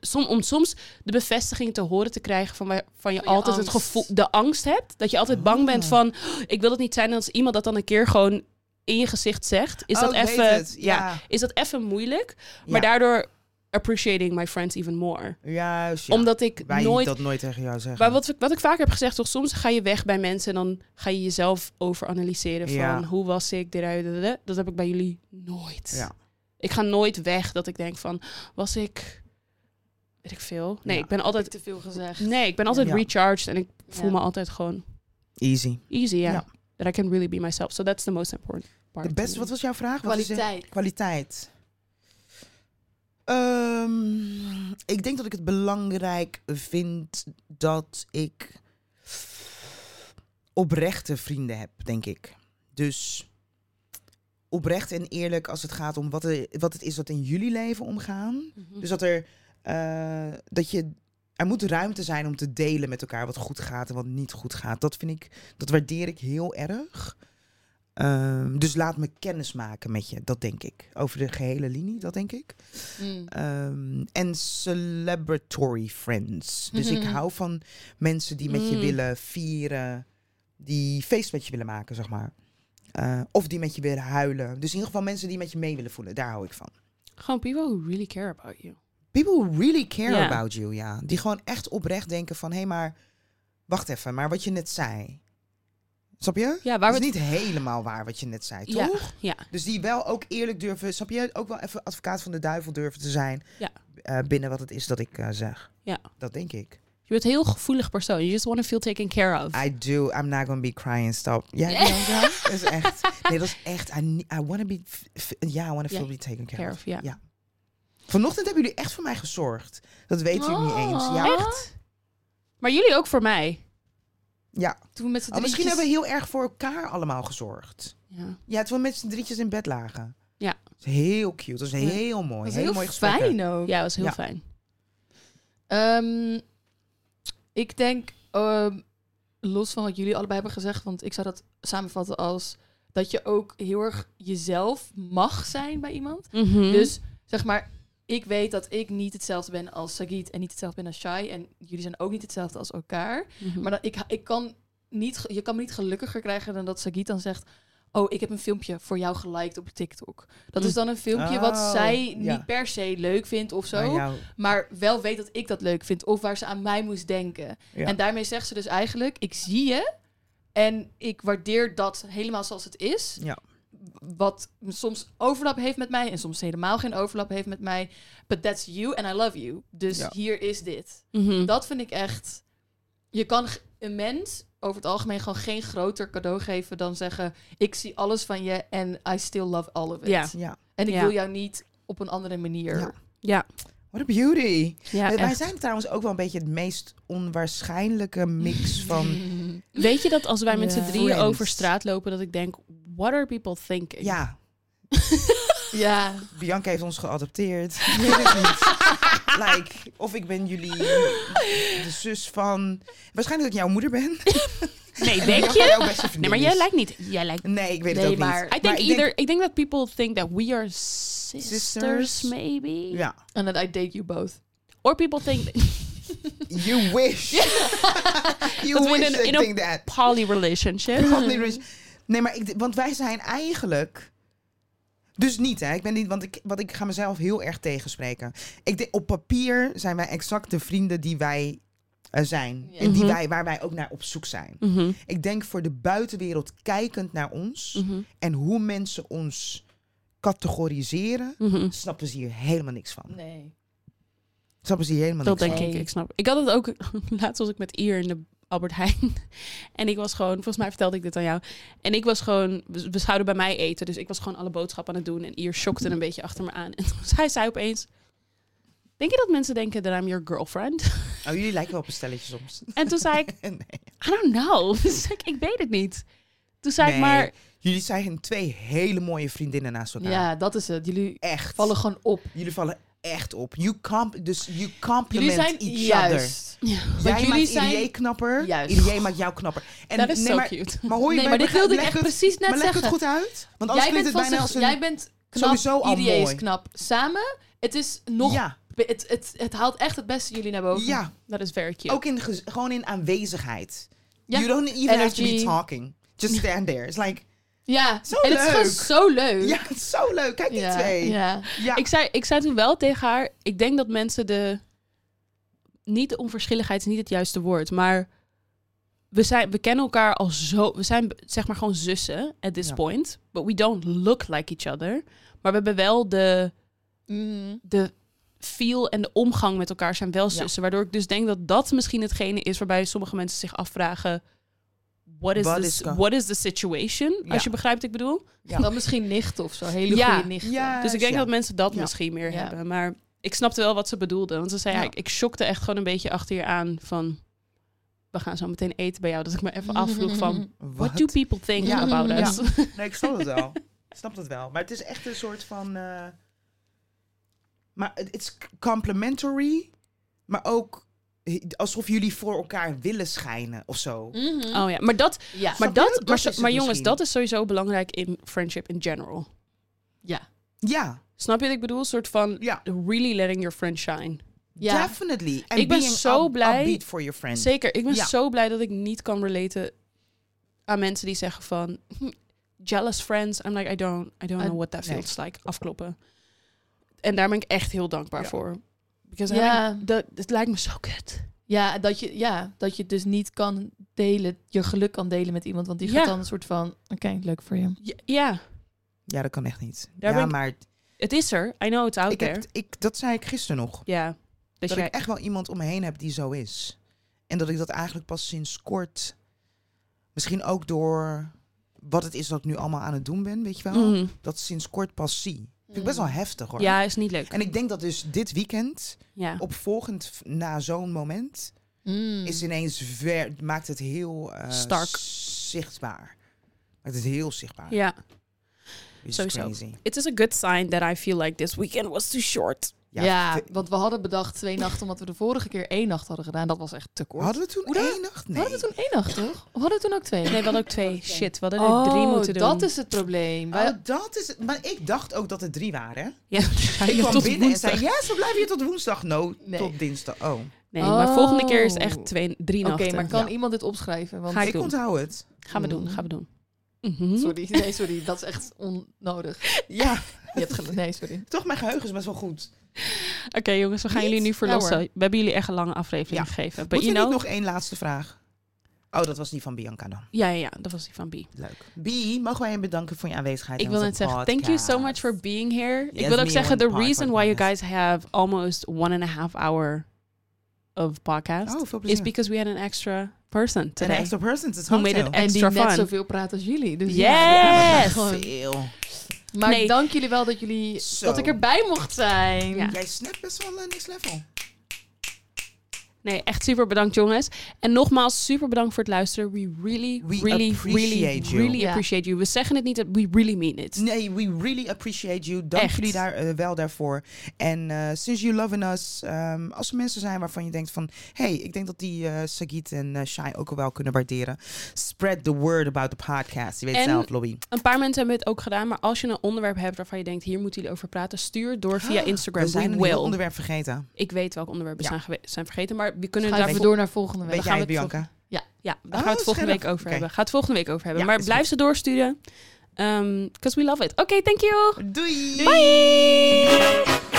Speaker 1: som, om soms de bevestiging te horen te krijgen van, waar- van je
Speaker 3: Van je
Speaker 1: altijd het
Speaker 3: angst.
Speaker 1: gevoel, de angst hebt. Dat je altijd bang bent
Speaker 2: Ah.
Speaker 1: van. "Oh, ik wil het niet zijn. En als iemand dat dan een keer gewoon in je gezicht zegt, is
Speaker 2: Oh,
Speaker 1: dat
Speaker 2: ik weet
Speaker 1: even.
Speaker 2: het. Ja.
Speaker 1: is dat even moeilijk.
Speaker 2: Ja.
Speaker 1: Maar daardoor appreciating my friends even more.
Speaker 2: Juist, ja.
Speaker 1: Omdat ik
Speaker 2: Wij
Speaker 1: nooit.
Speaker 2: dat nooit tegen jou zeggen.
Speaker 1: Maar wat, ik- wat ik vaak heb gezegd, toch, soms ga je weg bij mensen en dan ga je jezelf overanalyseren van
Speaker 2: Ja.
Speaker 1: hoe was ik, dit, dat, dat, dat. dat heb ik bij jullie nooit.
Speaker 2: Ja.
Speaker 1: Ik ga nooit weg dat ik denk van, was ik, weet ik veel. Nee,
Speaker 2: Ja.
Speaker 1: ik ben
Speaker 3: Heb ik
Speaker 1: altijd,
Speaker 3: te veel gezegd?
Speaker 1: nee, ik ben altijd
Speaker 2: Ja.
Speaker 1: recharged en ik voel
Speaker 3: Ja.
Speaker 1: me altijd gewoon
Speaker 2: Easy.
Speaker 1: easy, ja.
Speaker 2: Ja.
Speaker 1: That I can really be myself. So that's the most important part.
Speaker 2: De
Speaker 1: to
Speaker 2: beste,
Speaker 1: me.
Speaker 2: wat was jouw vraag? Wat is het?
Speaker 3: Kwaliteit.
Speaker 2: Kwaliteit. Ehm, ik denk dat ik het belangrijk vind dat ik oprechte vrienden heb, denk ik. Dus oprecht en eerlijk als het gaat om wat, er, wat het is wat in jullie leven omgaan.
Speaker 1: Mhm.
Speaker 2: Dus dat er, eh, dat je, er moet ruimte zijn om te delen met elkaar wat goed gaat en wat niet goed gaat. Dat vind ik, dat waardeer ik heel erg. Ehm, dus laat me kennis maken met je, dat denk ik. Over de gehele linie, dat denk ik.
Speaker 3: Mm.
Speaker 2: Ehm, en celebratory friends. Dus ik
Speaker 3: Mhm.
Speaker 2: hou van mensen die met je
Speaker 1: Mm.
Speaker 2: willen vieren, die feest met je willen maken, zeg maar. Eh, of die met je willen huilen. Dus in ieder geval mensen die met je mee willen voelen, daar hou ik van.
Speaker 1: Gewoon people who really care about you.
Speaker 2: People who really care
Speaker 1: Ja.
Speaker 2: about you, ja. Die gewoon echt oprecht denken van... Hé, hey, maar wacht even, maar wat je net zei. Snap je?
Speaker 1: Ja, waar
Speaker 2: Dat
Speaker 1: we
Speaker 2: is
Speaker 1: het-
Speaker 2: niet helemaal waar wat je net zei, toch?
Speaker 1: Ja, ja.
Speaker 2: Dus die wel ook eerlijk durven... Snap je? Ook wel even advocaat van de duivel durven te zijn...
Speaker 1: Ja.
Speaker 2: eh, binnen wat het is dat ik eh, zeg.
Speaker 1: Ja.
Speaker 2: Dat denk ik.
Speaker 1: Je bent een heel gevoelig persoon. You just want to feel taken care of.
Speaker 2: I do. I'm not gonna be crying, stop. Ja, die dan wel? dat is echt... Nee, dat is echt... I, ne- I wanna be... f- f- Ja, I wanna
Speaker 1: Ja.
Speaker 2: feel be taken care
Speaker 1: Care
Speaker 2: of.
Speaker 1: of, ja.
Speaker 2: Ja. Vanochtend hebben jullie echt voor mij gezorgd. Dat weet jullie niet eens. Ja.
Speaker 1: Echt? Maar jullie ook voor mij.
Speaker 2: Ja.
Speaker 3: Toen we met z'n
Speaker 2: Oh, misschien
Speaker 3: drietjes-
Speaker 2: hebben we heel erg voor elkaar allemaal gezorgd.
Speaker 1: Ja.
Speaker 2: Ja, toen we met z'n drietjes in bed lagen.
Speaker 1: Ja.
Speaker 2: Dat is heel cute. Dat is
Speaker 1: Ja.
Speaker 2: heel mooi.
Speaker 3: Dat is
Speaker 2: hele
Speaker 3: heel
Speaker 2: mooie gesprekken.
Speaker 3: fijn ook.
Speaker 1: Ja, was heel
Speaker 2: Ja.
Speaker 1: fijn.
Speaker 3: Ehm, ik denk, ehm, los van wat jullie allebei hebben gezegd, want ik zou dat samenvatten als dat je ook heel erg jezelf mag zijn bij iemand.
Speaker 1: Mhm.
Speaker 3: Dus zeg maar, ik weet dat ik niet hetzelfde ben als Sagit en niet hetzelfde ben als Shai. En jullie zijn ook niet hetzelfde als elkaar.
Speaker 1: Mhm.
Speaker 3: Maar dat, ik, ik kan niet, ge- je kan me niet gelukkiger krijgen dan dat Sagit dan zegt... Oh, ik heb een filmpje voor jou geliked op TikTok. Dat
Speaker 1: Mm.
Speaker 3: is dan een filmpje wat
Speaker 2: Oh,
Speaker 3: zij
Speaker 2: ja. Oh,
Speaker 3: niet per se leuk vindt of zo.
Speaker 2: Aan jou.
Speaker 3: Maar wel weet dat ik dat leuk vind. Of waar ze aan mij moest denken.
Speaker 2: Ja.
Speaker 3: En daarmee zegt ze dus eigenlijk: ik zie je. En ik waardeer dat helemaal zoals het is.
Speaker 2: Ja.
Speaker 3: Wat soms overlap heeft met mij. En soms helemaal geen overlap heeft met mij. But that's you and I love you. Dus
Speaker 2: Ja.
Speaker 3: hier is dit.
Speaker 1: Mhm.
Speaker 3: Dat vind ik echt. Je kan g- een mens over het algemeen gewoon geen groter cadeau geven dan zeggen: Ik zie alles van je en I still love all of it.
Speaker 1: Ja.
Speaker 2: Ja.
Speaker 3: En ik
Speaker 1: Ja.
Speaker 3: wil jou niet op een andere manier.
Speaker 2: Ja.
Speaker 1: Ja,
Speaker 2: What a beauty.
Speaker 1: ja
Speaker 2: Wij- Wij
Speaker 1: echt.
Speaker 2: zijn trouwens ook wel een beetje het meest onwaarschijnlijke mix van...
Speaker 1: Weet je dat als wij met
Speaker 3: Ja.
Speaker 1: z'n drieën
Speaker 2: Friends.
Speaker 1: over straat lopen, dat ik denk, what are people thinking?
Speaker 2: Ja,
Speaker 3: ja.
Speaker 2: Bianca heeft ons geadopteerd. Ik weet het niet. Like, of ik ben jullie de zus van... Waarschijnlijk dat ik jouw moeder ben.
Speaker 1: Nee,
Speaker 2: En
Speaker 1: denk
Speaker 2: Bianca
Speaker 1: je?
Speaker 2: jouw beste
Speaker 1: Nee,
Speaker 2: vriendin
Speaker 1: maar jij
Speaker 2: is.
Speaker 1: lijkt niet. Jij lijkt.
Speaker 2: Nee, ik weet
Speaker 3: Nee,
Speaker 2: het ook
Speaker 3: maar-
Speaker 2: niet.
Speaker 1: I think
Speaker 2: Maar ik
Speaker 1: either. Ik denk dat people think that we are sisters,
Speaker 2: Sisters?
Speaker 1: maybe.
Speaker 2: Ja.
Speaker 3: En dat I date you both.
Speaker 1: Or people think
Speaker 2: You wish. you
Speaker 1: Dat we
Speaker 2: wish
Speaker 1: in een-
Speaker 2: I
Speaker 1: in een-
Speaker 2: think that.
Speaker 1: poly relationship.
Speaker 2: God, nee, dus- Nee, maar ik, d- want wij zijn eigenlijk. Dus niet, hè? Ik ben niet, want ik, want ik ga mezelf heel erg tegenspreken. Ik denk, op papier zijn wij exact de vrienden die wij eh, zijn.
Speaker 3: Ja.
Speaker 2: En die
Speaker 1: Mhm.
Speaker 2: wij, waar wij ook naar op zoek zijn.
Speaker 1: Mhm,
Speaker 2: Ik denk voor de buitenwereld, kijkend naar ons
Speaker 1: mhm,
Speaker 2: en hoe mensen ons categoriseren,
Speaker 1: mhm.
Speaker 2: snappen ze hier helemaal niks van.
Speaker 3: Nee.
Speaker 2: Snappen ze hier helemaal
Speaker 1: Dat
Speaker 2: niks
Speaker 1: denk
Speaker 2: van.
Speaker 1: ik, ik snap. Ik had het ook, laatst was ik met Ier in de Albert Heijn. En ik was gewoon, volgens mij vertelde ik dit aan jou. En ik was gewoon, we we zouden bij mij eten. Dus ik was gewoon alle boodschappen aan het doen. En Ier schokte een beetje achter me aan. En toen zei zij opeens, denk je dat mensen denken dat I'm your girlfriend?
Speaker 2: Oh, jullie lijken wel op een stelletje soms.
Speaker 1: En toen zei ik,
Speaker 2: nee.
Speaker 1: I don't know. Dus ik, ik weet het niet. Toen zei ik
Speaker 2: Nee.
Speaker 1: maar,
Speaker 2: Jullie zijn twee hele mooie vriendinnen naast elkaar.
Speaker 1: nou.
Speaker 3: Ja, dat is het. Jullie
Speaker 2: Echt.
Speaker 3: vallen gewoon op.
Speaker 2: Jullie vallen echt op. You comp dus you compliment
Speaker 3: Jullie zijn
Speaker 2: each
Speaker 3: juist.
Speaker 2: other.
Speaker 3: Want
Speaker 2: Jij
Speaker 3: jullie
Speaker 2: maakt Irie
Speaker 3: zijn-
Speaker 2: knapper.
Speaker 3: Juist.
Speaker 2: Irie maakt jou knapper. En
Speaker 1: dat is
Speaker 2: nee,
Speaker 1: zo
Speaker 2: maar,
Speaker 1: cute.
Speaker 2: maar hoor je mij?
Speaker 3: Nee, maar dit wilde ik
Speaker 2: Leg
Speaker 3: echt
Speaker 2: het-
Speaker 3: precies net
Speaker 2: Maar leg
Speaker 3: zeggen.
Speaker 2: het goed uit. Want anders
Speaker 3: Jij
Speaker 2: klinkt
Speaker 3: bent,
Speaker 2: het
Speaker 3: van
Speaker 2: bijna
Speaker 3: zich-
Speaker 2: als een...
Speaker 3: jij bent knap,
Speaker 2: Sowieso al
Speaker 3: Irie is
Speaker 2: mooi.
Speaker 3: knap. Samen, het is nog...
Speaker 2: ja,
Speaker 3: Het, het, het haalt echt het beste jullie naar boven.
Speaker 2: ja.
Speaker 1: dat is very cute.
Speaker 2: ook in, gez- gewoon in aanwezigheid.
Speaker 3: Ja.
Speaker 2: You don't even have to be
Speaker 3: Energy.
Speaker 2: talking. Just stand there. It's like,
Speaker 3: Ja.
Speaker 2: Zo
Speaker 3: en het is gewoon
Speaker 2: leuk.
Speaker 3: zo leuk.
Speaker 2: ja, het is zo leuk. Kijk die
Speaker 3: ja.
Speaker 2: twee. Ja.
Speaker 3: ja.
Speaker 1: Ik, zei, ik zei toen wel tegen haar, ik denk dat mensen de... Niet de onverschilligheid is niet het juiste woord, maar we, zijn, we kennen elkaar al zo... We zijn zeg maar gewoon zussen at this
Speaker 2: Ja.
Speaker 1: point. But we don't look like each other. Maar we hebben wel de,
Speaker 3: Mhm.
Speaker 2: Mm-hmm.
Speaker 1: de feel en de omgang met elkaar zijn wel zussen. Waardoor ik dus denk dat dat misschien hetgene is waarbij sommige mensen zich afvragen... What is,
Speaker 2: Wat
Speaker 1: this-
Speaker 2: is ge-
Speaker 1: what is the situation?
Speaker 2: Ja.
Speaker 1: Als je begrijpt wat ik bedoel.
Speaker 2: Ja.
Speaker 3: Dan misschien nicht of zo. Hele
Speaker 1: Ja.
Speaker 3: goede nicht.
Speaker 2: Ja,
Speaker 1: Dus ik denk
Speaker 2: ja.
Speaker 1: dat mensen dat
Speaker 2: Ja.
Speaker 1: misschien meer
Speaker 3: Ja.
Speaker 1: hebben. Maar ik snapte wel wat ze bedoelde. Want ze zei, ja,
Speaker 2: Ja.
Speaker 1: ik, ik shockte echt gewoon een beetje achter je aan van... We gaan zo meteen eten bij jou. Dat ik me even afvroeg van... What do people think
Speaker 2: Ja.
Speaker 1: about
Speaker 2: Ja.
Speaker 1: us?
Speaker 2: Nee, ik snap het wel. ik snap het wel. Maar het is echt een soort van... eh, maar het is complimentary, maar ook he- alsof jullie voor elkaar willen schijnen of zo.
Speaker 3: Mhm.
Speaker 1: Oh ja, maar dat...
Speaker 3: Ja.
Speaker 1: Maar,
Speaker 2: Snap je?
Speaker 1: dat,
Speaker 2: Dat
Speaker 1: maar,
Speaker 2: is
Speaker 1: zo-
Speaker 2: het
Speaker 1: maar jongens,
Speaker 2: misschien.
Speaker 1: dat is sowieso belangrijk in friendship in general.
Speaker 3: Ja.
Speaker 2: Ja,
Speaker 1: Snap je wat ik bedoel? Een soort van
Speaker 2: ja,
Speaker 1: really letting your friend shine.
Speaker 3: Ja.
Speaker 2: definitely.
Speaker 1: Ik ben
Speaker 2: being
Speaker 1: zo
Speaker 2: up-
Speaker 1: blij-
Speaker 2: upbeat for your friend.
Speaker 1: Zeker. Ik ben
Speaker 2: Ja.
Speaker 1: zo blij dat ik niet kan relaten aan mensen die zeggen van... "Hm, Jealous friends. I'm like, I don't, I don't
Speaker 3: I-
Speaker 1: know what that
Speaker 2: nee.
Speaker 1: feels like. Afkloppen. En daar ben ik echt heel dankbaar
Speaker 2: Ja.
Speaker 1: voor. Because
Speaker 3: Ja.
Speaker 1: ja. dat, het lijkt me zo kut.
Speaker 3: Ja, dat je, ja, dat je het dus niet kan delen, je geluk kan delen met iemand. Want die
Speaker 1: Ja.
Speaker 3: gaat dan een soort van, oké, leuk voor je.
Speaker 1: Ja, ja,
Speaker 2: Ja, dat kan echt niet.
Speaker 1: Daar
Speaker 2: ja,
Speaker 1: ben ik
Speaker 2: maar
Speaker 1: het is er. I know it's out
Speaker 2: ik
Speaker 1: there.
Speaker 2: heb, ik, dat zei ik gisteren nog.
Speaker 1: ja. Dat,
Speaker 2: dat
Speaker 1: jij...
Speaker 2: ik echt wel iemand om me heen heb die zo is. En dat ik dat eigenlijk pas sinds kort... Misschien ook door wat het is dat ik nu allemaal aan het doen ben, weet je wel?
Speaker 1: Mhm.
Speaker 2: dat sinds kort pas zie. Vind ik best wel heftig hoor.
Speaker 1: Ja, is niet leuk.
Speaker 2: En ik denk dat dus dit weekend,
Speaker 1: ja.
Speaker 2: op volgend v- na zo'n moment,
Speaker 3: Mm.
Speaker 2: is ineens ver, maakt het heel eh,
Speaker 1: Stark.
Speaker 2: zichtbaar. Maakt het heel zichtbaar.
Speaker 1: ja.
Speaker 2: Which is
Speaker 1: sowieso.
Speaker 2: crazy.
Speaker 1: It is a good sign that I feel like this weekend was too short.
Speaker 3: Ja, want we hadden bedacht twee nachten, omdat we de vorige keer één nacht hadden gedaan. Dat was echt te kort.
Speaker 2: Hadden we toen
Speaker 3: Hoe dan?
Speaker 2: één nacht? Nee.
Speaker 3: Hadden we toen één nacht, toch? Of hadden we toen ook twee? Oh,
Speaker 1: Nee, we hadden ook twee. Shit, we hadden er drie moeten doen.
Speaker 3: dat is het probleem. Wij-
Speaker 2: Oh, dat is het. Maar ik dacht ook dat het drie waren.
Speaker 1: Ja,
Speaker 2: Ik kwam
Speaker 1: tot
Speaker 2: binnen
Speaker 1: woensdag.
Speaker 2: en zei, yes, we blijven hier tot woensdag. No,
Speaker 3: Nee.
Speaker 2: tot dinsdag. Oh,
Speaker 1: Nee, maar volgende keer is
Speaker 3: Oh.
Speaker 1: echt twee, drie
Speaker 3: Oké,
Speaker 1: nachten.
Speaker 3: maar kan
Speaker 2: Ja.
Speaker 3: iemand dit opschrijven? Want...
Speaker 1: Ga
Speaker 2: ik
Speaker 1: doen.
Speaker 2: onthoud het.
Speaker 1: Gaan we doen, gaan we doen. Mhm.
Speaker 3: Sorry, nee, sorry. Dat is echt onnodig.
Speaker 2: Ja,
Speaker 3: Je hebt gelijk. Nee, sorry.
Speaker 2: toch, mijn geheugen is best wel goed.
Speaker 1: Oké jongens, we gaan
Speaker 3: Niet?
Speaker 1: jullie nu verlossen.
Speaker 3: Ja,
Speaker 1: we hebben jullie echt een lange aflevering
Speaker 2: Ja.
Speaker 1: gegeven. But
Speaker 2: Moeten
Speaker 1: you
Speaker 2: we niet
Speaker 1: know...
Speaker 2: nog één laatste vraag? Oh, dat was die van Bianca dan.
Speaker 1: Ja, ja, ja, dat was die van B.
Speaker 2: Leuk. Bie, mogen wij je bedanken voor je aanwezigheid
Speaker 1: Ik
Speaker 2: in
Speaker 1: wil
Speaker 2: onze
Speaker 1: net zeggen, thank you so much
Speaker 2: podcast.
Speaker 1: for being here.
Speaker 2: Yes,
Speaker 1: ik wil ook
Speaker 2: me
Speaker 1: zeggen,
Speaker 2: one
Speaker 1: the
Speaker 2: part,
Speaker 1: reason
Speaker 2: one
Speaker 1: why you
Speaker 2: podcast.
Speaker 1: guys have almost one and a half hour of podcast
Speaker 2: Oh, veel plezier.
Speaker 1: is because we had an extra person
Speaker 2: An
Speaker 1: today.
Speaker 2: extra person, it's
Speaker 1: Who made
Speaker 2: hotel.
Speaker 1: it
Speaker 3: En die
Speaker 1: Extra
Speaker 3: net
Speaker 1: fun.
Speaker 3: zoveel praat als jullie. Dus
Speaker 1: Yes!
Speaker 3: ja,
Speaker 2: Ja,
Speaker 3: gewoon-
Speaker 2: veel.
Speaker 3: Maar
Speaker 1: Nee.
Speaker 3: dank jullie wel dat, jullie,
Speaker 2: Zo.
Speaker 3: dat ik erbij mocht zijn.
Speaker 1: Ja.
Speaker 2: Jij snapt best wel eh, niks level.
Speaker 1: Nee, echt super bedankt jongens. En nogmaals, super bedankt voor het luisteren. We really,
Speaker 2: We
Speaker 1: really, really,
Speaker 2: appreciate you.
Speaker 1: really
Speaker 3: Ja.
Speaker 1: appreciate you. We zeggen het niet, we really mean it.
Speaker 2: Nee, we really appreciate you. Dank
Speaker 1: Echt.
Speaker 2: jullie daar eh, wel daarvoor. En eh, since you loving us, ehm, als er mensen zijn waarvan je denkt van... hey, ik denk dat die eh Sagit en eh, Shai ook wel kunnen waarderen. Spread the word about the podcast. Je weet
Speaker 1: En-
Speaker 2: zelf, Lobby.
Speaker 1: Een paar mensen hebben het ook gedaan, maar als je een onderwerp hebt waarvan je denkt, hier moeten jullie over praten, stuur door via Instagram.
Speaker 2: Ah, We zijn
Speaker 1: we
Speaker 2: een heel
Speaker 1: will.
Speaker 2: onderwerp vergeten.
Speaker 1: Ik weet welke onderwerpen
Speaker 2: Ja.
Speaker 1: zijn, gewe- zijn vergeten, maar we kunnen
Speaker 3: Ga
Speaker 1: daarvoor
Speaker 3: even door naar volgende week.
Speaker 2: Weet
Speaker 1: gaan
Speaker 2: jij,
Speaker 1: we het
Speaker 2: Bianca?
Speaker 1: Ja, daar
Speaker 2: Oh,
Speaker 1: gaan we het volgende
Speaker 2: scherp.
Speaker 1: week over
Speaker 2: Oké.
Speaker 1: hebben. Gaat het volgende week over hebben.
Speaker 2: Ja,
Speaker 1: maar
Speaker 2: is
Speaker 1: blijf
Speaker 2: goed.
Speaker 1: ze Ehm, doorsturen. Because we love it. Oké, thank you.
Speaker 2: Doei!
Speaker 1: Bye.